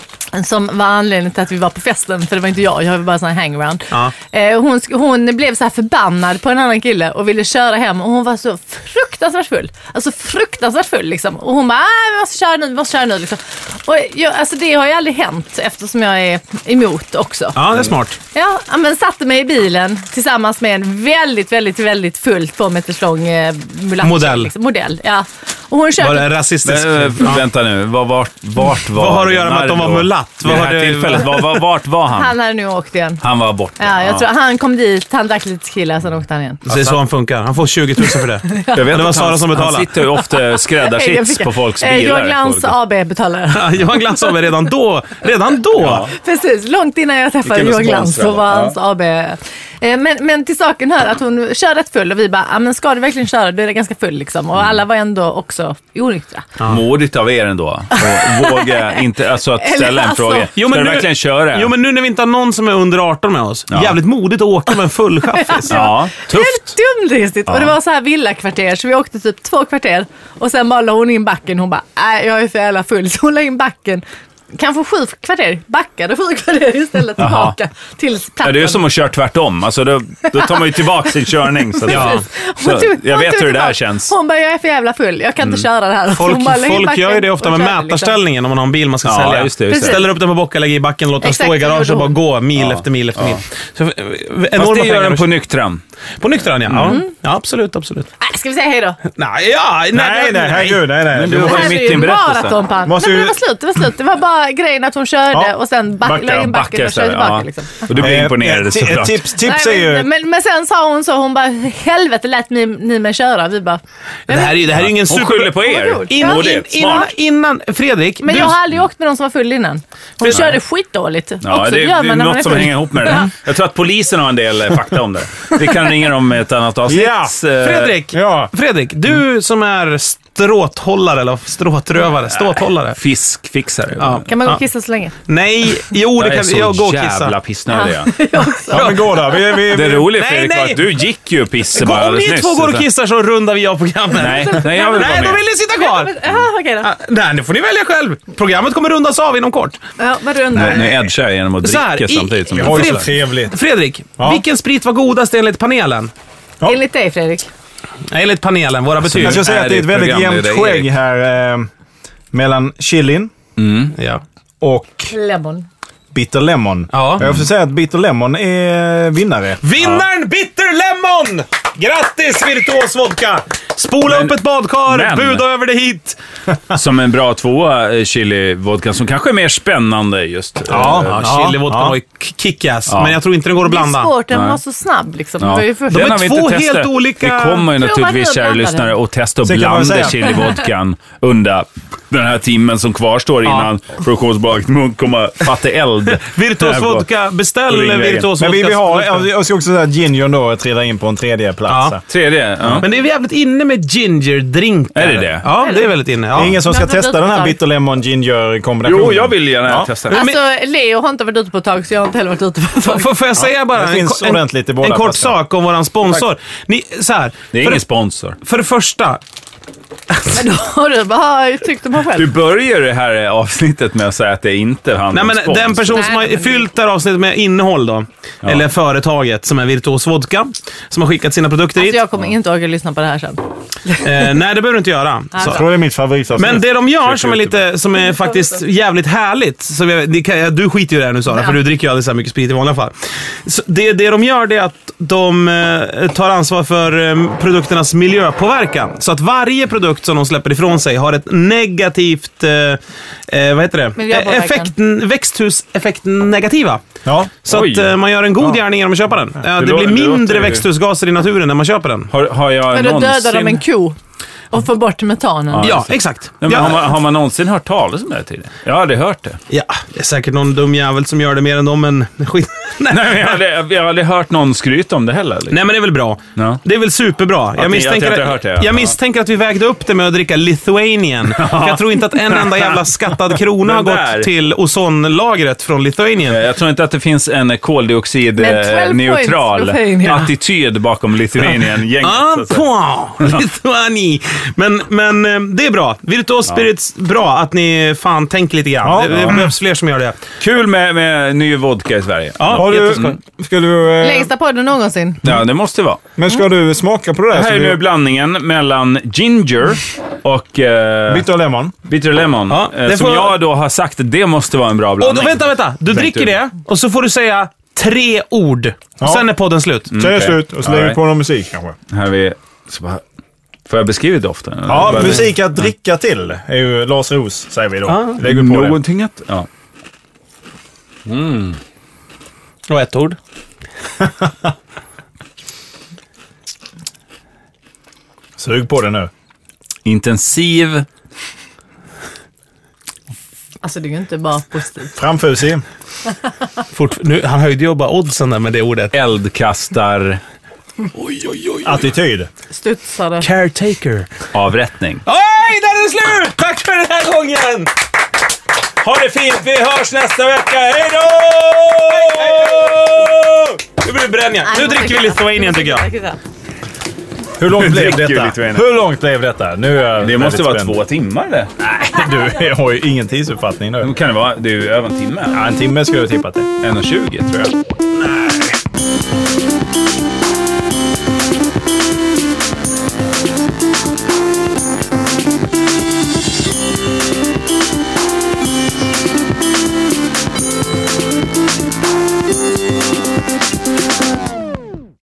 [SPEAKER 1] Som var anledningen till att vi var på festen, för det var inte jag, jag var bara sån här hangaround.
[SPEAKER 2] Ja.
[SPEAKER 1] Eh, hon, sk- hon blev så här förbannad på en annan kille och ville köra hem och hon var så fruktansvärt full. Alltså fruktansvärt full liksom. Och hon bara, "Ah, vi måste köra nu, vi måste köra nu liksom. Och jag, alltså det har ju aldrig hänt eftersom jag är emot också.
[SPEAKER 2] Ja, det är smart.
[SPEAKER 1] Ja, ja, men satte mig i bilen tillsammans med en väldigt, väldigt, väldigt full två meters lång eh, mulatt.
[SPEAKER 2] Modell.
[SPEAKER 1] Liksom, modell, ja. Och hon
[SPEAKER 2] Var
[SPEAKER 1] körde...
[SPEAKER 2] det rasistiskt?
[SPEAKER 4] Men, eh,
[SPEAKER 2] Ja.
[SPEAKER 4] Vänta nu, var, vart, vart var
[SPEAKER 2] Vad har att göra med att de var
[SPEAKER 4] Leonardo
[SPEAKER 2] mulatt?
[SPEAKER 4] Vid
[SPEAKER 2] Vad
[SPEAKER 4] det
[SPEAKER 2] har
[SPEAKER 4] här
[SPEAKER 2] det-
[SPEAKER 4] tillfället, var, var, vart var han?
[SPEAKER 1] Han hade nu åkt igen.
[SPEAKER 4] Han var borta.
[SPEAKER 1] Ja, jag tror, han kom dit, han drack lite tequila, sen åkte han igen.
[SPEAKER 2] Det är så han funkar. Han får 20 000 för det.
[SPEAKER 4] Alltså- Jag vet
[SPEAKER 2] det var
[SPEAKER 4] att
[SPEAKER 2] Sara
[SPEAKER 4] han,
[SPEAKER 2] som betalade.
[SPEAKER 4] Han sitter ju ofta och skräddar
[SPEAKER 1] Nej, jag
[SPEAKER 4] chips
[SPEAKER 1] fick-
[SPEAKER 4] på folks
[SPEAKER 1] Eh,
[SPEAKER 4] bilar.
[SPEAKER 1] Johan Glans AB betalade.
[SPEAKER 2] Ja, Johan Glans var redan då. Redan då?
[SPEAKER 1] Precis, långt innan jag träffade
[SPEAKER 4] Vilken
[SPEAKER 1] Johan Glans
[SPEAKER 4] sponsor,
[SPEAKER 1] så var
[SPEAKER 4] ja.
[SPEAKER 1] hans AB. Eh, Men, men till saken hör att hon kör rätt full och vi bara, "Ah, men ska du verkligen köra? Du är ganska full liksom. Och alla var ändå också onyktra.
[SPEAKER 4] Modigt av er ändå. Och våga inte, alltså att
[SPEAKER 1] Eller
[SPEAKER 4] ställa en
[SPEAKER 1] alltså-
[SPEAKER 4] fråga. Ska du verkligen köra?
[SPEAKER 2] jo, men nu när vi inte har någon som är under 18 med oss.
[SPEAKER 4] Ja.
[SPEAKER 2] Jävligt modigt att åka med en full chaffis.
[SPEAKER 4] Ja, tufft.
[SPEAKER 1] Helt dumdristigt. Och det var så här villakvarter, så vi åkte typ två kvarter. Och sen bara la hon in backen. Hon bara, nej jag är för jävla full. Så hon la in backen. Kanske sju kvarter, backade sju kvarter istället tillbaka till plattan.
[SPEAKER 4] Ja, det är ju som att köra tvärtom. Alltså, då, då tar man ju tillbaka sin körning. Så att, ja.
[SPEAKER 1] Hon
[SPEAKER 4] så,
[SPEAKER 1] tog-
[SPEAKER 4] jag
[SPEAKER 1] hon
[SPEAKER 4] vet
[SPEAKER 1] tog
[SPEAKER 4] hur det där
[SPEAKER 1] tillbaka.
[SPEAKER 4] känns. Mm.
[SPEAKER 1] Hon bara, jag är för jävla full. Jag kan inte köra det här. Så hon bara la
[SPEAKER 2] Folk,
[SPEAKER 1] in
[SPEAKER 2] folk gör ju
[SPEAKER 1] backen
[SPEAKER 2] det ofta
[SPEAKER 1] och
[SPEAKER 2] med
[SPEAKER 1] körde, liksom.
[SPEAKER 2] mätarställningen om man har en bil man ska
[SPEAKER 4] Ja,
[SPEAKER 2] sälja.
[SPEAKER 4] just det, just det.
[SPEAKER 2] Ställer upp den på bock och lägger i backen låter den
[SPEAKER 1] Exakt,
[SPEAKER 2] stå i garaget
[SPEAKER 1] det
[SPEAKER 2] och bara
[SPEAKER 1] gjorde
[SPEAKER 2] gå mil
[SPEAKER 4] Ja.
[SPEAKER 2] efter mil efter mil. Så, eh,
[SPEAKER 4] Fast
[SPEAKER 2] enorma
[SPEAKER 4] det gör
[SPEAKER 2] pengar.
[SPEAKER 4] den på Mm. nykterheten.
[SPEAKER 2] på nykterhand, ja. ja. Ja, absolut, absolut.
[SPEAKER 1] Nej, ska vi säga hej då?
[SPEAKER 2] Nej, ja,
[SPEAKER 3] Nej, nej, herregud. Nej, nej.
[SPEAKER 4] Men du
[SPEAKER 3] Du-
[SPEAKER 4] var
[SPEAKER 1] Det
[SPEAKER 4] ju
[SPEAKER 1] här
[SPEAKER 4] mitt
[SPEAKER 1] är
[SPEAKER 4] i
[SPEAKER 1] ju
[SPEAKER 4] en
[SPEAKER 1] en
[SPEAKER 4] berättelse.
[SPEAKER 1] maraton på hand. Nej,
[SPEAKER 3] Måste
[SPEAKER 1] men
[SPEAKER 3] ju-
[SPEAKER 1] det var slut, det var slut. Det var bara grejen att hon körde
[SPEAKER 3] Ja.
[SPEAKER 1] och sen back,
[SPEAKER 3] Backade,
[SPEAKER 1] la in backen
[SPEAKER 4] Backar
[SPEAKER 1] och körde
[SPEAKER 4] istället.
[SPEAKER 1] tillbaka.
[SPEAKER 4] Ja.
[SPEAKER 1] Liksom.
[SPEAKER 4] Och du blir
[SPEAKER 3] Eh,
[SPEAKER 4] imponerad
[SPEAKER 3] ti-
[SPEAKER 4] såklart.
[SPEAKER 3] Tips, tips är
[SPEAKER 1] Nej,
[SPEAKER 3] ju...
[SPEAKER 1] men, men, men sen sa hon så, hon bara helvete lät ni, ni mig köra? Vi bara,
[SPEAKER 2] Det här är ju det här är ju ingen
[SPEAKER 4] Hon
[SPEAKER 2] super...
[SPEAKER 4] skyller på er.
[SPEAKER 1] Ja.
[SPEAKER 2] Innan, in,
[SPEAKER 4] Modigt.
[SPEAKER 2] innan,
[SPEAKER 4] Smart.
[SPEAKER 2] innan, Fredrik,
[SPEAKER 1] men
[SPEAKER 2] du,
[SPEAKER 1] jag har aldrig åkt med någon som var full innan. Hon körde skitdåligt.
[SPEAKER 4] Ja,
[SPEAKER 1] Också,
[SPEAKER 4] det, det
[SPEAKER 1] gör man när
[SPEAKER 4] är
[SPEAKER 1] man
[SPEAKER 4] något som
[SPEAKER 1] full.
[SPEAKER 4] hänger ihop med det där. Jag tror att polisen har en del eh, fakta om det. Vi kan ringa dem i ett annat avsnitt.
[SPEAKER 3] Ja,
[SPEAKER 4] Eh,
[SPEAKER 2] Fredrik,
[SPEAKER 3] Ja.
[SPEAKER 2] Fredrik, du som är s- stråthållare, eller stråtrövare. Stråthållare.
[SPEAKER 4] Fiskfixare.
[SPEAKER 2] Ja.
[SPEAKER 1] Kan man gå och kissa så länge?
[SPEAKER 2] Nej, jo det
[SPEAKER 4] Mm. Jag är
[SPEAKER 2] kan
[SPEAKER 4] så
[SPEAKER 2] jag gå och
[SPEAKER 4] jävla
[SPEAKER 2] kissa.
[SPEAKER 4] pissnödig. jag.
[SPEAKER 3] Ja, men gå där. Vi, vi,
[SPEAKER 4] Det roliga
[SPEAKER 2] Nej,
[SPEAKER 4] Fredrik var
[SPEAKER 2] nej.
[SPEAKER 4] att du gick ju och pissade bara
[SPEAKER 2] Om ni
[SPEAKER 4] alldeles nyss.
[SPEAKER 2] två går och
[SPEAKER 4] så-
[SPEAKER 2] kissar så rundar vi av programmet.
[SPEAKER 4] Nej, nej, jag vill vara
[SPEAKER 2] Nej,
[SPEAKER 4] med.
[SPEAKER 2] då vill ni sitta kvar.
[SPEAKER 1] Jaha, okej då.
[SPEAKER 2] Ah, Nej, nu får ni välja själv. Programmet kommer rundas av inom kort.
[SPEAKER 1] Ja, vad du
[SPEAKER 4] Nu,
[SPEAKER 1] undrar.
[SPEAKER 4] nu edgar jag genom att
[SPEAKER 2] Så
[SPEAKER 4] dricka
[SPEAKER 2] här, i-
[SPEAKER 4] samtidigt som
[SPEAKER 2] i-
[SPEAKER 4] du
[SPEAKER 3] Oj,
[SPEAKER 4] pissar.
[SPEAKER 3] så trevligt.
[SPEAKER 2] Fredrik, vilken sprit var godast enligt panelen?
[SPEAKER 1] Enligt dig Fredrik.
[SPEAKER 2] Nej, enligt panelen, våra betyg.
[SPEAKER 3] Jag ska säga att det är ett väldigt jämnt
[SPEAKER 4] programledare
[SPEAKER 3] skägg
[SPEAKER 4] Erik?
[SPEAKER 3] här eh, mellan chilin
[SPEAKER 2] Ja.
[SPEAKER 3] och
[SPEAKER 1] Lemon.
[SPEAKER 3] bitter lemon.
[SPEAKER 2] Ja.
[SPEAKER 3] Jag får säga att bitter lemon är vinnare.
[SPEAKER 2] Vinnaren Bitter Lemon! Grattis Virtuos Vodka! Spola upp ett badkar,
[SPEAKER 4] men-
[SPEAKER 2] buda över det hit.
[SPEAKER 4] Som en bra tvåa eh, chili-vodka som kanske är mer spännande just.
[SPEAKER 2] Ja,
[SPEAKER 4] Eh,
[SPEAKER 2] ja chilivodkan
[SPEAKER 3] ja.
[SPEAKER 2] var ju kickass,
[SPEAKER 4] Ja.
[SPEAKER 2] men jag tror inte den går att
[SPEAKER 1] Det är
[SPEAKER 2] blanda.
[SPEAKER 1] svårt, den
[SPEAKER 4] Nej.
[SPEAKER 1] var så snabb liksom.
[SPEAKER 4] Ja.
[SPEAKER 1] Det var ju först.
[SPEAKER 4] Den
[SPEAKER 2] är
[SPEAKER 4] har vi inte
[SPEAKER 2] två
[SPEAKER 4] testat.
[SPEAKER 2] helt olika-
[SPEAKER 4] Vi kommer ju
[SPEAKER 1] Prova
[SPEAKER 4] naturligtvis,
[SPEAKER 1] nu,
[SPEAKER 4] kära
[SPEAKER 1] blanda
[SPEAKER 4] lyssnare,
[SPEAKER 1] den.
[SPEAKER 4] att testa att
[SPEAKER 3] Sen kan man
[SPEAKER 4] blanda
[SPEAKER 3] säga.
[SPEAKER 4] chilivodkan under den här timmen som kvarstår innan produktionsbolaget kommer fatta eld.
[SPEAKER 2] Virtuos
[SPEAKER 4] Här på-
[SPEAKER 2] Vodka,
[SPEAKER 4] på
[SPEAKER 2] beställ
[SPEAKER 4] Ringvägen.
[SPEAKER 2] Virtuos Vodka.
[SPEAKER 3] Men vi, vi har, jag ska också säga att gingern då trillar in på en tredje plats.
[SPEAKER 2] Ja.
[SPEAKER 4] Tredje. Ja.
[SPEAKER 2] Men det är jävligt inne med gingerdrinkar.
[SPEAKER 4] Är det det?
[SPEAKER 2] Ja, det är väldigt inne.
[SPEAKER 3] Det
[SPEAKER 2] Ja.
[SPEAKER 3] är ingen som ska
[SPEAKER 1] Men för
[SPEAKER 3] testa den här
[SPEAKER 1] dödsfall.
[SPEAKER 3] bitter lemon ginger kombinationen.
[SPEAKER 4] Jo, jag vill gärna testa det.
[SPEAKER 1] Alltså, Leo har inte varit ute på ett tag så jag har inte heller varit ute på ett
[SPEAKER 2] F-
[SPEAKER 1] tag.
[SPEAKER 2] f- får jag säga bara
[SPEAKER 3] det
[SPEAKER 2] en,
[SPEAKER 3] finns
[SPEAKER 2] en,
[SPEAKER 3] ordentligt i båda
[SPEAKER 2] en kort
[SPEAKER 3] platserna.
[SPEAKER 2] sak om våran sponsor? Ni, så här,
[SPEAKER 4] Det är
[SPEAKER 2] för,
[SPEAKER 4] ingen sponsor.
[SPEAKER 2] för det första,
[SPEAKER 1] Men då har du bara tyckt om honom
[SPEAKER 4] Du
[SPEAKER 1] själv. Alltså,
[SPEAKER 4] börjar det här eh, avsnittet med att säga att det inte är han
[SPEAKER 2] Nej,
[SPEAKER 4] en
[SPEAKER 2] men
[SPEAKER 4] spons.
[SPEAKER 2] den person
[SPEAKER 1] Nej,
[SPEAKER 2] som har
[SPEAKER 1] men det-
[SPEAKER 2] fyllt det här avsnittet med innehåll då, eller företaget som är Virtuos Vodka, som har skickat sina produkter
[SPEAKER 1] Alltså,
[SPEAKER 2] hit.
[SPEAKER 1] jag kommer inte orka lyssna på det här sen.
[SPEAKER 2] Eh, nej, det behöver du inte göra.
[SPEAKER 3] Jag
[SPEAKER 2] Så.
[SPEAKER 3] tror det är mitt favoritavsnitt.
[SPEAKER 2] Men det de gör som är, lite, som är faktiskt jävligt härligt, som jag, det kan, du skiter ju i det här nu Sara,
[SPEAKER 1] Ja.
[SPEAKER 2] för du dricker ju aldrig så här mycket sprit i vanliga fall. Så det, det de gör det är att de eh, tar ansvar för eh, produkternas miljöpåverkan. Så att varje produkt som de släpper ifrån sig har ett negativt, eh, eh, vad heter det?
[SPEAKER 1] Miljöpåverkan.
[SPEAKER 2] Eh, Effekt, växthuseffekt negativa.
[SPEAKER 3] Ja.
[SPEAKER 2] Så
[SPEAKER 4] Oj.
[SPEAKER 2] att eh, man gör en god gärning genom att köpa den. Eh, det
[SPEAKER 4] lå-
[SPEAKER 2] blir
[SPEAKER 4] det låter
[SPEAKER 2] mindre
[SPEAKER 4] ju-
[SPEAKER 2] växthusgaser i naturen när man köper den.
[SPEAKER 4] Har, har jag
[SPEAKER 1] Men då
[SPEAKER 4] någonsin...
[SPEAKER 1] dödar de en ko och får bort metanen.
[SPEAKER 4] Ja,
[SPEAKER 2] Ja,
[SPEAKER 4] exakt.
[SPEAKER 2] exakt.
[SPEAKER 4] Nej,
[SPEAKER 2] Ja.
[SPEAKER 4] men har, man, har man någonsin hört talas om det här tidigare? Jag har aldrig hört det.
[SPEAKER 2] Ja, det är säkert någon dum jävel som gör det mer än dem, men skit. Nej.
[SPEAKER 4] Nej, men jag, har aldrig, jag har aldrig hört någon skryta om det heller. liksom.
[SPEAKER 2] Nej, men det är väl bra.
[SPEAKER 4] Ja.
[SPEAKER 2] Det är väl superbra. Jag
[SPEAKER 4] ni-
[SPEAKER 2] misstänker,
[SPEAKER 4] att jag inte har
[SPEAKER 2] att,
[SPEAKER 4] hört det, ja.
[SPEAKER 2] jag
[SPEAKER 4] Ja.
[SPEAKER 2] misstänker att vi vägde upp det med att dricka Lithuanian. För jag tror inte att en enda jävla skattad krona har
[SPEAKER 4] Den där.
[SPEAKER 2] gått till ozonlagret från Lithuanien.
[SPEAKER 4] Jag tror inte att det finns en
[SPEAKER 1] Men 12
[SPEAKER 4] koldioxidneutral
[SPEAKER 1] points, Lithuania.
[SPEAKER 4] attityd bakom Lithuanien-gänget.
[SPEAKER 2] Ah,
[SPEAKER 4] så att säga.
[SPEAKER 2] point! Lithuani! Men, men eh, det är bra. Virtuos Spirits, bra att ni fan tänker lite grann.
[SPEAKER 3] Ja.
[SPEAKER 2] det det
[SPEAKER 3] Ja.
[SPEAKER 2] behövs fler som gör det.
[SPEAKER 4] Kul med, med ny vodka i Sverige.
[SPEAKER 2] Ja,
[SPEAKER 3] Har du,
[SPEAKER 2] jätteskoj.
[SPEAKER 3] ska du, eh,
[SPEAKER 1] Längsta podden någonsin.
[SPEAKER 4] Ja, det måste det vara.
[SPEAKER 3] men ska du smaka på det där?
[SPEAKER 2] Alltså,
[SPEAKER 4] Det här är
[SPEAKER 3] Ska
[SPEAKER 4] nu
[SPEAKER 3] du-
[SPEAKER 4] blandningen mellan ginger och eh,
[SPEAKER 3] Bitter lemon.
[SPEAKER 4] bitter lemon.
[SPEAKER 2] Ja,
[SPEAKER 4] eh,
[SPEAKER 2] det
[SPEAKER 4] som
[SPEAKER 2] får-
[SPEAKER 4] jag då har sagt, det måste vara en bra
[SPEAKER 2] Och,
[SPEAKER 4] blandning.
[SPEAKER 2] och vänta, vänta! Du dricker det och så får du säga tre ord. Och sen är podden slut.
[SPEAKER 3] Så är det
[SPEAKER 4] okej.
[SPEAKER 3] slut och så lägger vi
[SPEAKER 4] Alright.
[SPEAKER 3] på någon musik kanske.
[SPEAKER 4] Här är vi... Så bara, får jag beskriva doften? eller?
[SPEAKER 3] Ja,
[SPEAKER 4] Bara-
[SPEAKER 3] musik att dricka till är ju Lars Ros säger vi då. Lägger vi på det.
[SPEAKER 4] Någonting att... Ja.
[SPEAKER 2] Och ett ord.
[SPEAKER 3] Sug på det nu.
[SPEAKER 4] Intensiv.
[SPEAKER 1] Alltså det är ju inte bara positivt.
[SPEAKER 3] Framfusig.
[SPEAKER 2] Fort, nu, han höjde ju bara oddsen där med det ordet.
[SPEAKER 4] eldkastar
[SPEAKER 3] Attityd.
[SPEAKER 1] Studsade.
[SPEAKER 2] Caretaker.
[SPEAKER 4] avrättning.
[SPEAKER 2] Oj, där är det slut! Tack för den här gången! Ha det fint, vi hörs nästa vecka. Hej då! Nu blir det bränningar. Nu dricker vi Lithuanien tycker jag.
[SPEAKER 3] Hur långt blev
[SPEAKER 4] dricker ju
[SPEAKER 3] detta?
[SPEAKER 4] Lithuania.
[SPEAKER 3] Hur långt blev detta? Nu är jag
[SPEAKER 4] Det måste
[SPEAKER 3] väldigt
[SPEAKER 4] vara
[SPEAKER 3] spänd.
[SPEAKER 4] två timmar det.
[SPEAKER 3] Du jag har ju ingen tidsuppfattning nu.
[SPEAKER 4] Då kan det vara. Det är ju över en timme.
[SPEAKER 3] Ja, en timme skulle jag tippa till.
[SPEAKER 4] 1.20 tror jag.